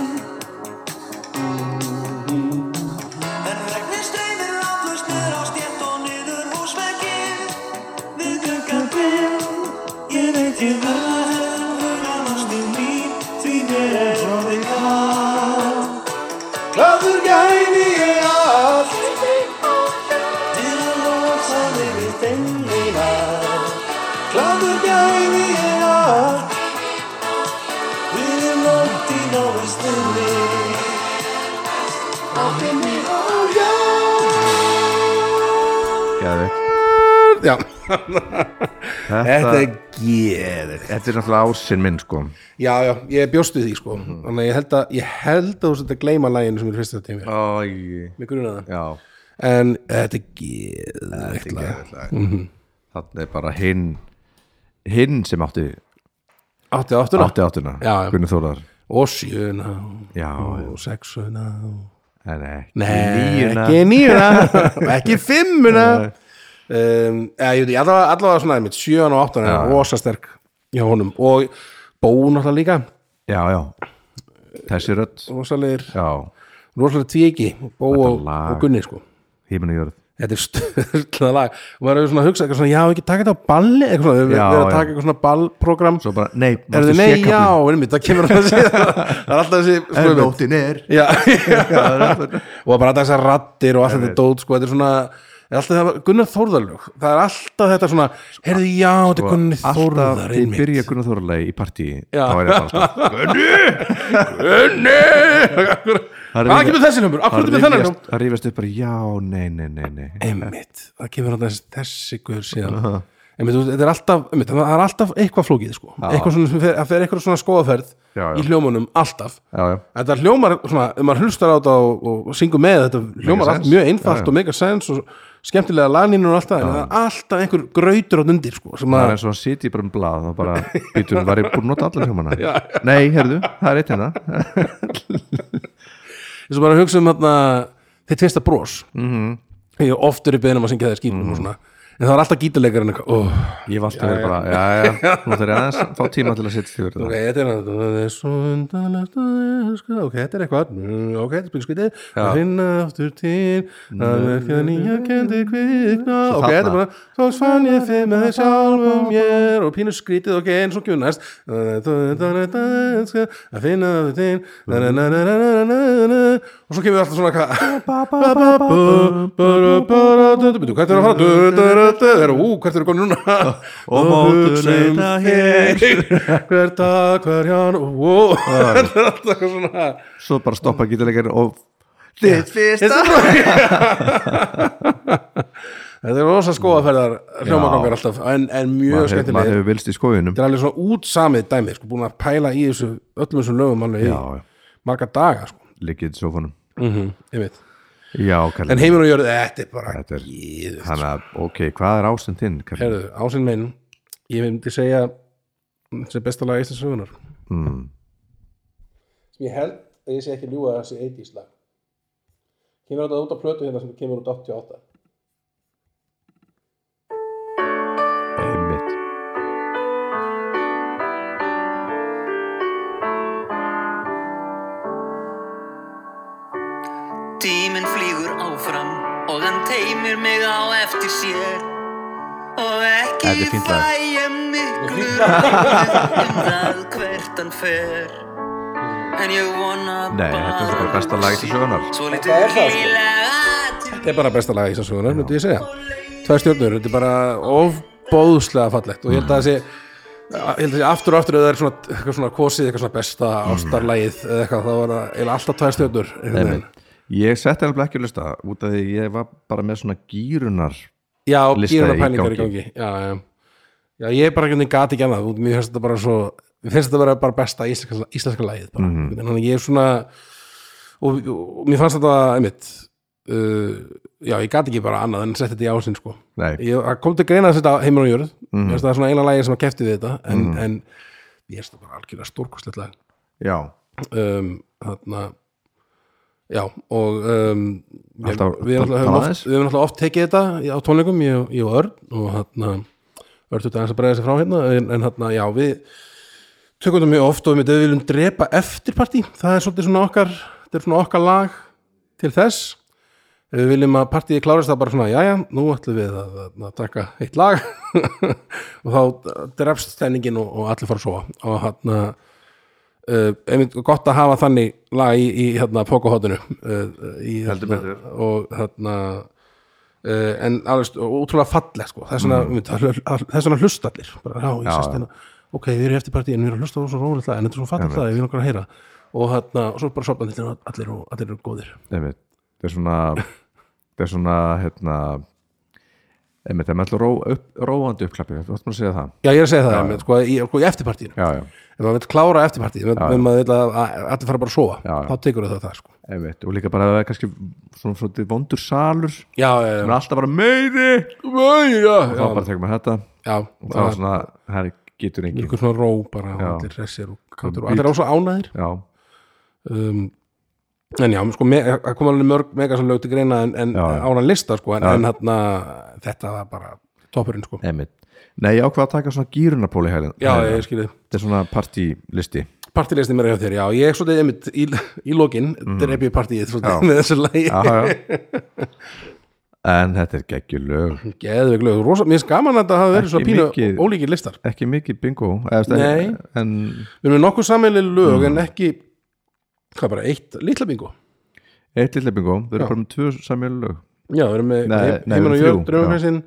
[SPEAKER 6] En regnir streymir ráðlaust niður á stétt og niður húsvegginn Við gluggann fimm Ég veit ég verð að höfðu ástin mín Því mér er orðið kall Gladur gæfi ég allt Til að losa mig við þengina Gladur gæfi ég allt Við erum langt í náðu stunni Áttinni og já
[SPEAKER 1] Geðveikt.
[SPEAKER 2] Já,
[SPEAKER 1] þetta,
[SPEAKER 2] þetta er geðið
[SPEAKER 1] þetta er náttúrulega ásinn minn sko
[SPEAKER 2] Já, já, ég bjóstu því sko þannig að ég held að, ég held að þú sett að gleyma læginu sem er fyrst þetta tími,
[SPEAKER 1] Æ,
[SPEAKER 2] mér grunaði það
[SPEAKER 1] já
[SPEAKER 2] en þetta er geðveikt lag
[SPEAKER 1] þannig
[SPEAKER 2] Mhm.
[SPEAKER 1] er bara hinn hinn sem átti
[SPEAKER 2] átti áttuna
[SPEAKER 1] átti áttuna
[SPEAKER 2] Já, já.
[SPEAKER 1] Gunni Þólar
[SPEAKER 2] og sjöna
[SPEAKER 1] Já,
[SPEAKER 2] og sexuna og...
[SPEAKER 1] en ekki
[SPEAKER 2] Nei,
[SPEAKER 1] níuna.
[SPEAKER 2] ekki nýjuna ekki fimmuna um, eða, ég veit, ég allavega, allavega svona einmitt, sjöan og áttuna er rosa sterk hjá honum og bón alltaf líka
[SPEAKER 1] Já, já Þessi rödd
[SPEAKER 2] rosalegir,
[SPEAKER 1] Já,
[SPEAKER 2] rosalegir tvíki bó
[SPEAKER 1] Þetta
[SPEAKER 2] og,
[SPEAKER 1] lag.
[SPEAKER 2] og gunni sko
[SPEAKER 1] híminn og jörð
[SPEAKER 2] þetta er stöðlega lag og maður hefur svona hugsað eitthvað svona, já ekki taka þetta á balli eitthvað svona, við
[SPEAKER 1] Já,
[SPEAKER 2] erum að
[SPEAKER 1] já.
[SPEAKER 2] taka eitthvað svona ballprogram
[SPEAKER 1] Svo bara, nei,
[SPEAKER 2] er
[SPEAKER 1] varstu
[SPEAKER 2] þið nei,
[SPEAKER 1] sékaflinn?
[SPEAKER 2] já, einmitt, það kemur alltaf síðan það er alltaf þessi sko,
[SPEAKER 1] En
[SPEAKER 2] einmitt.
[SPEAKER 1] nóttin er
[SPEAKER 2] Já, og bara alltaf þessar rattir og allt þetta dót sko, þetta er svona alltaf, það- Gunnar Þórðarlög, það er alltaf þetta svona heyrðu já, þetta er Gunnar
[SPEAKER 1] Sko, Alltaf
[SPEAKER 2] Þórðar
[SPEAKER 1] til
[SPEAKER 2] einmitt.
[SPEAKER 1] byrja Gunnar Þorlegi í partí
[SPEAKER 2] Já.
[SPEAKER 1] Þá er ég bara alltaf
[SPEAKER 2] Gunni hvað kemur þessi numur, af hverju kemur þennan numur
[SPEAKER 1] Það rífast upp bara, já, nei, nei, nei, nei
[SPEAKER 2] einmitt, það kemur alltaf þessi, þessi guður síðan einmitt, þú- þetta er alltaf, einmitt, það er alltaf eitthvað flókið sko, eitthvað svona, sem fer- það fer eitthvað svona skoðaferð
[SPEAKER 1] Já, já.
[SPEAKER 2] í hljómanum alltaf
[SPEAKER 1] Já, já,
[SPEAKER 2] þetta hljómar svona, ef maður hlustar á þetta og, og, og syngur með þetta hljómar allt
[SPEAKER 1] sense.
[SPEAKER 2] mjög einfalt
[SPEAKER 1] Já, já.
[SPEAKER 2] og mega sens og skemmtilega lagninu og allt það en það er alltaf einhver grautur á undir sko, sem
[SPEAKER 1] það
[SPEAKER 2] að,
[SPEAKER 1] er eins og hann sitja í bara um blað og bara, býtur, var ég búin að nota allar hjómana Nei, heyrðu, það er eitt hérna
[SPEAKER 2] eins og maður
[SPEAKER 1] Mhm.
[SPEAKER 2] hugsa um þarna, þitt fyrsta bros mm -hmm. ég er oftur í beðinum að syngja það í skýrnum og svona en það var alltaf gítarleikar en eitthvað oh,
[SPEAKER 1] Ég hef alltaf verið bara, já, já, nú þarf ég aðeins að fá tíma til að setja því verið
[SPEAKER 2] ok,
[SPEAKER 1] það.
[SPEAKER 2] þetta er að- það er svo undanlegt að elska ok, þetta er eitthvað, Mm, ok, þetta er byrjum skvitið
[SPEAKER 1] Já.
[SPEAKER 2] að finna aftur til að verka nýja kendi kvikna ok, þetta er
[SPEAKER 1] þarna.
[SPEAKER 2] bara, þá svann ég þið með sjálfum mér og pínu skrítið, ok, eins og gjunnast að finna aftur til na, na, na, na, na, na, na, na. og svo kemur alltaf svona hvað Bíddu, Hvert er að fara? Du- du- du- du- du- Ú, hvert er að konu núna?
[SPEAKER 1] Og mótur leita hér.
[SPEAKER 2] Hver dag, hver hján Ó, Þetta er alltaf eitthvað svona
[SPEAKER 1] Svo bara stoppa gítalegir og Þitt fyrsta
[SPEAKER 2] Þetta er rosa skóaferðar hljómagangar alltaf en, en mjög
[SPEAKER 1] Maður hefur- maður
[SPEAKER 2] skemmtileg
[SPEAKER 1] hefur vilst í skóinum
[SPEAKER 2] Þetta er alveg svona útsamið dæmi sko, búin að pæla í þessu öllum þessum lögum alveg í
[SPEAKER 1] Já, já.
[SPEAKER 2] marga daga sko.
[SPEAKER 1] Liggið í sófanum
[SPEAKER 2] einmitt.
[SPEAKER 1] Já, Kalli
[SPEAKER 2] En heiminn og jörðu, þetta er bara
[SPEAKER 1] Þetta er-
[SPEAKER 2] gíð
[SPEAKER 1] Þannig að, ok, hvað er ásinn þinn, Kalli?
[SPEAKER 2] Herðu, ásinn minn ég myndi segja þetta er besta lag Íslands sögunar
[SPEAKER 1] Mm.
[SPEAKER 2] sem ég held að ég sé ekki ljúga að þessi 80s lag kemur þetta út á plötu hérna sem kemur út 88
[SPEAKER 1] Einmitt
[SPEAKER 5] Tíminn flýgur áfram og hann teimir mig á eftir sér og
[SPEAKER 1] Þetta er
[SPEAKER 5] ekki
[SPEAKER 1] fínt lag.
[SPEAKER 5] fæ ég miklu ráðum um það hvert hann fer en ég vona
[SPEAKER 1] Nei, þetta er bara besta lag til sögunar
[SPEAKER 5] svo litið
[SPEAKER 2] það, sko.
[SPEAKER 5] hýlega til
[SPEAKER 2] þetta er bara besta lag Íslands sögunar, myndi ég segja tvær stjórnur, þetta er bara ofbóðslega fallegt og ég held að þessi ég held að þessi aftur og aftur ef það er svona, eitthvað svona kosið, eitthvað svona besta ástarlagið eða eitthvað, þá er það eiginlega alltaf tvær stjórnur
[SPEAKER 1] Einmitt. Ég setti alveg ekki að lusta út af því ég var bara með svona gýrunar
[SPEAKER 2] já,
[SPEAKER 1] Listaði
[SPEAKER 2] gýruna
[SPEAKER 1] í
[SPEAKER 2] pælingar í gangi já, já. já, ég er bara ekki gati ekki annað út, mér finnst þetta bara svo mér finnst þetta bara, bara besta íslenska, íslenska lagið bara,
[SPEAKER 1] Mhm.
[SPEAKER 2] mm þannig að ég er svona og, og, og mér fannst þetta einmitt uh, já, ég gati ekki bara annað en setti þetta í ásinn sko
[SPEAKER 1] Nei, Mhm.
[SPEAKER 2] ég það kom til greina að setja heimur og jörð mm. það er svona eina lagi sem að kefti við þetta en, en ég er þetta bara algjörlega stórkostlegt lag
[SPEAKER 1] já
[SPEAKER 2] um, þarna já og um, ég,
[SPEAKER 1] Alltaf-
[SPEAKER 2] við, erum
[SPEAKER 1] tala
[SPEAKER 2] höfum oft,
[SPEAKER 1] aðeins.
[SPEAKER 2] við erum alltaf oft tekið þetta í- á tónleikum ég, og- ég og Örn og þarna Örn þetta aðeins að bregða sér frá hérna en, en þarna já við tökum þetta mjög oft og við viljum drepa eftirparti það er svolítið svona okkar þetta er svona okkar lag til þess Ef við viljum að partíið klárist það bara svona jæja, nú ætlum við að, að, að taka eitt lag og þá drefst stenningin og, og allir fara að sofa og hérna uh, einmitt gott að hafa þannig lag í, í hérna pókahotinu uh, í,
[SPEAKER 1] Heldur
[SPEAKER 2] hérna,
[SPEAKER 1] betur.
[SPEAKER 2] og hérna uh, en alveg st- og útrúlega falleg sko, þess vegna mm. þess vegna hlusta allir bara, já,
[SPEAKER 1] Já,
[SPEAKER 2] ég sest
[SPEAKER 1] já.
[SPEAKER 2] hérna, ok, við erum eftir partíin við erum að hlusta á svo rólega lag, en þetta er svo falleg lag, við erum okkar að heyra og hérna, og svo bara sopna allir og allir eru góðir
[SPEAKER 1] einmitt Það er svona Það er svona, hérna einmitt, það er með allur ró, upp, róandi uppklappi Þú ættum að segja það
[SPEAKER 2] Já, ég er að segja það, já, sko, í, sko, í eftirpartíinu
[SPEAKER 1] Já, já,
[SPEAKER 2] ef maður vill klára eftirpartíinu, ef ef maður vill að að- allir fara bara að sofa,
[SPEAKER 1] Já, já.
[SPEAKER 2] þá tekur það það sko.
[SPEAKER 1] einmitt, og líka bara að það er kannski svona svona vondur salur Það
[SPEAKER 2] Já, já, já,
[SPEAKER 1] er alltaf bara meiri
[SPEAKER 2] já,
[SPEAKER 1] Þá
[SPEAKER 2] já,
[SPEAKER 1] bara tekur maður þetta
[SPEAKER 2] já
[SPEAKER 1] og það
[SPEAKER 2] það
[SPEAKER 1] er
[SPEAKER 2] er
[SPEAKER 1] svona, það getur engin
[SPEAKER 2] ykkur svona ró bara, og
[SPEAKER 1] Já.
[SPEAKER 2] allir hressir og kátur og
[SPEAKER 1] Bít.
[SPEAKER 2] allir á svo ánæðir
[SPEAKER 1] Já,
[SPEAKER 2] um, en já, sko, me- það kom alveg mörg mega sem lög til greina en, en
[SPEAKER 1] Já, já.
[SPEAKER 2] ána lista, sko, en, en þarna þetta var bara toppurinn, sko
[SPEAKER 1] einmitt Nei, ég ákvað að taka svona gýrunarpóli hælinn
[SPEAKER 2] Já, ég skilði
[SPEAKER 1] Þetta er svona partílisti
[SPEAKER 2] Partilistin mér hjá þér, já, ég er svolítið einmitt í, í lokin, mm. dref ég partíið svolítið
[SPEAKER 1] Já.
[SPEAKER 2] með þessu lagi
[SPEAKER 1] já, já. En þetta er geggjulög
[SPEAKER 2] Geðveik lög, rosa, mér finnst gaman að þetta hafa verið
[SPEAKER 1] Ekki
[SPEAKER 2] svona pínu
[SPEAKER 1] mikið.
[SPEAKER 2] ólíkir listar
[SPEAKER 1] Ekki mikið bingo eða, þú veist,
[SPEAKER 2] Nei.
[SPEAKER 1] En
[SPEAKER 2] Við erum með nokkuð sammeilig lög
[SPEAKER 1] Mm.
[SPEAKER 2] en ekki hvað bara, eitt litla bingo
[SPEAKER 1] eitt lilla bingo Þau eru
[SPEAKER 2] Já.
[SPEAKER 1] bara með tvö samjölu lög
[SPEAKER 2] Já, við erum með
[SPEAKER 1] Nei,
[SPEAKER 2] heim-
[SPEAKER 1] nei, við
[SPEAKER 2] heiminn og
[SPEAKER 1] erum
[SPEAKER 2] jörg,
[SPEAKER 1] þrjú,
[SPEAKER 2] draumafrinsinn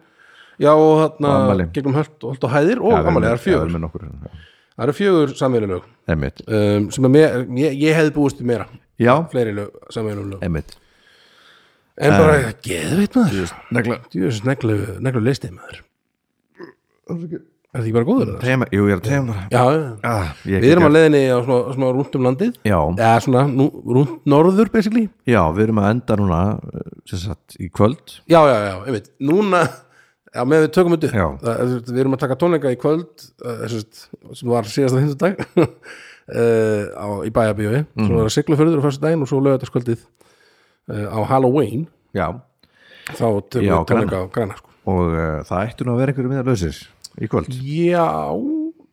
[SPEAKER 2] Já, og þarna
[SPEAKER 1] Afmæli.
[SPEAKER 2] gegnum höld og höld og hæðir og
[SPEAKER 1] Já, við erum
[SPEAKER 2] gamanlega, það
[SPEAKER 1] með- já, við erum
[SPEAKER 2] er fjögur
[SPEAKER 1] með nokkur já.
[SPEAKER 2] Það eru fjögur sammeilig lög
[SPEAKER 1] Einmitt
[SPEAKER 2] um, sem að mér, ég, ég hefði búist í meira
[SPEAKER 1] Já,
[SPEAKER 2] fleiri lög, sammeilig lög
[SPEAKER 1] einmitt
[SPEAKER 2] En bara, geðveit maður
[SPEAKER 1] Negla
[SPEAKER 2] Djúðis neglu listið maður Er þetta ekki bara góður? eða?
[SPEAKER 1] Tegum, jú, ég er að tegum bara
[SPEAKER 2] Já, já.
[SPEAKER 1] ah,
[SPEAKER 2] við erum að leiðinni á svona, svona rúnt um landið
[SPEAKER 1] Já,
[SPEAKER 2] Já, svona nú, rúnt norður basically
[SPEAKER 1] já, við erum að enda núna eh, sem sagt í kvöld
[SPEAKER 2] já, já, já, einmitt, núna já, með við tökum þetta
[SPEAKER 1] Já.
[SPEAKER 2] upp Það- það- við erum að taka tónleika í kvöld uh, sérst, sem var síðasta hinsudag uh, á, í bæjabíói mm. sem var að sigla fyrir á fyrstu daginn og svo lögataskvöldið uh, á Halloween
[SPEAKER 1] Já,
[SPEAKER 2] þá tökum
[SPEAKER 1] Já,
[SPEAKER 2] við tónleika á græna sko.
[SPEAKER 1] og og uh, það ættu nú að vera einhverju miðar lausir í kvöld
[SPEAKER 2] Já,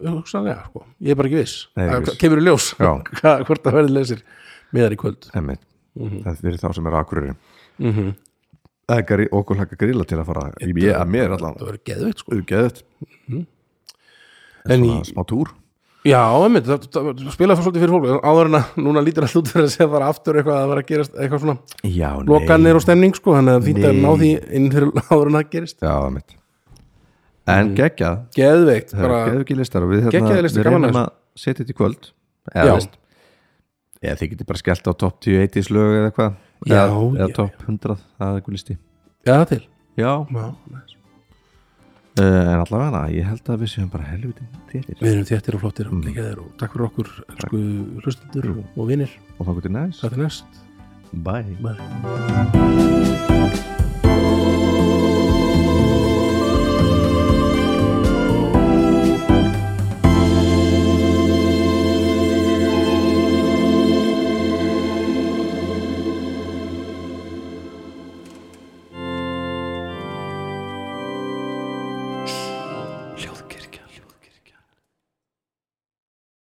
[SPEAKER 2] hugsanlega sko. Ég er bara ekki viss
[SPEAKER 1] Nei, ekki
[SPEAKER 2] Það
[SPEAKER 1] viss.
[SPEAKER 2] kemur í ljós
[SPEAKER 1] Já.
[SPEAKER 2] Hvað- hvort það verður lesir meðar í kvöld
[SPEAKER 1] Einmitt.
[SPEAKER 2] Mhm.
[SPEAKER 1] það fyrir þá sem er akureyri það er gari- okkur hlækka grilla til að fara í ég, að mér allan
[SPEAKER 2] Það verður geðveikt sko
[SPEAKER 1] auðgeðt
[SPEAKER 2] En í,
[SPEAKER 1] smá túr
[SPEAKER 2] já, einmitt, það, það, það spilaði svolítið fyrir fólk áður en að núna lítir að hlut fyrir að segja bara aftur eitthvað að vera að gerast eitthvað svona
[SPEAKER 1] já, nei.
[SPEAKER 2] lokanir og stemning sko þannig að fínt að
[SPEAKER 1] Nei.
[SPEAKER 2] ná því inn fyrir áður en að gerist
[SPEAKER 1] já, einmitt. en geggjað
[SPEAKER 2] Geðveikt,
[SPEAKER 1] það
[SPEAKER 2] Mm. bara
[SPEAKER 1] er geðviki listar og við, hérna
[SPEAKER 2] Geggjaðir listar,
[SPEAKER 1] við
[SPEAKER 2] gaman
[SPEAKER 1] reynum
[SPEAKER 2] að
[SPEAKER 1] að setja þetta í kvöld
[SPEAKER 2] Já.
[SPEAKER 1] eða, veist, eða þið getur bara skellt á top 10 80s lög eða eitthvað
[SPEAKER 2] Já,
[SPEAKER 1] eða, eða
[SPEAKER 2] já,
[SPEAKER 1] top 100, það er einhver listi
[SPEAKER 2] Já, það til
[SPEAKER 1] já,
[SPEAKER 2] já,
[SPEAKER 1] Eh, en allavega ég held að við séum bara helviti til
[SPEAKER 2] Við erum þéttir og flottir
[SPEAKER 1] Mm.
[SPEAKER 2] og geggjaðir og takk fyrir okkur elsku hlustendur og, og vinnir
[SPEAKER 1] og þá getur næst
[SPEAKER 2] Það er næst
[SPEAKER 1] bye
[SPEAKER 2] Bye.